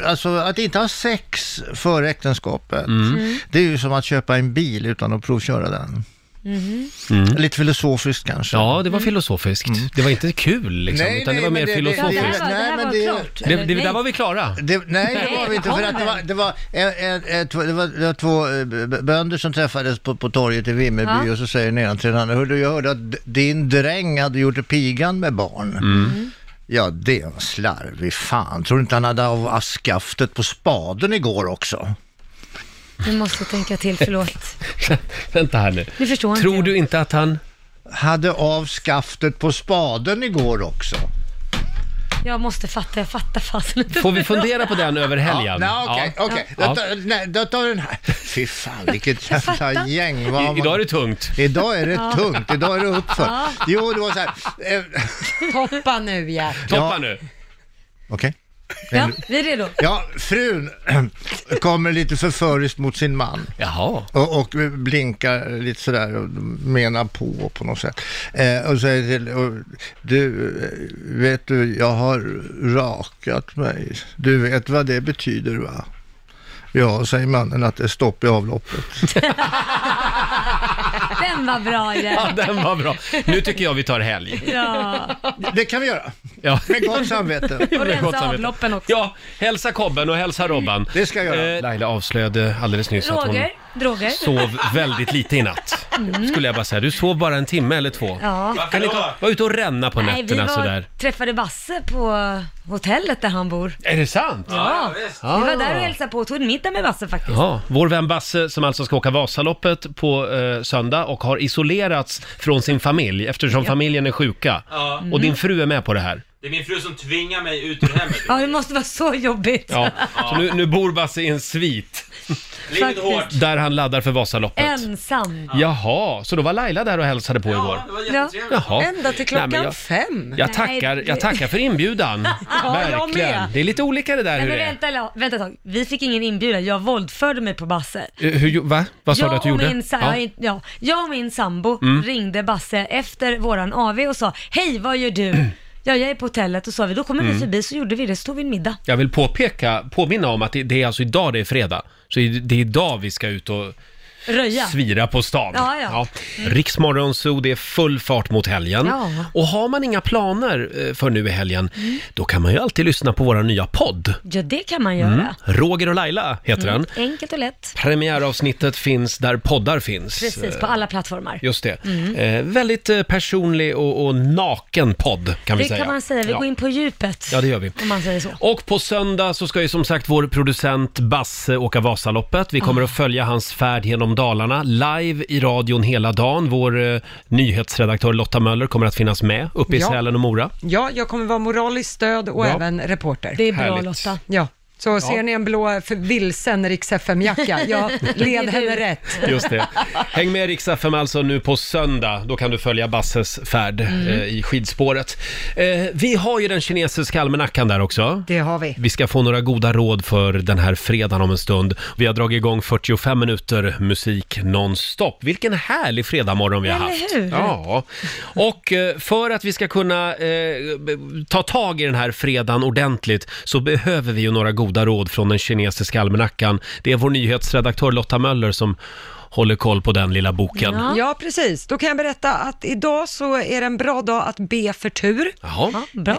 [SPEAKER 12] alltså, att inte ha sex före äktenskapet,
[SPEAKER 9] Mm.
[SPEAKER 12] det är ju som att köpa en bil utan att provköra den.
[SPEAKER 9] Mhm.
[SPEAKER 12] Lite filosofiskt kanske.
[SPEAKER 1] Mm. Ja, det var filosofiskt. Det var inte kul liksom,
[SPEAKER 12] Nej,
[SPEAKER 1] utan
[SPEAKER 12] nej,
[SPEAKER 1] det var
[SPEAKER 12] men
[SPEAKER 1] mer
[SPEAKER 12] det- det-
[SPEAKER 1] filosofiskt.
[SPEAKER 12] det- Ja, det här var- det här
[SPEAKER 2] var klart.
[SPEAKER 1] Det, det, där var vi klara.
[SPEAKER 12] Det, nej, det var vi inte. För att det, var, det, var, en, en, en, två- det, var, det var två eh, b- bönder som träffades på, på torget i Vimmerby
[SPEAKER 9] Ja.
[SPEAKER 12] och så säger den ena till den andra, "Hördu, jag hörde att d- din dräng hade gjort pigan med barn.
[SPEAKER 1] Mm.
[SPEAKER 2] Mm.
[SPEAKER 12] Ja, det är en slarvig fan. Tror du inte han hade av askaftet på spaden igår också?
[SPEAKER 2] Du måste tänka till, förlåt.
[SPEAKER 1] *laughs* Vänta här nu.
[SPEAKER 2] Nu förstår inte
[SPEAKER 1] Tror du inte att han...
[SPEAKER 12] Hade av skaftet på spaden igår också.
[SPEAKER 2] Jag måste fatta, jag fattar fasen inte.
[SPEAKER 1] Får vi
[SPEAKER 2] *laughs*
[SPEAKER 1] fundera på den över helgen?
[SPEAKER 12] Ja, nej, okej,
[SPEAKER 2] Ja.
[SPEAKER 12] okej.
[SPEAKER 2] Ja.
[SPEAKER 12] Då tar- nej, Då tar vi den här. Fy fan, vilket
[SPEAKER 2] Jag fattar.
[SPEAKER 12] jävla gäng. vad
[SPEAKER 1] I-
[SPEAKER 12] man-
[SPEAKER 1] Idag är det tungt.
[SPEAKER 12] Idag är det
[SPEAKER 14] Ja.
[SPEAKER 12] tungt, idag är det uppför.
[SPEAKER 14] Ja.
[SPEAKER 12] Jo, det var så här. eh,
[SPEAKER 14] Toppa nu Gert.
[SPEAKER 12] Toppa Ja.
[SPEAKER 1] nu.
[SPEAKER 12] Okej.
[SPEAKER 2] Ja, vi är redo.
[SPEAKER 12] Ja, frun *clears throat* kommer lite förföriskt mot sin man.
[SPEAKER 1] Jaha.
[SPEAKER 12] Och, och blinkar lite sådär och menar på på något sätt. Eh, och säger till, och, du, eh, vet du, jag har rakat mig. Du vet vad det betyder va? Ja, säger mannen att det är stopp i avloppet.
[SPEAKER 2] Den var
[SPEAKER 1] Ja,
[SPEAKER 2] bra Gert.
[SPEAKER 1] den var bra. Nu tycker jag vi tar helg.
[SPEAKER 2] Ja.
[SPEAKER 12] Det kan vi göra.
[SPEAKER 1] Ja.
[SPEAKER 12] Med gott samvete.
[SPEAKER 1] Med
[SPEAKER 2] Och rensa
[SPEAKER 1] gott samvete.
[SPEAKER 2] avloppen också.
[SPEAKER 1] Ja, hälsa Kobben och hälsa Robban.
[SPEAKER 12] Det ska jag
[SPEAKER 1] göra. Laila avslöjade alldeles nyss att hon
[SPEAKER 2] Droger, droger.
[SPEAKER 1] sov väldigt lite i natt.
[SPEAKER 2] Mm.
[SPEAKER 1] Skulle jag bara säga. Du sov bara en timme eller två.
[SPEAKER 2] Ja.
[SPEAKER 1] Kan ni inte vara ute och ränna på
[SPEAKER 2] Nej, vi
[SPEAKER 1] nätterna
[SPEAKER 2] var,
[SPEAKER 1] sådär?
[SPEAKER 2] träffade Basse på hotellet där han bor.
[SPEAKER 1] Är det sant?
[SPEAKER 2] Ja, vi var där och
[SPEAKER 1] Ah.
[SPEAKER 2] hälsade på och tog en middag med Basse faktiskt.
[SPEAKER 1] Ja, vår vän Basse som alltså ska åka Vasaloppet på eh, söndag och har isolerats från sin familj eftersom familjen är sjuka.
[SPEAKER 7] Ja.
[SPEAKER 1] Och din fru är med på det här.
[SPEAKER 7] Det är min fru som tvingar mig ut ur hemmet.
[SPEAKER 2] Ja, det måste vara så jobbigt.
[SPEAKER 1] Ja. Så nu, nu bor Basse i en svit
[SPEAKER 2] Livet hårt.
[SPEAKER 1] där han laddar för Vasaloppet.
[SPEAKER 2] Ensam.
[SPEAKER 1] Jaha, så då var Laila där och hälsade på igår.
[SPEAKER 14] Ja.
[SPEAKER 1] Jaha.
[SPEAKER 14] Ända till
[SPEAKER 1] Nej,
[SPEAKER 14] klockan
[SPEAKER 1] men jag-
[SPEAKER 14] fem.
[SPEAKER 1] Jag tackar, jag tackar för
[SPEAKER 2] *laughs*
[SPEAKER 1] inbjudan.
[SPEAKER 2] jag
[SPEAKER 1] Verkligen.
[SPEAKER 2] med.
[SPEAKER 1] Det är lite olika det där
[SPEAKER 2] Nej,
[SPEAKER 1] hur
[SPEAKER 2] men
[SPEAKER 1] det är.
[SPEAKER 2] vänta, la- vänta ett tag. Vi fick ingen inbjudan. Jag våldförde mig på Basse.
[SPEAKER 1] Eh, Hur, gjo- va? Vad sa
[SPEAKER 2] jag
[SPEAKER 1] du att du
[SPEAKER 2] och
[SPEAKER 1] gjorde?
[SPEAKER 2] Min, sa-
[SPEAKER 1] Ja.
[SPEAKER 2] ja. in- Ja, jag och min sambo
[SPEAKER 1] Mm.
[SPEAKER 2] ringde Basse efter våran AV och sa Hej, vad
[SPEAKER 1] *clears throat*
[SPEAKER 2] gör du? ja, jag är på hotellet och sa vi, då kommer vi
[SPEAKER 1] Mm.
[SPEAKER 2] förbi så gjorde vi det, så tog vi en middag.
[SPEAKER 1] Jag vill påpeka, påminna om att det, det är alltså idag det är fredag. Så det är idag vi ska ut och
[SPEAKER 2] Röja.
[SPEAKER 1] svira på stan.
[SPEAKER 2] Ja, ja. Mm.
[SPEAKER 1] Riksmorgon Zoo, det är full fart mot helgen.
[SPEAKER 2] Ja. Mm.
[SPEAKER 1] Och har man inga planer eh, för nu i helgen, då kan man ju alltid lyssna på vår nya podd.
[SPEAKER 2] Ja, det kan man göra.
[SPEAKER 1] Mm. Roger och Laila heter
[SPEAKER 2] Mm.
[SPEAKER 1] den.
[SPEAKER 2] Enkelt och lätt.
[SPEAKER 1] Premiäravsnittet finns där poddar finns.
[SPEAKER 2] Precis, på
[SPEAKER 1] Eh,
[SPEAKER 2] alla plattformar.
[SPEAKER 1] Just det.
[SPEAKER 2] Mm.
[SPEAKER 1] Eh, väldigt eh, personlig och, och naken podd kan vi
[SPEAKER 2] det
[SPEAKER 1] säga.
[SPEAKER 2] kan man säga, vi
[SPEAKER 1] ja.
[SPEAKER 2] går in på djupet.
[SPEAKER 1] Ja, det gör vi.
[SPEAKER 2] Om man säger så.
[SPEAKER 1] Och på söndag så ska ju som sagt vår producent Basse åka Vasaloppet. Vi kommer att följa hans färd genom Dalarna live i radion hela dagen. Vår eh, nyhetsredaktör Lotta Möller kommer att finnas med uppe i
[SPEAKER 14] Ja.
[SPEAKER 1] Sälen och Mora.
[SPEAKER 14] Ja, jag kommer vara moraliskt stöd och
[SPEAKER 1] Ja.
[SPEAKER 14] även reporter.
[SPEAKER 2] Det är
[SPEAKER 1] bra, Härligt. Lotta.
[SPEAKER 14] Ja.
[SPEAKER 15] Så ser ni en blå för vilsen Rix FM-jacka,
[SPEAKER 2] *laughs*
[SPEAKER 15] jag led henne rätt.
[SPEAKER 1] *laughs* Just det. Häng med Rix FM alltså nu på söndag. Då kan du följa Basses färd
[SPEAKER 15] Mm.
[SPEAKER 1] eh, i skidspåret. Eh, vi har ju den kinesiska almanackan där också.
[SPEAKER 3] Det har vi.
[SPEAKER 1] Vi ska få några goda råd för den här fredagen om en stund. Vi har dragit igång 45 minuter musik nonstop. Vilken härlig fredagmorgon vi har
[SPEAKER 2] Eller
[SPEAKER 1] haft.
[SPEAKER 2] hur?
[SPEAKER 1] Ja. Och eh, för att vi ska kunna eh, b- ta tag i den här fredagen ordentligt så behöver vi ju några goda råd från den kinesiska almanackan. Det är vår nyhetsredaktör Lotta Möller som håller koll på den lilla boken.
[SPEAKER 3] Ja.
[SPEAKER 15] Ja, precis. Då kan jag berätta att idag så är det en bra dag att be för tur.
[SPEAKER 1] Jaha.
[SPEAKER 15] bra.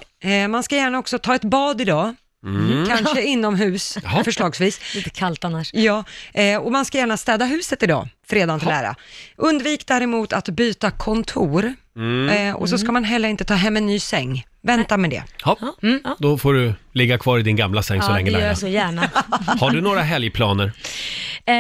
[SPEAKER 15] Man ska gärna också ta ett bad idag.
[SPEAKER 1] Mm.
[SPEAKER 15] Kanske inomhus,
[SPEAKER 2] Jaha.
[SPEAKER 15] förslagsvis.
[SPEAKER 2] Lite kallt annars.
[SPEAKER 15] Ja, eh, och man ska gärna städa huset idag, fredagen till ära. Undvik däremot att byta kontor.
[SPEAKER 1] Mm.
[SPEAKER 15] Eh, och så ska man heller inte ta hem en ny säng. Vänta med det.
[SPEAKER 1] Ja, Mm. då får du ligga kvar i din gamla säng så
[SPEAKER 2] ja,
[SPEAKER 1] länge
[SPEAKER 2] det gör
[SPEAKER 1] Laila.
[SPEAKER 2] jag
[SPEAKER 1] *laughs*
[SPEAKER 2] så gärna.
[SPEAKER 1] *laughs* Har du några helgplaner?
[SPEAKER 2] Eh,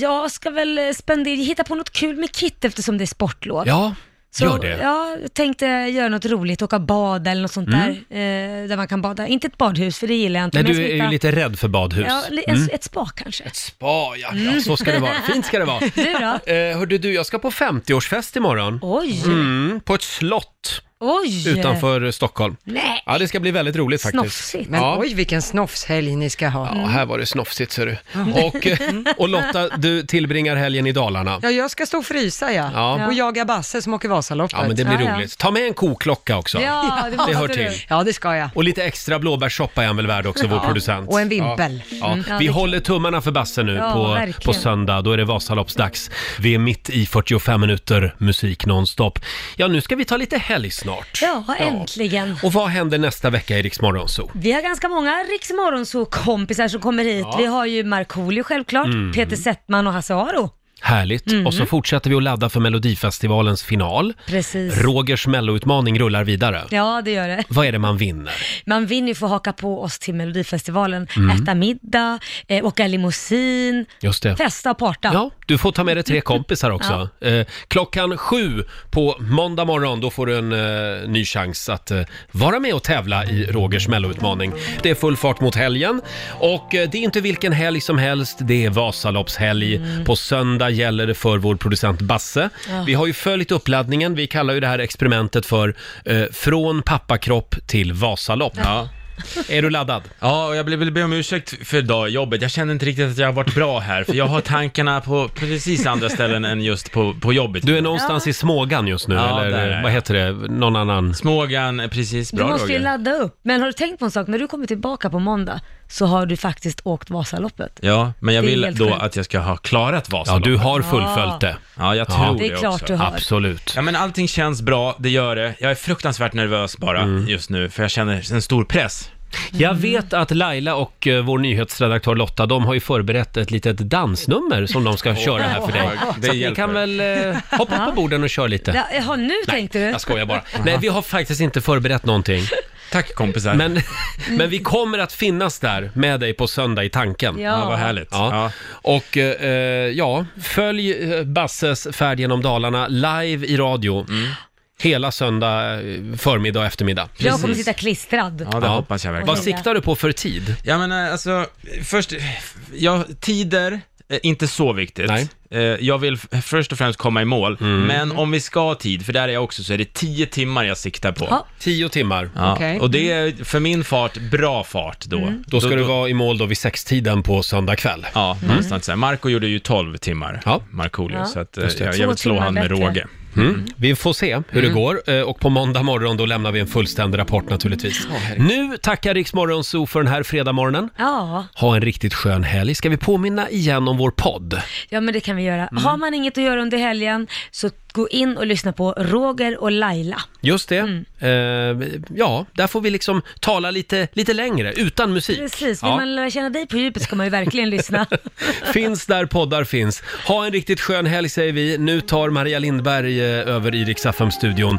[SPEAKER 2] jag ska väl spendera, hitta på något kul med Kit eftersom det är sportlov.
[SPEAKER 1] Ja,
[SPEAKER 2] Så,
[SPEAKER 1] gör det.
[SPEAKER 2] Ja, jag tänkte göra något roligt, åka bad eller något sånt där,
[SPEAKER 1] Mm.
[SPEAKER 2] eh, där man kan bada. Inte ett badhus, för det gillar jag inte.
[SPEAKER 1] Nej,
[SPEAKER 2] men jag
[SPEAKER 1] du
[SPEAKER 2] ska
[SPEAKER 1] är ju
[SPEAKER 2] hitta-
[SPEAKER 1] lite rädd för badhus.
[SPEAKER 2] Ja, li-
[SPEAKER 1] Mm.
[SPEAKER 2] ett, ett spa kanske. Ett
[SPEAKER 1] spa, ja. Ja, så ska det vara. Fint ska det vara.
[SPEAKER 2] *laughs* Du då?
[SPEAKER 1] Eh, hördu du, jag ska på 50-årsfest imorgon.
[SPEAKER 2] Oj.
[SPEAKER 1] Mm, på ett slott
[SPEAKER 2] Oj!
[SPEAKER 1] utanför eh, Stockholm.
[SPEAKER 2] Nej.
[SPEAKER 1] Ja, det ska bli väldigt roligt faktiskt.
[SPEAKER 15] Men
[SPEAKER 1] ja.
[SPEAKER 15] oj, vilken snofshelg ni ska ha.
[SPEAKER 1] Ja, här var det snofsigt ser du.
[SPEAKER 15] Mm.
[SPEAKER 1] Och, eh, och Lotta, du tillbringar helgen i Dalarna.
[SPEAKER 15] Ja, jag ska stå och frysa ja.
[SPEAKER 1] Ja.
[SPEAKER 15] Och jaga Basse som åker Vasaloppet.
[SPEAKER 1] Ja, men det blir roligt. Ta med en koklocka också.
[SPEAKER 15] Ja, det
[SPEAKER 1] det
[SPEAKER 15] måste
[SPEAKER 1] hör
[SPEAKER 15] du.
[SPEAKER 1] till.
[SPEAKER 15] Ja, det ska jag.
[SPEAKER 1] Och lite extra blåbärssoppa är han väl värd också, vår
[SPEAKER 15] Ja,
[SPEAKER 1] producent.
[SPEAKER 15] och en vimpel.
[SPEAKER 1] Ja. Ja.
[SPEAKER 15] Mm. Ja,
[SPEAKER 1] Vi
[SPEAKER 15] det-
[SPEAKER 1] håller tummarna för Basse nu
[SPEAKER 15] Ja,
[SPEAKER 1] på,
[SPEAKER 15] verkligen.
[SPEAKER 1] på söndag. Då är det Vasaloppsdags. Vi är mitt i 45 minuter musik nonstop. Ja, nu ska vi ta lite helg snart.
[SPEAKER 2] Ja, äntligen.
[SPEAKER 1] Och vad händer nästa vecka i Rix Morgon Zoo?
[SPEAKER 2] Vi har ganska många Rix kompisar som kommer hit.
[SPEAKER 1] Ja.
[SPEAKER 2] Vi har ju Markoolio självklart,
[SPEAKER 1] Mm.
[SPEAKER 2] Peter Settman och Hasse Aro.
[SPEAKER 1] Härligt.
[SPEAKER 2] Mm.
[SPEAKER 1] Och så fortsätter vi att ladda för Melodifestivalens final.
[SPEAKER 2] Precis.
[SPEAKER 1] Rogers melloutmaning rullar vidare.
[SPEAKER 2] Ja, det gör det.
[SPEAKER 1] Vad är det man vinner?
[SPEAKER 2] Man vinner ju få haka på oss till Melodifestivalen,
[SPEAKER 1] Mm.
[SPEAKER 2] äta middag, eh, åka limousin,
[SPEAKER 1] Just det.
[SPEAKER 2] festa och parta.
[SPEAKER 1] Ja, du får ta med dig tre kompisar också. Eh, klockan sju på måndag morgon, då får du en eh, ny chans att eh, vara med och tävla i Rogers melloutmaning. Det är full fart mot helgen och eh, det är inte vilken helg som helst, det är Vasaloppshelg. På söndag gäller det för vår producent Basse.
[SPEAKER 7] Ja.
[SPEAKER 1] Vi har ju följt uppladdningen, vi kallar ju det här experimentet för eh, Från pappakropp till Vasalopp. Är du laddad?
[SPEAKER 7] Ja, och jag vill- vill be om ursäkt för idag i jobbet. Jag känner inte riktigt att jag har varit bra här, för jag har tankarna på precis andra ställen än just på, på jobbet. Du
[SPEAKER 1] är någonstans i Smågan just nu, eller vad heter det? Någon annan?
[SPEAKER 7] Smågan, precis.
[SPEAKER 2] Du
[SPEAKER 7] Bra
[SPEAKER 2] måste ju
[SPEAKER 7] Roger.
[SPEAKER 2] ladda upp. Men har du tänkt på en sak? När du kommer tillbaka på måndag så har du faktiskt åkt Vasaloppet.
[SPEAKER 7] Ja, men jag
[SPEAKER 2] Det är
[SPEAKER 7] vill
[SPEAKER 2] helt
[SPEAKER 7] då
[SPEAKER 2] sjukt.
[SPEAKER 7] att jag ska ha klarat Vasaloppet.
[SPEAKER 1] Ja, du har fullföljt det.
[SPEAKER 7] Ja, jag
[SPEAKER 1] Ja.
[SPEAKER 7] tror
[SPEAKER 2] Det
[SPEAKER 7] det
[SPEAKER 2] är klart
[SPEAKER 7] också.
[SPEAKER 2] du har.
[SPEAKER 1] Absolut.
[SPEAKER 7] Ja, men allting känns bra, det gör det. Jag är fruktansvärt nervös bara just nu, för jag känner en stor press.
[SPEAKER 1] Mm. Jag vet att Laila och eh, vår nyhetsredaktör Lotta, de har ju förberett ett litet dansnummer som de ska köra här för dig.
[SPEAKER 7] ja, det
[SPEAKER 1] Så att ni
[SPEAKER 7] hjälper.
[SPEAKER 1] kan väl eh, hoppa upp på borden och köra lite.
[SPEAKER 2] Ja, jaha, nu tänkte du?
[SPEAKER 1] Jag skojar bara. Nej, vi har faktiskt inte förberett någonting.
[SPEAKER 7] Tack kompisar.
[SPEAKER 2] *laughs*
[SPEAKER 1] Men, men vi kommer att finnas där med dig på söndag i tanken.
[SPEAKER 2] Ja. Ja, vad
[SPEAKER 7] härligt.
[SPEAKER 1] Ja. Och eh, eh, ja, följ eh, Basses färd genom Dalarna live i radio.
[SPEAKER 7] Mm.
[SPEAKER 1] Hela söndag eh, förmiddag och eftermiddag.
[SPEAKER 2] Jag kommer sitta klistrad.
[SPEAKER 7] Ja, det hoppas jag verkligen.
[SPEAKER 1] Vad siktar du på för tid?
[SPEAKER 7] Ja men eh, alltså, först, ja, tider, eh, inte så viktigt. Eh, Jag vill f- först och främst komma i mål,
[SPEAKER 1] Mm.
[SPEAKER 7] men om vi ska ha tid, för där är jag också, så är det 10 timmar jag siktar på.
[SPEAKER 2] Ja.
[SPEAKER 1] Tio timmar.
[SPEAKER 7] Ja.
[SPEAKER 1] Okej.
[SPEAKER 7] Och det är för min fart bra fart då.
[SPEAKER 1] Mm. Då ska du vara i mål då vid sextiden på söndag kväll.
[SPEAKER 7] Ja,
[SPEAKER 1] Mm.
[SPEAKER 7] någonstans där. Marco gjorde ju 12 timmar, ja. Markoolio,
[SPEAKER 1] Ja.
[SPEAKER 7] så att, eh,
[SPEAKER 1] Just det.
[SPEAKER 7] jag,
[SPEAKER 1] Två
[SPEAKER 7] jag vill slå
[SPEAKER 1] timmar
[SPEAKER 7] han med
[SPEAKER 1] bättre.
[SPEAKER 7] råge.
[SPEAKER 1] Mm. Vi får se hur det går eh, och på måndag morgon då lämnar vi en fullständig rapport naturligtvis. nu tackar Riksmorgon Zoo för den här fredagmorgonen.
[SPEAKER 2] Ja.
[SPEAKER 1] Ha en riktigt skön helg. Ska vi påminna igen om vår podd?
[SPEAKER 2] ja, men det kan vi göra.
[SPEAKER 1] Mm.
[SPEAKER 2] Har man inget att göra under helgen så gå in och lyssna på Roger och Laila.
[SPEAKER 1] Just det. Eh, ja, där får vi liksom tala lite, lite längre utan musik.
[SPEAKER 2] Precis, vill
[SPEAKER 1] Ja.
[SPEAKER 2] man lära känna dig på djupet ska man ju
[SPEAKER 1] *laughs*
[SPEAKER 2] verkligen lyssna.
[SPEAKER 1] Finns där poddar finns. Ha en riktigt skön helg säger vi. Nu tar Maria Lindberg eh, över i Riksaffem studion